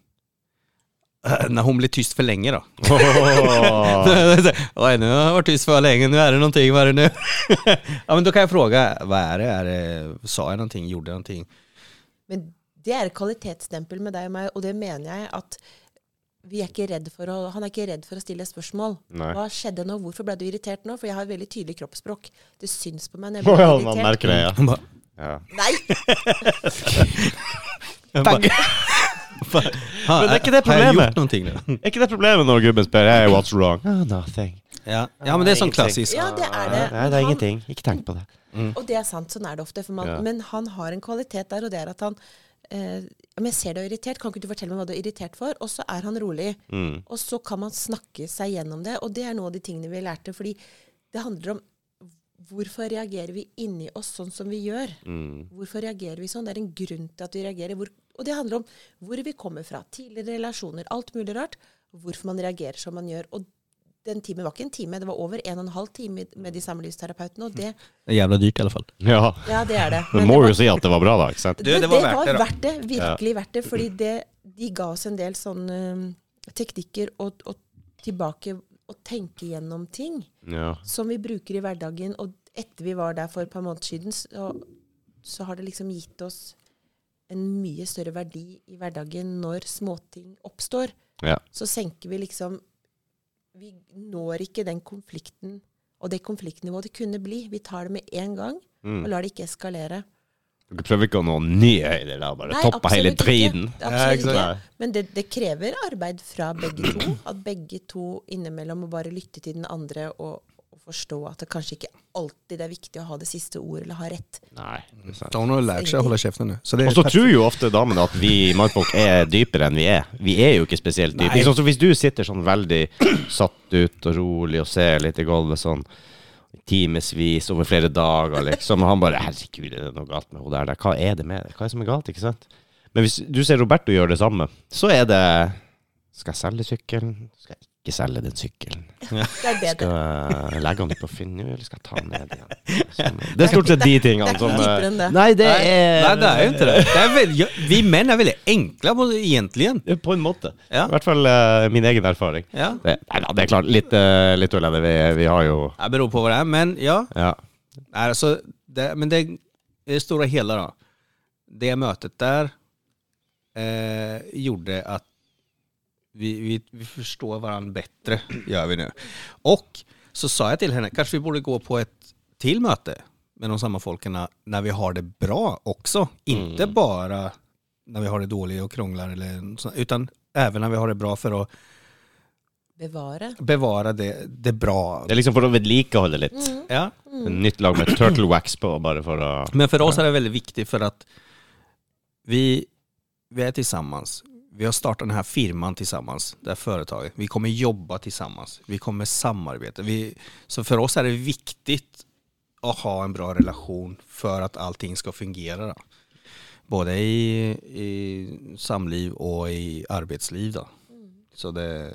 B: eh, när hon blir tyst för länge då.
A: [LAUGHS]
B: [LAUGHS]
A: Åh.
B: Oj, nu har jag varit tyst för länge, nu är det någonting, vad är det nu? [LAUGHS] ja men då kan jag fråga, vad är det? Är det sa jag någonting, gjorde jag någonting?
C: Men det er et kvalitetsstempel med deg og meg, og det mener jeg at vi er ikke redd for å, han er ikke redd for å stille spørsmål.
A: Nei.
C: Hva skjedde nå? Hvorfor ble du irritert nå? For jeg har veldig tydelig kroppsspråk. Det syns på meg når jeg
A: Åh,
C: blir
A: ja, man
C: irritert.
A: merker
B: [LAUGHS]
A: det, ja.
B: Hon bara,
A: ja.
C: Nei!
B: tack!
D: [LAUGHS]
B: men
A: det är inte det
B: Har jag
A: problemet.
B: gjort någonting nu?
A: Er ikke det problemet når gubben spør hey, what's wrong? Ah, nothing.
B: ja. ja men det är sån klassisk.
C: Ja, det er det.
A: Nei, det er ingenting. Ikke tenk på det.
C: Han, og det er sant, sånn er det ofte. For man,
A: Ja.
C: Men han har en kvalitet der, og det er at han eh, ja, men jeg ser du er irritert, kan ikke du fortelle meg hva du er irritert for? Og så er han rolig.
A: Mm,
C: Og så kan man snakke seg gjennom det, og det er noe av de tingene vi lærte. Fordi det handler om hvorfor reagerer vi inni oss sånn som vi gjør?
A: mm.
C: Hvorfor reagerer vi sånn? Det er en grunn til at vi reagerer. Hvor, og det handler om hvor vi kommer fra, tidligere relasjoner, alt mulig rart. Hvorfor man reagerer som man gjør. Og den timen var ikke en time, det var over en og en halv time med de samlivsterapeutene. Og det,
B: Det är jävla dyrt i alla fall.
A: Ja.
C: ja, det er det.
A: Du
C: Men
A: må
C: det var-
A: jo si at det var bra, da. ikke
C: [LAUGHS]
A: sant?
B: Du,
C: det,
B: det
C: det
B: var
C: var,
B: verdt det, da.
C: verdt det. Virkelig verdt det. Fordi det, de ga oss en del sånne eh, teknikker og, og tilbake å tenke gjennom ting
A: Ja.
C: som vi bruker i hverdagen. Og etter vi var der for et par måneder siden, så, så har det liksom gitt oss en mye større verdi i hverdagen når småting oppstår.
A: Ja.
C: Så senker vi liksom Vi når ikke den konflikten
B: Mm.
C: og det konfliktnivået det kunne bli. Vi tar det med en gang og lar det ikke eskalere.
A: Dere prøver ikke å nå nye høyder der, bare toppe hele
C: absolutt
A: driten.
C: Ikke. Absolutt
A: Ja,
C: ikke.
A: ikke sant?
C: Men det, det krever arbeid fra begge to. At begge to innimellom må bare lytte til den andre og, og forstå at det kanskje ikke alltid er viktig å ha det siste ordet eller ha rett.
A: Nei. ikke sant.
D: Da har hun jo lært seg å holde kjeften nå. Så det
A: Og så tror jo ofte damene at vi mannfolk er dypere enn vi er. Vi er jo ikke spesielt dype. Ikke sant? Så hvis du sitter sånn veldig satt ut og rolig og ser litt i gulvet sånn timevis over flere dager, liksom, og han bare 'Herregud, er det noe galt med henne der? der? Hva er det med det? Hva er det som er galt?' Ikke sant? Men hvis du ser Roberto gjøre det samme, så er det 'Skal jeg selge sykkelen? Skal jeg ikke selge den sykkelen?'
C: Det er bedre.
A: Skal jeg legge den på Finn nå, eller skal jeg ta den ned igjen? Sånn. Det er stort sett de tingene
C: Det er ikke
A: som eh,
C: dypere enn det.
A: Nei, det er
B: Nei, det er jo ikke det. det er veldig, vi menn er veldig enkle på det, egentlig.
A: På en måte.
B: Ja.
A: I hvert fall eh, min egen erfaring.
B: Ja.
A: Det, nei, da, det er klart, litt, uh, litt tull er det. Vi, vi har jo
B: Det beror på hva det er, men ja.
A: ja.
B: Nei, altså, det, men det, i det store og hele, da. Det møtet der eh, gjorde at vi, vi, vi forstår hverandre bedre, gjør vi nå. Og så sa jeg til henne kanskje vi burde gå på et til møte med de samme folkene når vi har det bra også. Ikke bare når vi har det dårlig og krangler, eller noe sånt, utan even når vi har det bra for å
C: Bevare.
B: bevare det, det bra.
A: Det er liksom for å vedlikeholde litt.
C: Mm.
B: Ja.
A: En nytt lag med turtle wax på, bare for å
B: Men för oss är det väldigt viktigt för att vi, vi är tillsammans. Vi har startat den här firman tillsammans, det här företaget. Vi kommer jobba tillsammans. Vi kommer samarbeta. Vi, så för oss är det viktigt att ha en bra relation för att allting ska fungera. Då. Både i, i samliv och i arbetsliv. Då. Så det,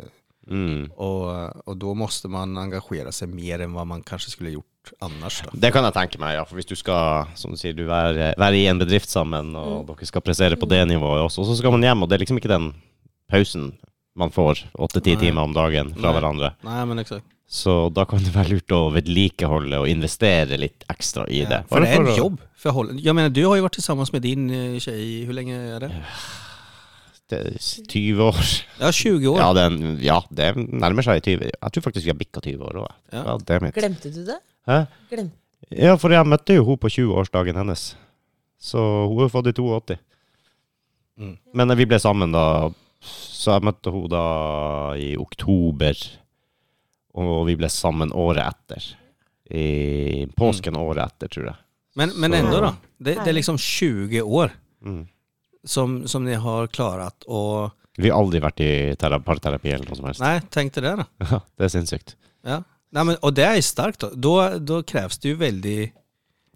A: mm.
B: och, och då måste man engagera sig mer än vad man kanske skulle gjort annars. Då.
A: Det kan jeg tenke meg, ja. For hvis du skal, som du sier, du være, være i en bedrift sammen, og
C: Mm.
A: dere skal pressere på det nivået også, og så skal man hjem, og det er liksom ikke den pausen man får åtte-ti
B: Nei.
A: timer om dagen fra
B: Nei.
A: hverandre.
B: Nej, men exakt.
A: Så da kan det være lurt å vedlikeholde og investere litt ekstra i det.
B: För det
A: Bare
B: är ett
A: for å-
B: jobb. Förhåll- Jag menar, du har ju varit tillsammans med din eh, tjej, hur länge är det?
A: Det er 20 år.
B: Ja, 20 år.
A: Ja, den, ja, det nærmer seg 20. Jeg tror faktisk vi har bikka 20 år òg.
B: Ja.
A: Ja. det er mitt.
C: Glemte du det?
A: Hæ?
C: Glem.
A: ja, for jeg møtte jo hun på 20-årsdagen hennes. Så hun har fått i 82.
B: Mm.
A: Men eh, vi ble sammen da, så jeg møtte hun da i oktober. Og vi ble sammen året etter. I
B: Mm.
A: påsken året etter, tror jeg.
B: Men, men ändå då. Det, det är
C: Härligt.
B: liksom 20 år
A: Mm.
B: som, som ni har klarat och...
A: Vi har aldri vært i tera- parterapi eller noe som helst.
B: Nej, tänk dig det då.
A: [LAUGHS] Det er sinnssykt.
B: Ja. Nej, men, och det är starkt då. då. Då krävs det ju väldigt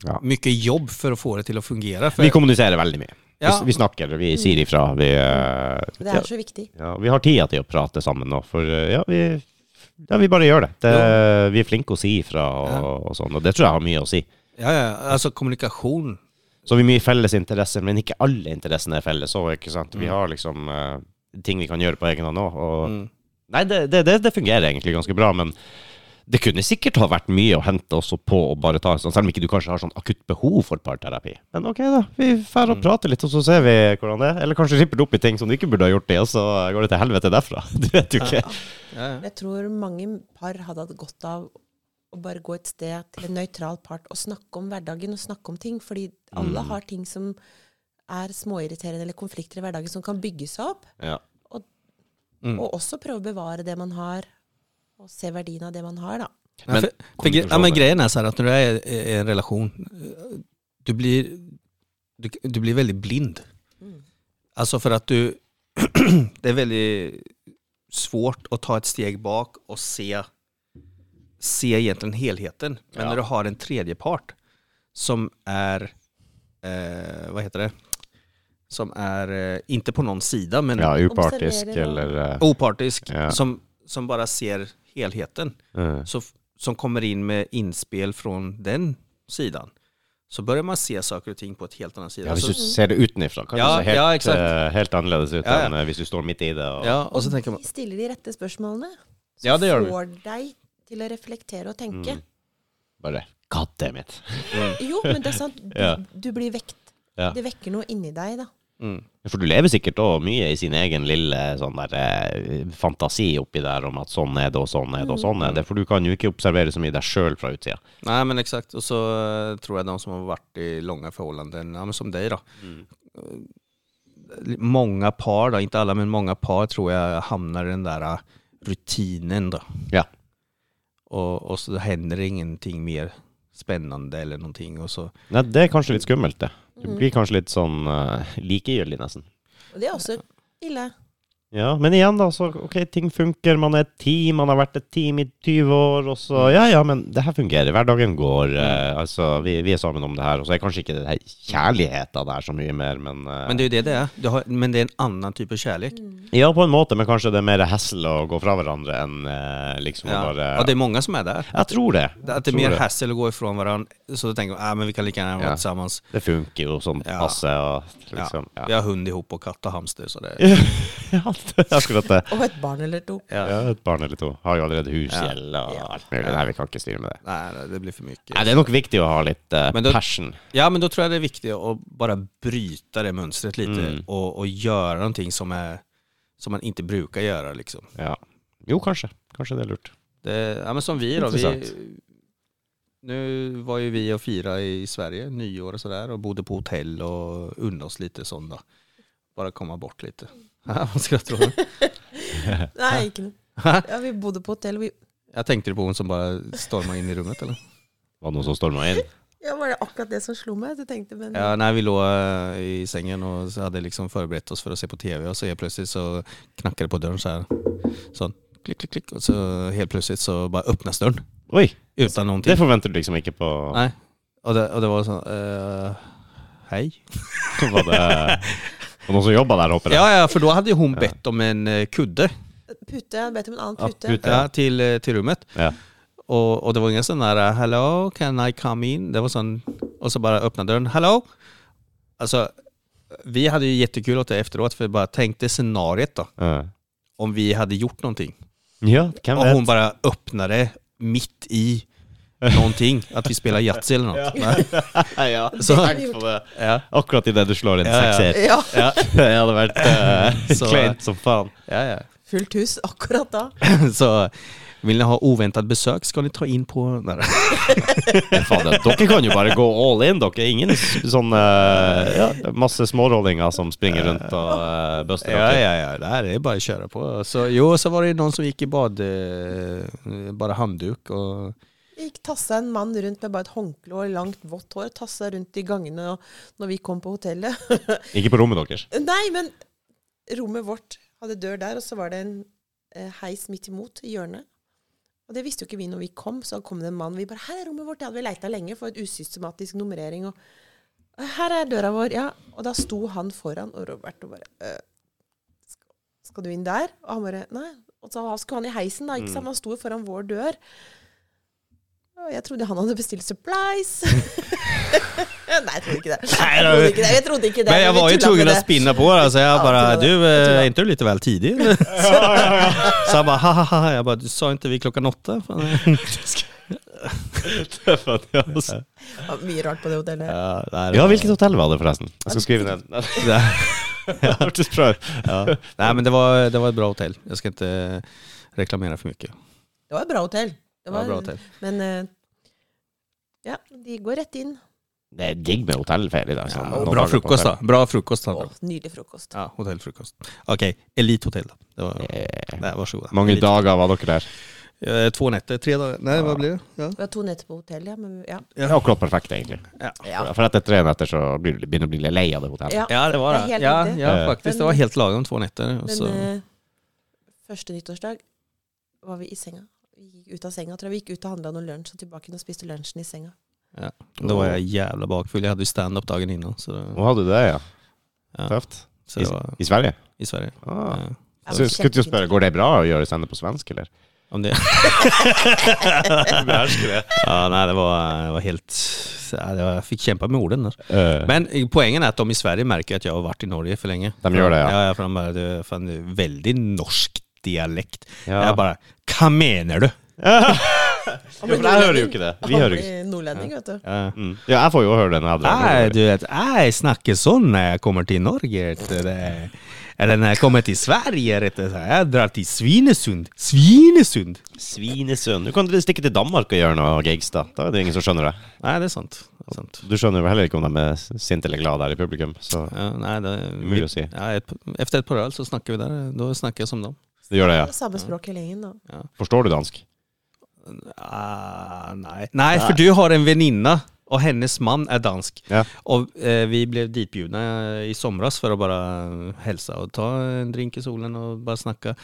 A: Ja.
B: mycket jobb för att få det till att fungera. För,
A: Vi kommuniserer veldig mye. Vi,
B: Ja.
A: vi snakker, vi sier ifra. Vi, eh,
C: Mm. Det er så viktig.
A: Ja, vi har tida til å prate sammen nå, for eh, ja, vi, ja, vi bare gjør det. det Vi er flinke å si ifra og, og sånn, og det tror jeg har mye å si.
B: ja, ja, alltså kommunikation.
A: Så vi har mye felles interesser, men ikke alle interessene er felles òg, ikke sant. Vi har liksom eh, ting vi kan gjøre på egen hånd òg, og
B: Mm.
A: Nei, det, det, det, det fungerer egentlig ganske bra, men det kunne sikkert ha vært mye å hente også på å bare ta en sånn, selv om ikke du kanskje har sånn akutt behov for parterapi. Men ok, da. Vi drar og
B: Mm.
A: prater litt, og så ser vi hvordan det er. Eller kanskje ripper du opp i ting som du ikke burde ha gjort i, og så går det til helvete derfra. [LAUGHS] Du vet jo ikke.
B: Ja, ja.
C: Men Jeg tror mange par hadde hatt godt av å bare gå et sted til en nøytral part og snakke om hverdagen og snakke om ting. Fordi
A: Mm.
C: alle har ting som er småirriterende eller konflikter i hverdagen som kan bygge seg opp.
A: Ja.
B: Mm.
C: Og også prøve å bevare det man har, og se verdien av det man har, da.
B: Men,
A: Men-
B: för, för, gre- ja, men grejen är så här att när du är i i en relation, eh, du blir, du, du blir väldigt blind. Alltså för att du, [CLEARS THROAT] det är väldigt svårt att ta ett steg bak och se, se egentligen helheten. Men
A: Ja.
B: när du har en tredje part som är, eh, vad heter det, som är, eh, inte på någon sida, men
A: Ja, upartisk
C: Observerer og-
A: eller eh,
B: opartisk,
A: Ja.
B: som, som bara ser helheten
A: eh,
B: så, f- som kommer in med inspel från den sidan så börjar man se saker och ting på ett helt annat sida.
A: ja, Hvis
B: Altså, så,
A: du ser det utenfra, kan
B: Ja,
A: det se helt,
B: ja, exakt.
A: eh, helt annerledes ut
B: Ja, ja.
A: enn eh, hvis du står midt i det. Og,
B: ja, och så tänker man,
C: De stiller de rette spørsmålene. Som
B: Ja, det gjør de.
C: får deg til å reflektere og tenke.
A: Bare God damn it.
B: Mm.
C: Jo, men det er sant. Du,
A: Ja.
C: du blir vekt.
A: Ja.
C: Det vekker noe inni deg, da.
B: Mm.
A: For du lever sikkert òg mye i sin egen lille sånn der, eh, fantasi oppi der om at sånn er det, og sånn er det, og sånn
B: Mm.
A: er det. For du kan jo ikke observere så mye deg sjøl fra utsida.
B: Nej men exakt, och så eh, tror jag de som har varit i långa förhållanden, ja, men som dig då. Eh, Många par, då, inte alla men många par tror jag hamnar i den där eh, rutinen då.
A: Ja.
B: Och, och så händer det ingenting mer spännande eller någonting. Och så,
A: Nei, det er kanskje litt skummelt, det. Du
B: Mm.
A: blir kanskje litt sånn uh, likegyldig, nesten.
C: Og det er også ille.
A: Ja, men igjen, da, så ok, ting funker. Man er et team, man har vært et team i 20 år, og så Ja, ja, men det her fungerer. Hverdagen går. eh, altså, vi, vi er sammen om det her. Og så er kanskje ikke det her kjærligheta der så mye mer, men, eh,
B: men det är ju det det är. Du har, men det er en annan typ av kärlek.
A: Ja, på en måte, men kanskje det er mer hassle å gå fra hverandre enn eh, liksom å
B: Ja.
A: bare
B: Ja, det är många som är där.
A: Jeg tror det.
B: Att det är
A: Tror
B: mer
A: det.
B: hassel att gå ifrån varandra. Så då tänker man, ah, men vi kan lika gärna vara
A: Ja.
B: tillsammans.
A: Det funker jo sånn
B: Ja.
A: passe og
B: Ja.
A: liksom Ja,
B: Vi har hund ihop och katt och hamster. Så det är...
A: [LAUGHS] ja det er akkurat det.
C: Og et barn eller to.
A: Ja, et barn eller to. Har jo allerede husgjeld og
C: Ja.
A: alt mulig. Nei, vi kan ikke styre med det.
B: Nej, nej, det blir för mycket.
A: Nei, det er nok viktig å ha litt eh,
B: Men da-
A: passion.
B: Ja, men då tror jag det är viktigt att bara bryta det mönstret lite
A: Mm.
B: och, och göra någonting som, är, som man inte brukar göra. Liksom.
A: Ja. Jo, kanskje. Kanskje det er lurt.
B: Det, ja, men som vi då. Vi,
A: Intressant.
B: nu var ju vi och firade i Sverige nyår och sådär och bodde på hotell och unnade oss lite sånt då. Bara komma bort lite. [LAUGHS] Ja, Vad skrattar du?
C: Nei, ikke noe. Ja, vi bodde på hotell. Vi,
B: Jag tänkte på hon som bara stormade in i rummet eller?
A: Var det noen som storma inn?
C: ja, var det akkurat det som slo meg? Du tenkte, men
B: Ja, när vi låg eh, i sängen och så hade liksom förberett oss för att se på tv och så helt plötsligt så knackade det på dörren så sånn här. Så klick, klick, klick. Och så helt plötsligt så bara öppnas dörren
A: Oi!
B: utan någonting.
A: Det forventer du liksom ikke på
B: Nej. Och, det, och det var så eh, hej.
A: Var det var noen som jobba der, håper jeg?
B: Ja, ja, för då hade ju hon bett om en eh, kudde
C: pute, jeg bet om en annen
A: Ja,
C: pute.
A: pute.
B: ja, till, eh, till rummet.
A: Ja.
B: Och, och det var ingen sån där hello, can I come in? Det var sån, och så bara öppna dörren, hello. Alltså, vi hade ju jättekul åt det efteråt för bara tänkte scenariet då.
A: Ja.
B: om vi hade gjort någonting.
A: ja, hvem
B: Och
A: vet?
B: hon bara öppnade mitt i någonting, att vi spelar Yatzy eller något. Nej.
A: ja,
B: Så-
A: tenk på det.
B: Ja.
A: Akkurat idet du slår inn
B: Ja, ja.
A: sekser.
C: Ja,
A: Ja, [LAUGHS] det hadde vært [LAUGHS] eh,
B: Så-
A: kleint som faen.
B: Ja, ja.
C: fullt hus akkurat da.
B: Så vill ni ha oväntat besök ska ni ta in på... Nej.
A: Men faen, det- dere kan jo bare gå all in, dere. Ingen s- sånn eh, ja, masse smårollinger som springer rundt og uh, buster
B: Ja,
A: dere.
B: ja, ja. Det här är bara att köra på. Så, jo, så var det ju någon som gick i bad... eh, Bara handduk och...
C: Gikk tassa en mann rundt med bare et håndkle og langt, vått hår. Tassa rundt i gangene og når vi kom på hotellet.
A: Ikke på rommet [LAUGHS] deres.
C: Nei, men rommet vårt hadde dør der, og så var det en eh, heis midt imot i hjørnet. Og det visste jo ikke vi når vi kom, så kom det en mann. Vi bare 'Her er rommet vårt.' Det hadde vi leita lenge for et usystematisk nummerering. Og 'Her er døra vår.' Ja. Og da sto han foran, og Robert og bare eh, skal, 'Skal du inn der?' Og han bare 'Nei.' Og så skulle han i heisen, da.
B: Mm.
C: ikke sant? Han sto jo foran vår dør. Og jeg trodde han hadde bestilt supplies. [LAUGHS] Nei, jeg trodde ikke det. Jeg trodde ikke det. Jeg trodde ikke det.
B: Men jag
C: vi
B: var ju
C: tullet med
B: tvungen
C: det.
B: att spinna på det, så jag
C: Ja,
B: bara,
C: jag tror det.
B: du,
C: Jag tror
B: eh,
C: det.
B: är inte du lite väl tidig? Så han bara, ha ha ha, jag bara, du sa inte vi klockan åtta? Fan.
A: Det er faen, ja, altså.
C: Ja, mye rart på det hotellet.
B: Ja, nej, det
A: ja,
B: var-
A: hvilket hotell var det, forresten? Jeg skal skrive ned. [LAUGHS] Det hørtes bra ut.
B: [LAUGHS] Ja. Nej men det var, det var ett bra hotell. Jag ska inte reklamera för mycket.
C: Det var et bra hotell.
B: Det var ett bra hotell.
C: Men eh, ja, de går rett inn.
A: Det er digg med hotellferie. da, sånn.
B: Ja,
A: Noen
B: bra
A: dager på
B: frukost
A: hotell.
B: då. Bra frukost.
C: Å,
B: Sandra.
C: nydelig frokost.
B: Ja, hotellfrukost. Okej, Elite Hotel. då. Det var,
A: Eh,
B: nej, varsågoda.
A: Mange
B: Elite.
A: dager var dere der.
B: Eh, Två nätter, tre dagar. Nej,
A: Ja.
B: vad blir det? Ja.
C: Vi har to netter på hotell, ja. Men, ja.
A: Det er akkurat perfekt, egentlig.
C: ja.
A: For etter tre netter så blir du begynner du å bli litt lei av det hotellet.
C: Ja,
B: Ja, det var
C: det
B: det.
C: är helt
B: ja,
C: riktigt.
B: ja,
A: Eh.
B: faktiskt. Det var helt lagom två nätter. Och
C: Men
B: så,
C: eh, første nyttårsdag var vi i senga. Vi gikk ut av senga, tror jeg. Vi gikk ut og handla noe lunsj, og tilbake inn og spiste lunsjen i senga.
B: då var jag jävla bakfull. Jag hade ju stand-up dagen innan. Så, det-
A: Nå hadde du det, ja.
B: Ja.
A: Tøft.
B: så det var
A: I Sverige?
B: i Sverige.
A: Ah.
B: Ja.
C: Ja,
A: Så
C: men
A: skulle du
C: kjempefint.
A: spørre, går det bra å gjøre standup på svensk, eller?
B: Om det. [LAUGHS]
A: [LAUGHS]
B: ja, nej, det var, det var helt... Ja, det var, jag fick kämpa med orden där.
A: Men,
B: Men poängen är att de i Sverige märker att jag har varit i Norge för länge.
A: De gör det, ja.
B: Ja, ja för de bara, det är fan väldigt norsk dialekt.
A: Ja.
B: Jag bara, vad menar du?
A: Jo, for jeg hører jo ikke det. Vi hører ikke
C: Han blir nordlending, vet du.
A: ja, mm. ja, jeg får jo høre den. Jeg,
B: Nei, du vet, jeg snakker sånn når jeg kommer til Norge. vet du, det- Eller når jeg kommer til Sverige, rett og slett. Jeg drar til Svinesund. Svinesund!
A: Svinesund. Du kan stikke til Danmark og gjøre noe gigs, da. Da er det ingen som skjønner det.
B: Nei, det er sant. Det er sant.
A: Du skjønner jo heller ikke om de er sinte eller glade der i publikum. Så
B: Ja, nei, det er
A: Umulig å si.
B: Ja, et, efter et par øl så snakker vi der. Da snakker jeg som dem.
A: det gjør det, ja.
C: Samme språk hele gjengen, da.
A: Forstår du dansk?
B: Ah, nei. nei, for du har en venninne, og hennes mann er dansk.
A: Ja.
B: Og eh, vi ble ditbjudna i somras for å bare hilse og ta en drink i solen og bare snakke.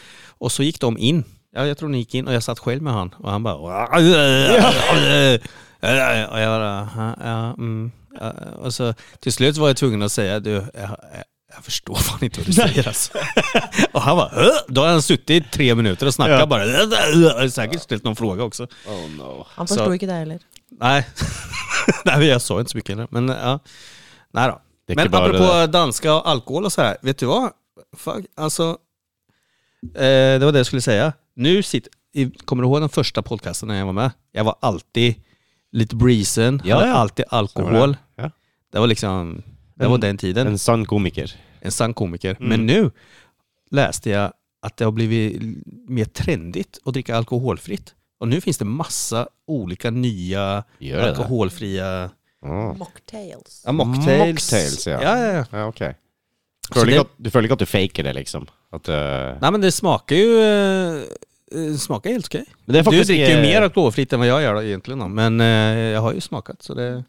B: Og så gikk de inn. Ja, jeg tror de gikk inn, og jeg satt selv med han, og han bare [LAUGHS] Og jeg bare "Hæ? ja, mm. ja." Og så til slutt var jeg tvungen å si du, jeg, jeg, jeg forstår faen ikke hva du
A: [LAUGHS]
B: sier, altså. og han bare "Hæ?" Da har han sittet i tre minutter og snakket
A: Ja.
B: [LAUGHS] bare "Hæ?" Jeg har Sikkert stilt noen spørsmål også.
A: Oh no.
C: Han
B: Så-
C: forsto ikke deg heller.
B: Nei. [LAUGHS] Nei, jeg så inte så mycket heller. Men ja. Nej då.
A: Det är
B: Men
A: inte bara
B: apropå
A: det
B: danska och alkohol och så här. Vet du vad? Fuck, alltså. Eh, det var det jag skulle säga. Nu sitter, i, kommer du ihåg den första podcasten när jag var med? Jag var alltid lite breezen,
A: Ja,
B: hade
A: ja.
B: alltid alkohol.
A: Ja.
B: Det var liksom, det var
A: En-
B: den tiden.
A: En
B: En,
A: sann komiker.
B: sann komiker.
A: Mm.
B: Men nu läste jag att det har blivit mer trendigt att dricka alkoholfritt. Och nu finns det massa olika nya
A: Gör det?
B: alkoholfria
A: Åh.
C: Mocktails.
B: Ja, mocktails.
A: Mocktails, ja.
B: Ja, ja, ja.
A: Ah. Ja, ok.
B: Så
A: Føler
B: det-
A: ikke at, du føler ikke at du faker det, liksom? At, eh,
B: Nei, men det smaker jo eh, eh, smaker helt ok.
A: Men det er
B: Du
A: faktisk,
B: drikker jo
A: eh,
B: mer alkoholfritt enn hva jeg gjør da, egentlig, da. men eh, jeg har jo smaket, så det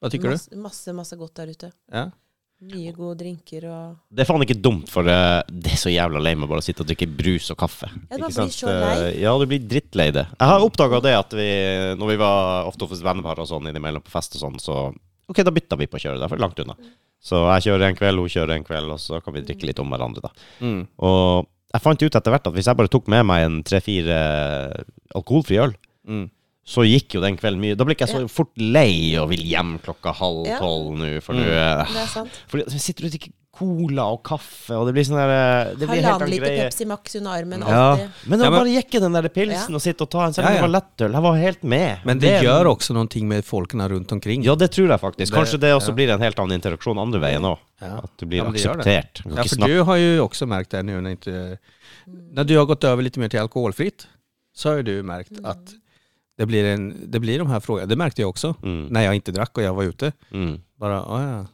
B: Hva tykker du?
C: Masse, masse, masse godt der ute.
B: Ja.
C: Mye gode drinker og
A: Det er faen ikke dumt, for eh, det er så jævla lei med bare å sitte og drikke brus og kaffe.
C: Ja,
A: Ikke
C: man blir
A: sant?
C: så lei.
A: Eh, Ja, du blir drittlei det. Jeg har oppdaga det at vi, når vi var ofte hos vennepar og sånn innimellom på fest og sånn, så OK, da bytta vi på å kjøre, da, for det er langt unna.
C: Mm.
A: Så jeg kjører en kveld, hun kjører en kveld, og så kan vi drikke litt om hverandre, da.
B: Mm.
A: Og jeg fant ut etter hvert at hvis jeg bare tok med meg en tre-fire eh, alkoholfri øl,
B: Mm.
A: så gikk jo den kvelden mye. Da ble ikke jeg så
C: Ja.
A: fort lei og vil hjem klokka halv
C: Ja.
A: tolv nå, for
B: Mm.
A: nå eh,
C: Det er sant.
A: fordi at vi sitter og drikker cola og kaffe, og det blir sånn der eh, Det blir helt
C: Halvannen
A: annen
C: liter
A: greie.
C: Pepsi Max under armen.
B: Ja.
C: Alltid.
A: Men å
B: Ja, men-
A: bare jekke den der pilsen
C: Ja.
A: og sitte og ta en, selv
B: Ja,
A: om
B: ja.
A: det var lettøl, jeg var helt med.
B: Men det
A: er-
B: gjør også noen ting med folkene rundt omkring.
A: Ja, det tror jeg faktisk. Kanskje
B: Det-
A: det også
B: ja.
A: blir en helt annen interaksjon andre veien òg.
B: Ja.
A: At du blir
B: Ja, men det gjør det.
A: akseptert. Du kan
B: Ja,
A: ikke
B: for
A: snakke
B: du har jo også merkt det nå når, ikke, når du har gått over litt mer til alkoholfritt, så har jo du merkt at det blir, en, det blir de her frågorna. Det merkte jeg også
A: mm.
B: når jeg ikke drakk og jeg var ute.
A: Mm.
B: Bare, å ja.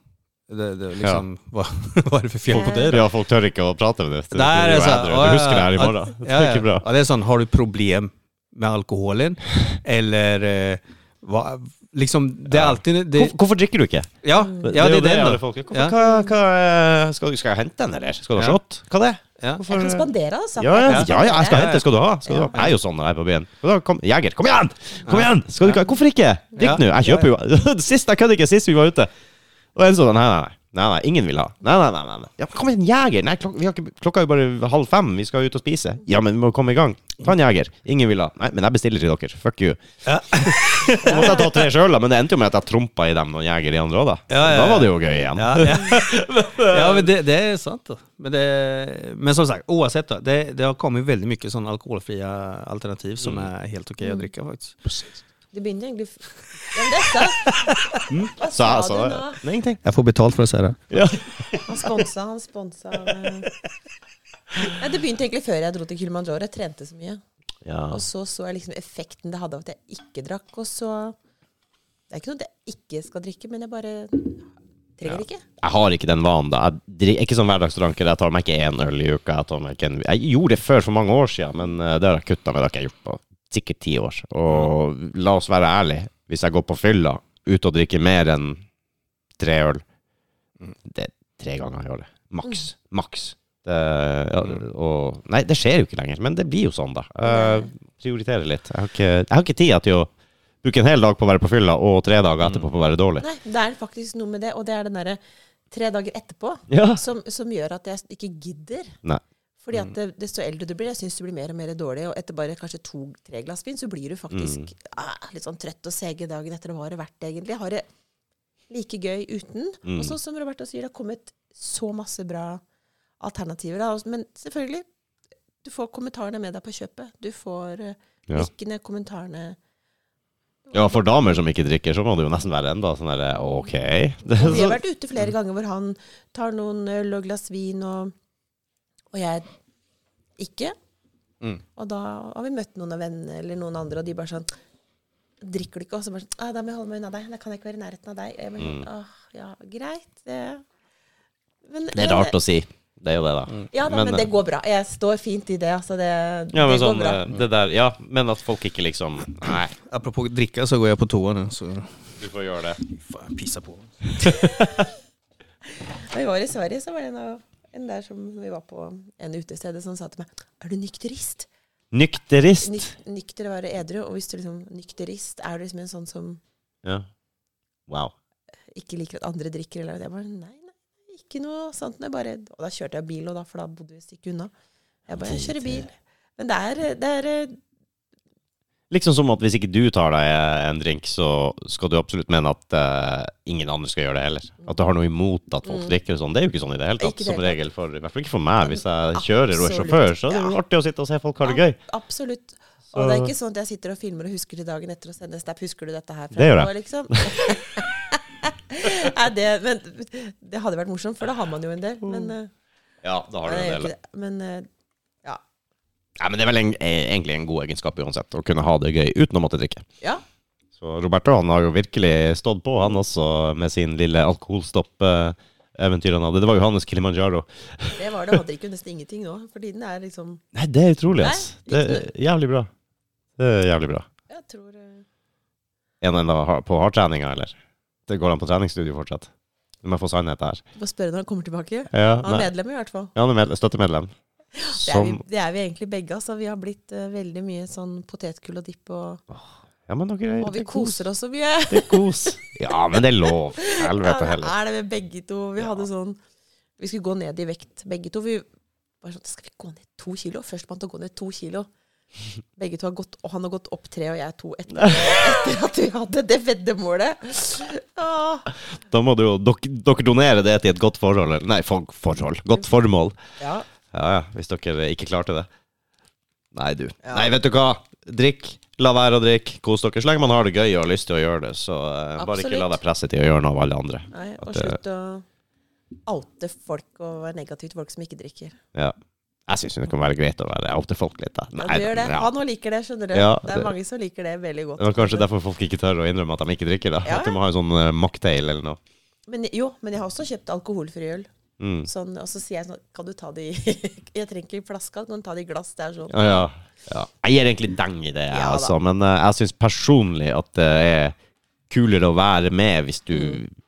B: Det, det, liksom, [LAUGHS] hva, hva er det for fjell på det? da?
A: Ja, folk tør ikke å prate med det.
B: Nei, det er sånn,
A: Du husker det her i morgen.
B: Ja,
A: Det er ikke bra.
B: Ja, det er sånn, har du problem med
A: [LAUGHS]
B: alkoholen? Eller eh, hva Liksom, det er
A: Ja.
B: alltid det,
A: Hvorfor, hvorfor drikker du ikke?
B: Ja, ja det er den,
A: alle
B: da.
A: folk- Hvorfor,
B: Ja.
A: hva, hva, eh, skal, du- skal jeg hente den, eller? Skal du ha
B: Ja.
A: shot? Hva det?
B: Ja.
C: Jeg kan spandere, altså.
A: Ja, ja, ja, ja, jeg skal
B: Ja.
A: hente. Skal du ha? Skal du ha? Jeg er jo sånn når jeg er på byen. Da, Kom, Jeger, kom igjen! Kom igjen! Skal du ikke? Hvorfor ikke?
B: Ja.
A: Drikk nå. Jeg kjøper jo. [LAUGHS] Sist, jeg kødder ikke, sist vi var ute. Og en sånn, nei, nei, nei. Nei, nei, ingen vil ha. Nei, nei, nei. nei, nei. Ja, men kom igjen, Jeger! Nei, klok vi har ikke, klokka er jo bare halv fem, vi skal ut og spise. Ja, men vi må komme i gang. Ta en Jeger. Ingen vil ha. Nei, men jeg bestiller til dere. Fuck you. [LAUGHS]
B: Ja.
A: Så måtte jeg ta tre sjøl, da, men det endte jo med at jeg trompa i dem noen Jeger i andre òg, da.
B: Ja, ja, ja.
A: Da var det jo gøy igjen.
B: Ja, ja. ja men det, det er sant. Da. Men, det, men som sagt, uansett, da, det, det har kommet veldig mye sånn alkoholfrie alternativ som er helt ok å drikke, faktisk.
C: Det begynner egentlig f- ja, men det er sant. Hva
A: Så
C: sa
A: jeg Mm. sa
C: du nå?
A: Nei, ingenting.
B: Jeg får betalt for å si det.
A: Ja.
C: Han sponsa, han sponsa Nei, Det begynte egentlig før jeg dro til Kilimanjaro. Jeg trente så mye.
A: Ja.
C: Og så så jeg liksom effekten det hadde av at jeg ikke drakk. Og så Det er ikke noe at jeg ikke skal drikke, men jeg bare trenger ikke.
A: Jeg har ikke den vanen, da. Jeg dri- ikke som hverdagsdranker. Jeg tar meg ikke én øl i uka. Jeg, tar meg ikke en, jeg gjorde det før for mange år siden, men eh, det har jeg kutta med. Det har ikke jeg gjort på sikkert ti år. Og la oss være ærlige. Hvis jeg går på fylla ute og drikker mer enn tre øl Det er tre ganger i året. Maks. Maks. Det, ja, og, nei, det skjer jo ikke lenger, men det blir jo sånn, da. Jeg prioriterer litt. Jeg har ikke, jeg har ikke tid til å bruke en hel dag på å være på fylla, og tre dager etterpå på å være dårlig.
C: Nei, det er faktisk noe med det, og det er den derre tre dager etterpå
A: Ja.
C: som, som gjør at jeg ikke gidder.
A: Nei.
C: Fordi at det, desto eldre du blir, jeg syns du blir mer og mer dårlig. Og etter bare kanskje to-tre glass vin, så blir du faktisk
A: Mm.
C: ah, litt sånn trøtt og seig dagen etter. Hva har det vært, egentlig? Jeg Har det like gøy uten?
A: Mm.
C: Og sånn som Roberto sier, det har kommet så masse bra alternativer. Da. Og- Men selvfølgelig, du får kommentarene med deg på kjøpet. Du får eh,
A: Ja.
C: nikkene, kommentarene
A: Ja, for damer som ikke drikker, så må det jo nesten være enda sånn der OK. [LAUGHS] Det, sånn-
C: Vi har
A: så,
C: vært ute flere ganger hvor han tar noen øl og glass vin, og, og jeg ikke.
A: Mm.
C: Og da har vi møtt noen av vennene eller noen andre, og de bare sånn Drikker du ikke? Og så bare sånn «Ah, Da må jeg holde meg unna deg. Da kan jeg ikke være i nærheten av deg. Og jeg bare
A: Mm.
C: sånn, Åh, ja, greit. Det, men, eh,
A: det er rart å si. Det er jo det, da.
C: Ja da, men, det går bra. Jeg står fint i det, altså. Det,
A: ja,
C: det
A: men
C: går
A: sånn,
C: bra.
A: eh, det der, ja, men at folk ikke liksom Nei,
B: Apropos dricka så går jag på toa nu. Så
A: du får gjøre det.
B: fan, pissa på.
C: Da vi var i Sverige, så var det en, av, en der som vi var på en utested, som sa til meg Er du nykterist?
A: Nykterist.
C: Nyk, nykter er å være edru, og hvis du liksom nykterist, er du liksom en sånn som
A: Ja. Wow.
C: ikke liker at andre drikker? Eller jeg bare Nei, nei, ikke noe sånt. Jeg bare, og da kjørte jeg bil, og da, for da bodde vi et stykke unna. Jeg bare Jeg kjører bil. Men det er, eh, det er
A: Liksom som at hvis ikke du tar deg eh, en drink, så skal du absolutt mene at eh, ingen andre skal gjøre det heller. At du har noe imot at folk drikker og sånn. Det er jo ikke sånn i det hele
C: Mm. Ikke
A: tatt.
C: det
A: Som
C: hele tatt.
A: regel for I hvert fall ikke for meg. Hvis jeg kjører og er
C: Absolutt.
A: sjåfør, så er det jo
C: Ja.
A: artig å sitte og se folk ha det gøy.
C: ab- Absolutt. Og det er ikke sånn at jeg sitter og filmer og husker til dagen etter og sender snap. Husker du dette her?
A: Det gjør jeg.
C: nå, Liksom? [LAUGHS] Nei, det, men, det hadde vært morsomt, for da har man jo en del. Men, eh,
A: Ja, da har du
C: nei, jeg
A: en
C: gjør
A: del.
C: ikke det. men eh, ja.
A: Nei, men det er vel en, eh, egentlig en god egenskap uansett, å kunne ha det gøy uten å måtte drikke.
C: ja.
A: Så Roberto han har jo virkelig stått på, han også, med sin lille alkoholstopp-eventyr han hadde. Det var jo hans Kilimanjaro.
C: Det var det. Han drikker jo nesten ingenting nå for tiden. er liksom
A: Nei, det er utrolig,
C: Nei,
A: ass. Det er jævlig bra. Det er jævlig bra.
C: Jeg tror eh,
A: Er han ennå har- på hardtreninga, eller? Det går han på treningsstudio fortsatt? Du må få sannhet her.
C: Må spørre når han kommer tilbake.
A: Ja,
C: Han er
A: nei.
C: medlem, i hvert fall.
A: ja, han er med, støttemedlem.
C: Det er, vi,
A: Som
C: det er vi egentlig begge. Altså. Vi har blitt eh, veldig mye sånn potetgull og dipp, og,
A: Ja, men dere
C: og vi
A: det er kos.
C: koser oss så mye.
A: Det er kos. Ja, men det er lov.
C: [LAUGHS] Ja,
A: Helvete
C: det
A: heller.
C: er det med begge to. Vi hadde sånn Vi skulle gå ned i vekt, begge to. Vi var sånn Skal vi gå ned to kilo? Førstemann til å gå ned to kilo.
A: [LAUGHS]
C: Begge to har gått Og han har gått opp tre, og jeg to etter, etter at vi hadde det veddemålet. Åh.
A: Da må du jo dere, dere donere det til et godt forhold. Eller, nei, for, forhold. Godt formål.
C: Ja.
A: Ja, ja, hvis dere ikke klarte det. Nei, du.
C: Ja.
A: Nei, vet du hva? Drikk. La være å drikke. Kos dere. Så lenge man har det gøy og har lyst til å gjøre det, så eh, bare ikke la
C: Absolutt.
A: deg presse til å gjøre noe av alle andre.
C: Nei, og
A: At det-
C: slutt å oute folk og være negativ til folk som ikke drikker.
A: Ja. Jeg syns det kan være greit å være opp til folk litt, da.
C: Ja, du gjør det.
A: ja.
C: Han òg liker det, skjønner du.
A: Ja,
C: det
A: det-
C: er mange som liker det veldig godt.
A: Det var kanskje derfor folk ikke tør å innrømme at de ikke drikker. da
C: Ja,
A: At de må ha en sånn uh, mocktail eller noe.
C: Men, jo, men jeg har også kjøpt alkoholfri øl.
A: Mm.
C: Sånn, og så sier jeg sånn Kan du ta det i [LAUGHS] Jeg trenger ikke flaska, kan du ta det i glass? Det er sånn.
A: Ja, ja. Ja. Jeg gir egentlig deng i det, jeg,
C: Ja, da.
A: altså. Men eh, jeg syns personlig at det er kulere å være med hvis du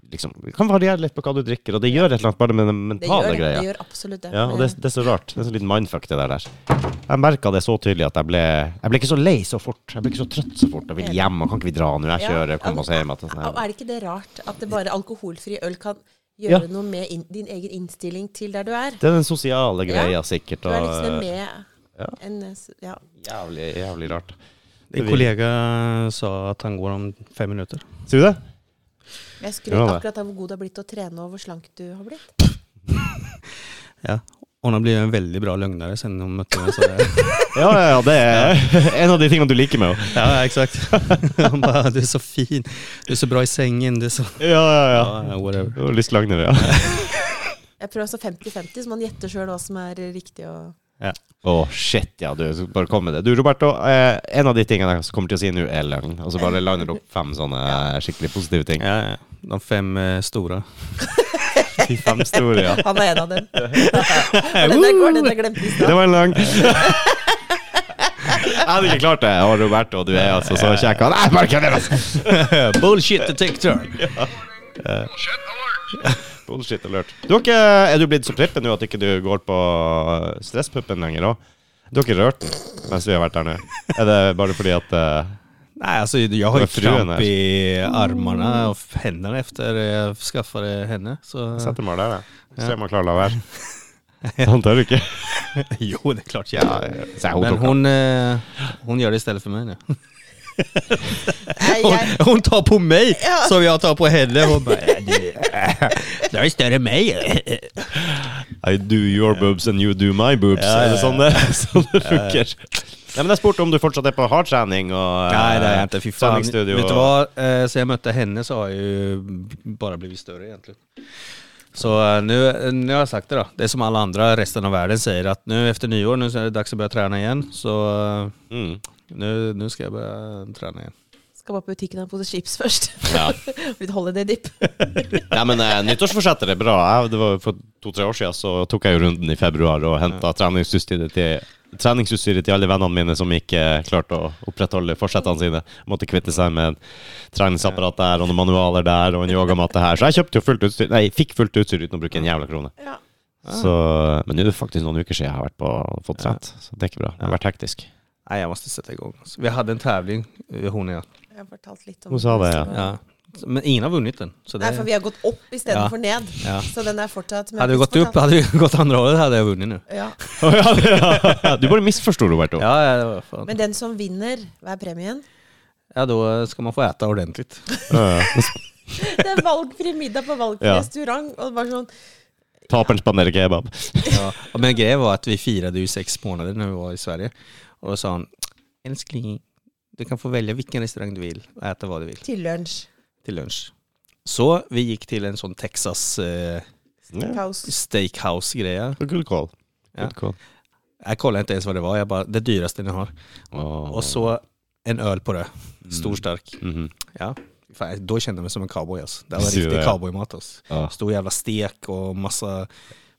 C: Mm.
A: liksom Det kan variere litt på hva du drikker, og det gjør et eller annet bare med den
C: Det gjør
A: mentale
C: det.
A: greia.
C: Det gjør absolutt det.
A: Ja, og det, det er så rart. Det er så litt mindfuck, det der. der. Jeg merka det så tydelig at jeg ble Jeg ble ikke så lei så fort. Jeg ble ikke så trøtt så fort. Jeg vil hjem, og kan ikke vi dra nå? Jeg
C: Ja.
A: kjører, kom oss hjem. at det er sånn
C: og
A: her.
C: er det ikke det rart at det bare alkoholfri øl kan gjøre
A: Ja.
C: noe med inn- din egen innstilling til der du er?
A: Det er den sosiale
C: Ja.
A: greia, sikkert.
C: Du er
A: Og, eh,
C: liksom med
A: ja.
C: en eh, s- Ja.
A: jævlig, jævlig rart.
B: En kollega sa att han går om fem minuter.
A: Sier du det?
C: Jeg
A: Ja,
C: skrøt
A: det.
C: akkurat av hvor god du har blitt til å trene, og hvor slank du har blitt.
B: Ja. Hon har blivit en väldigt bra lögnare sen hon mötte mig. Så
A: Ja, ja, ja, det er [LAUGHS] en av de tingene du liker med henne.
B: [LAUGHS] ja, exakt. [LAUGHS] Hon bara, du är så fin, du är så bra i sängen, du är så...
A: Ja, ja,
B: Ja, whatever.
A: ja. Lystlagner, [LAUGHS] ja.
C: Jeg prøver altså 50-50, så man gjetter sjøl hva som er eh, riktig. Og
A: Å, shit, ja, du. så Bare kom med det. Du, Roberto, eh, en av de tingene jeg kommer til å si nå, er løgn. Og så bare liner du opp fem sånne eh, skikkelig positive ting.
B: Ja, ja. De fem eh, stora.
A: De fem store, ja.
C: han er en
A: [LAUGHS]
C: av dem. For den der går, den der glemte i
A: Det
C: stad.
A: var en [LAUGHS] løgn. Jeg hadde ikke klart det. Og Roberto, du er altså så kjekk. Nei, bare kødder, altså.
B: Bullshit detector!
A: Bullshit alert. Du har ikke, eh, er du blitt så prippen nå at ikke du går på stresspuppen lenger òg? Du har ikke rørt den mens vi har vært her nå? Er det bare fordi at eh,
B: Nej, alltså jag har ju
A: Vad frun
B: kramp
A: är.
B: i armarna och händerna efter jag skaffade henne. Så...
A: Jeg setter meg der, jeg. Se om jeg klarer å la [LAUGHS] være. Han tør ikke.
B: [LAUGHS] jo, det är klart jag
A: Ja,
B: gör.
A: så jeg
B: Men
A: tok han.
B: hon, eh, hon gör det istället för mig nu.
C: Nei,
B: Hon,
C: jeg,
B: hon tar på mig
C: Ja.
B: som jag tar på henne. Hon bara, "Ja, du, eh, du är större än mig.
A: I do your boobs and you do my boobs.
B: Ja, ja,
A: [LAUGHS]
B: ja.
A: Er det sånn det, sånn det funker? Nei, men jeg spurte om du fortsatt er på hardtrening og eh,
B: Nej, det är jag inte. Fy fan. Vet
A: treningsstudio.
B: du
A: og-
B: vad? Eh, så jag mötte henne så har jag ju bara blivit större egentligen. Så eh, nu, nu har jag sagt det då. Det är som alla andra resten av världen säger att nu efter nyår nu så är det dags att börja träna igen. Så eh,
A: Mm.
B: nu, nu ska jag börja träna igen.
C: Skal bare på butikken og ha en pose chips først. [LAUGHS]
A: Ja.
C: Litt holiday dip.
A: Nei, men eh, nyttårsforsetter er bra. Jeg, det var jo For to-tre år siden så tok jeg jo runden i februar og henta treningsutstyret til treningsutstyret til alle vennene mine som ikke eh, klarte å opprettholde forsettene sine. Måtte kvitte seg med en treningsapparat der og noen manualer der og en yogamatte her. Så jeg kjøpte jo fullt utstyr Nei, fikk fullt utstyr uten å bruke en jævla krone.
C: Ja.
A: Så, men nå er det faktisk noen uker siden jeg har vært på fått trent, så det er ikke bra. Jeg har vært hektisk.
B: Nej, jag måste sätta igång. Så vi hade en tävling, eh, hon och jag.
C: Jeg har fortalt litt om
A: Hun sa det, ja.
B: Ja. Men ingen har vunnit den. Så
C: Nei, for
B: det,
C: vi har gått opp
B: Ja.
C: istedenfor ned.
B: Ja.
C: Så den er fortsatt men
B: hade vi
C: hvis
B: gått upp,
C: fortsatt-
B: hade vi gått andra hållet hade jag vunnit nu.
C: Ja.
A: [LAUGHS] Ja, Du bare misforsto, Roberto.
B: Ja, ja, det var fan.
C: Men den som vinner, hva er premien?
B: ja, då ska man få äta ordentligt.
A: Ja.
C: [LAUGHS] Det er valgfri middag på valgfri
A: Ja.
C: restaurant. Og det var sånn
A: Taperen spanderer kebab.
B: Ja, men grejen var att vi firade ju sex månader när vi var i Sverige. Och då sa han, älskling, du kan få välja vilken restaurang du vill och äta vad du vill
C: til lunsj.
B: till lunch. Så vi gick till en sån Texas eh,
A: Ja.
C: Kaos.
B: steakhouse-greja.
A: Good call.
B: Ja.
A: Good call.
B: Jag kollade inte ens vad det var, jag bara, det dyraste ni har. Och så en öl på det, stor stark.
A: Mm. Mhm.
B: Ja. Fan, då kände jag mig som en cowboy alltså.
A: [LAUGHS]
B: Det var
A: Ser du
B: riktig
A: det?
B: cowboymat alltså.
A: Ja.
B: Stor jävla stek och massa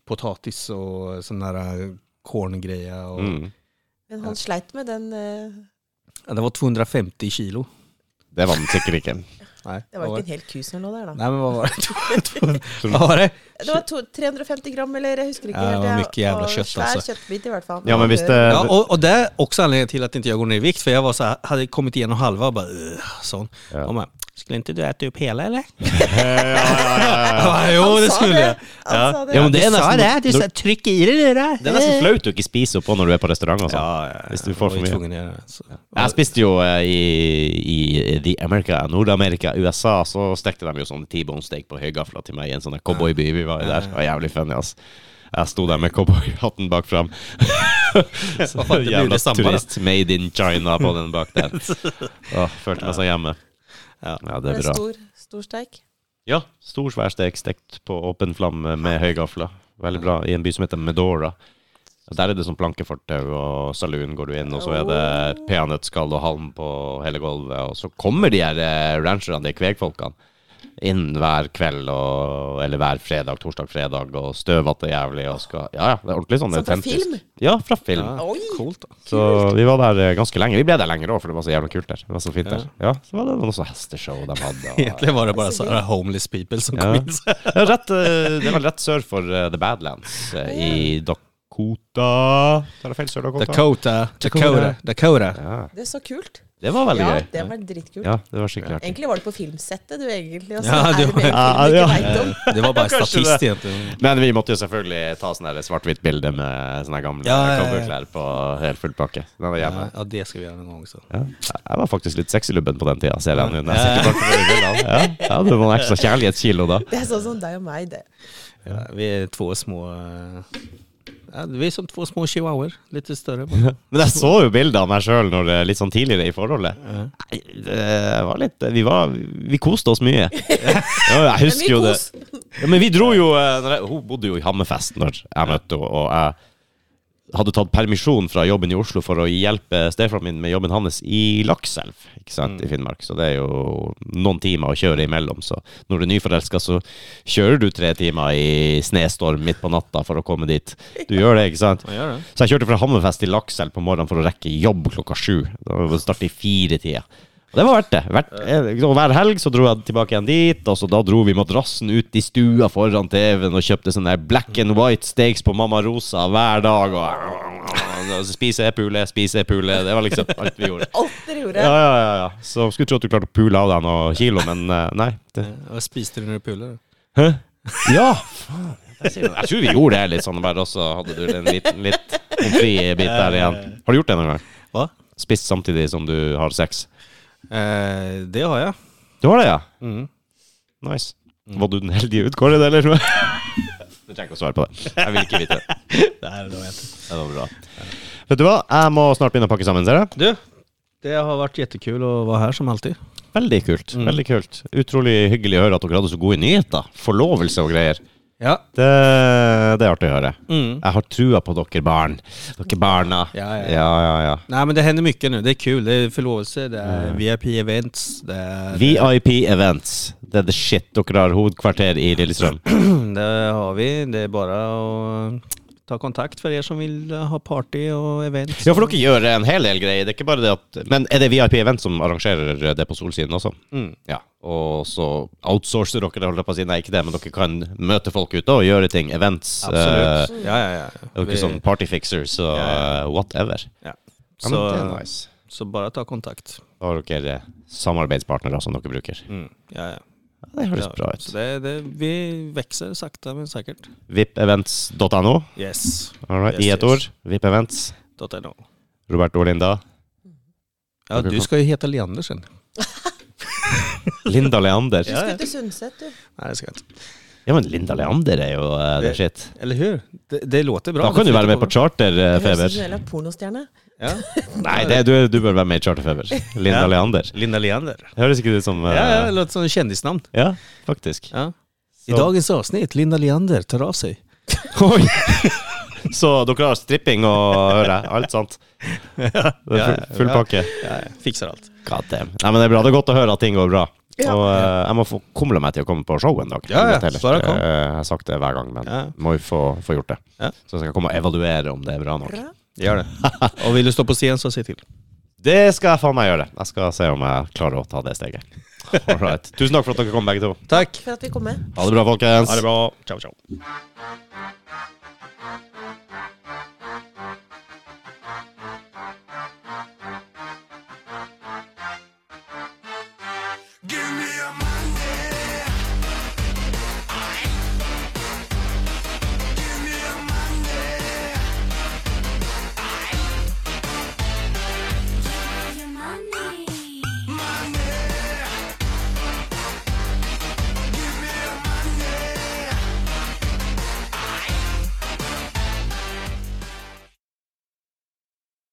B: potatis och sån där korngreja. Och...
A: Mm.
C: Men han sleit med den eh,
B: Ja, det var 250 kilo.
A: Det var den sikkert ikke.
B: Nej,
C: Det var ikke en hel ku som lå der, da.
B: Nej men vad var
C: [LAUGHS]
B: det? vad var det?
C: Det var to, 350 gram, eller jeg husker ikke
B: Ja, det
C: helt.
B: var mye jævla
C: og
B: kjøtt,
C: svær
B: altså.
C: kjøttbit, i hvert fall.
A: Ja, men hvis det
B: Ja, och, och det är också anledningen till att inte jag går ner i vikt, för jag var så här, hade kommit igenom halva och bara "Ugh", sån.
A: Ja.
B: Och man, skulle inte du äta upp hela eller?
A: [LAUGHS] ja,
B: [LAUGHS] Jag bara, jo
C: Han
B: det
C: sa
B: skulle
C: det.
B: jag.
C: Han sa det.
A: Ja, men det är
B: du sa
A: nästan-
B: det, du sa tryck i dig det där.
A: Det er nesten flaut å ikke spise opp på når du er på restaurant. Og sånn.
B: Ja, ja, ja.
A: Hvis du får
B: Jag var ju
A: for mye.
B: tvungen att göra det, så.
A: Jeg spiste jo eh, i, i The America, Nord-Amerika, USA, så stekte de jo sånn T-bone steak på høygafla til meg i en sånn der cowboyby vi var i der. Det var jævlig funny, ass. Jeg sto der med cowboyhatten bak [LAUGHS] fram.
B: Vad fan, det blir ju
A: Jævla
B: detsamma då.
A: turist made in China på den bak der. Åh, følte meg så hjemme.
B: Ja.
A: Ja,
C: Det
A: det
C: er
A: er bra.
C: Stor, stor steik.
A: Ja, stor svær stek stekt på åpen flamme med høygafler. Veldig bra. I en by som heter Medora. Og Der er det sånn plankefortau og saloon går du inn, og så er det peanøttskall og halm på hele gulvet. Og så kommer de her eh, rancherne, de kvegfolkene, inn hver kveld og Eller hver fredag, torsdag, fredag, og støvete jævlig og skal Ja, ja, det er ordentlig sånn
C: Som fra
A: autentisk.
C: film?
A: Ja, fra film.
C: Oi!
B: Coolt. då.
A: Så vi var der eh, ganske lenge. Vi ble der lenger òg, for det var så jævlig kult der. Det var så fint der. Ja, Så var det noe sånn hesteshow de hadde. [LAUGHS] og-
B: Egentligen var det bara så här homeless people som kom
A: Ja.
B: in. så
A: Ja, rett, eh, det var rett sør for eh, The Badlands eh, i Dakota Tar jeg feil?
B: här.
A: Sør-Dakota?
B: Dakota, Dakota, Dakota.
A: ja.
C: Det er så kult.
A: Det var veldig
C: ja,
A: gøy.
C: det var dritkult.
A: Ja, det var skikkelig artig.
C: Egentlig var det på filmsettet du egentlig og så
B: Ja,
C: er
B: det
C: det
B: var-
C: mer
A: Ja,
C: film du
A: ja.
C: ikke vet om.
B: Det var bara en
A: Kanske
B: statist
A: det.
B: egentligen.
A: Men vi måtte jo selvfølgelig ta sånn her svart-hvitt bilde med sånne gamle
B: Ja, ja, ja.
A: cowboyklær på helt full pakke. Den var
B: Ja,
A: hjemme.
B: ja, det ska vi göra någon gång. Så.
A: Ja. Jeg var faktisk litt sexylubben på den tida, ser jeg nå. når jeg ser tilbake på de
B: [LAUGHS]
A: bildene. Ja, jeg hadde noen ekstra kjærlighetskilo da.
C: Det er sånn som deg og meg, det.
B: Ja, vi är två små... eh, Ja, vi är som två små chihuahuor, lite större.
A: [LAUGHS]
B: bara.
A: Men jeg så jo bilder av meg sjøl litt sånn tidligere i forholdet. Nei, det var litt eh, Vi, var, vi koste oss [LAUGHS] mye. Ja, jeg
C: Men vi
A: husker jo det.
C: kos-
A: Ja, men vi dro jo eh, når jeg, Hun bodde jo i Hammerfest når jeg møtte henne, og jeg hadde tatt permisjon fra jobben i Oslo for å hjelpe stefaren min med jobben hans i Lakselv ikke sant, i Finnmark. Så det er jo noen timer å kjøre imellom. Så når du er nyforelska, så kjører du tre timer i snestorm midt på natta for å komme dit. Du gjør det, ikke sant?
B: Man gör det.
A: Så jeg kjørte fra Hammerfest til Lakselv på morgenen for å rekke jobb klokka sju. Da var det Start i fire-tida. Og det var verdt det. Hvert, eh, og hver helg så dro jeg tilbake igjen dit, og så da dro vi madrassen ut i stua foran TV-en og kjøpte sånne der black and white steaks på Mamma Rosa hver dag. Og, og så spise pule, spise pule. Det var liksom alt vi gjorde.
C: Alt dere gjorde.
A: Ja, ja, ja, ja. Så skulle tro at du klarte å pule av deg noen kilo, men eh, nei. Det.
B: Vad spiste du när du pulade?
A: Hæ? Ja! Faen. Jeg sier det. Jeg tror vi gjorde det litt sånn, bare også hadde du en liten litt pommes frites-bit
B: Eh,
A: der igjen. Har du gjort det noen gang?
B: Va?
A: Spist samtidig som du har sex?
B: Eh, det har jag.
A: Du har det, ja?
B: Mm.
A: Nice. Var du den heldige utkårede, eller noe? Du trenger ikke å svare på det. Jeg vil ikke vite det.
B: Det här har jag inte.
A: Det var bra. Vet du hva, jeg må snart begynne å pakke sammen, ser jeg.
B: Du, det har vært jettekul å være her som alltid.
A: Veldig kult.
B: Mm.
A: veldig kult. Utrolig hyggelig å høre at dere hadde så gode nyheter. Forlovelse og greier.
B: Ja.
A: Det, det er artig å høre. Jeg har trua på dere barn. Dere barna.
B: Mm. Ja, ja, ja.
A: ja, ja, ja.
B: Nej men det händer mycket nu, det är kul, det är förlovelse, det är VIP-events, det är...
A: VIP Events. Det er the shit. Dere har hovedkvarter i [CLEARS THROAT] Lillestrøm.
B: [CLEARS THROAT] Det har vi, det är bara att ta kontakt för er som vill ha party och events.
A: Ja, for dere gjør en hel del greier. Det er ikke bare det at Men er det VIP Event som arrangerer det på Solsiden også?
B: Mm.
A: Ja. Og så outsourcer dere det, holder jeg på å si. Nei, ikke det, men dere kan møte folk ute og gjøre ting. Events.
B: Absolut.
A: eh,
B: ja, ja, ja.
A: det er jo
B: Vi-
A: ikke sånn partyfixers og
B: Ja,
A: eh, whatever. Ja,
B: ja.
A: men
B: Så,
A: det er nice.
B: så bara ta kontakt.
A: Da eh, har dere samarbeidspartnere som dere bruker.
B: Mm. Ja, ja.
A: Ja, det høres
B: ja.
A: bra ut.
B: Så det, det, vi växer sakta men säkert.
A: Vipevents.no.
B: Yes.
A: all right,
B: Yes,
A: I ett
B: yes.
A: ord. Vipevents.
B: .no.
A: Robert og Linda.
B: Ja, du ska ju heta Leander sen.
A: Linda Leander.
C: Du
A: ja.
C: skal til Sundset, du.
B: Nej, det ska jag inte.
A: men Linda Leander er jo eh, det
B: Det-
A: shit.
B: Eller hur? Det, det låter bra.
A: Da kan du være med på
C: Det høres ut som
A: charterfeber.
C: en jævla pornostjerne.
B: Ja.
A: Nei, det, du, du bør være med i
B: [LAUGHS]
A: charterfeber. Linda
B: Ja.
A: Leander.
B: [LAUGHS] Linda Leander.
A: Høres ikke ut som eh,
B: Ja, ja, det låter som ett kändisnamn.
A: ja, faktisk.
B: Ja. I
A: Så-
B: dagens avsnitt, Linda Leander tar av sig.
A: [LAUGHS] Oi. [LAUGHS] Så dere har stripping å høre. Alt
B: [LAUGHS]
A: sant. Det er full, full
B: ja.
A: pakke.
B: Ja, jeg fixar allt.
A: God damn. Nei, men det er bra. Det er godt å høre at ting går bra.
C: Ja.
A: Og eh, jeg må få kumle meg til å komme på show en dag.
B: Ja, ja.
A: Helt ærlig.
B: Bare kom.
A: Eh, jeg har sagt det hver gang, men
B: Ja.
A: må jo få, få gjort det.
B: Ja.
A: Så jeg skal komme og evaluere om det er bra nok.
C: Bra.
B: Gör det.
A: [LAUGHS]
B: Och vill du stå på scen så se till.
A: Det skal jeg faen meg gjøre. Jeg skal se om jeg klarer å ta det steget. All right. Tusen takk for at dere kom, begge to.
B: Tack!
C: For at vi kom med.
A: Ha det bra, folkens.
B: Ha det bra. Ciao, ciao.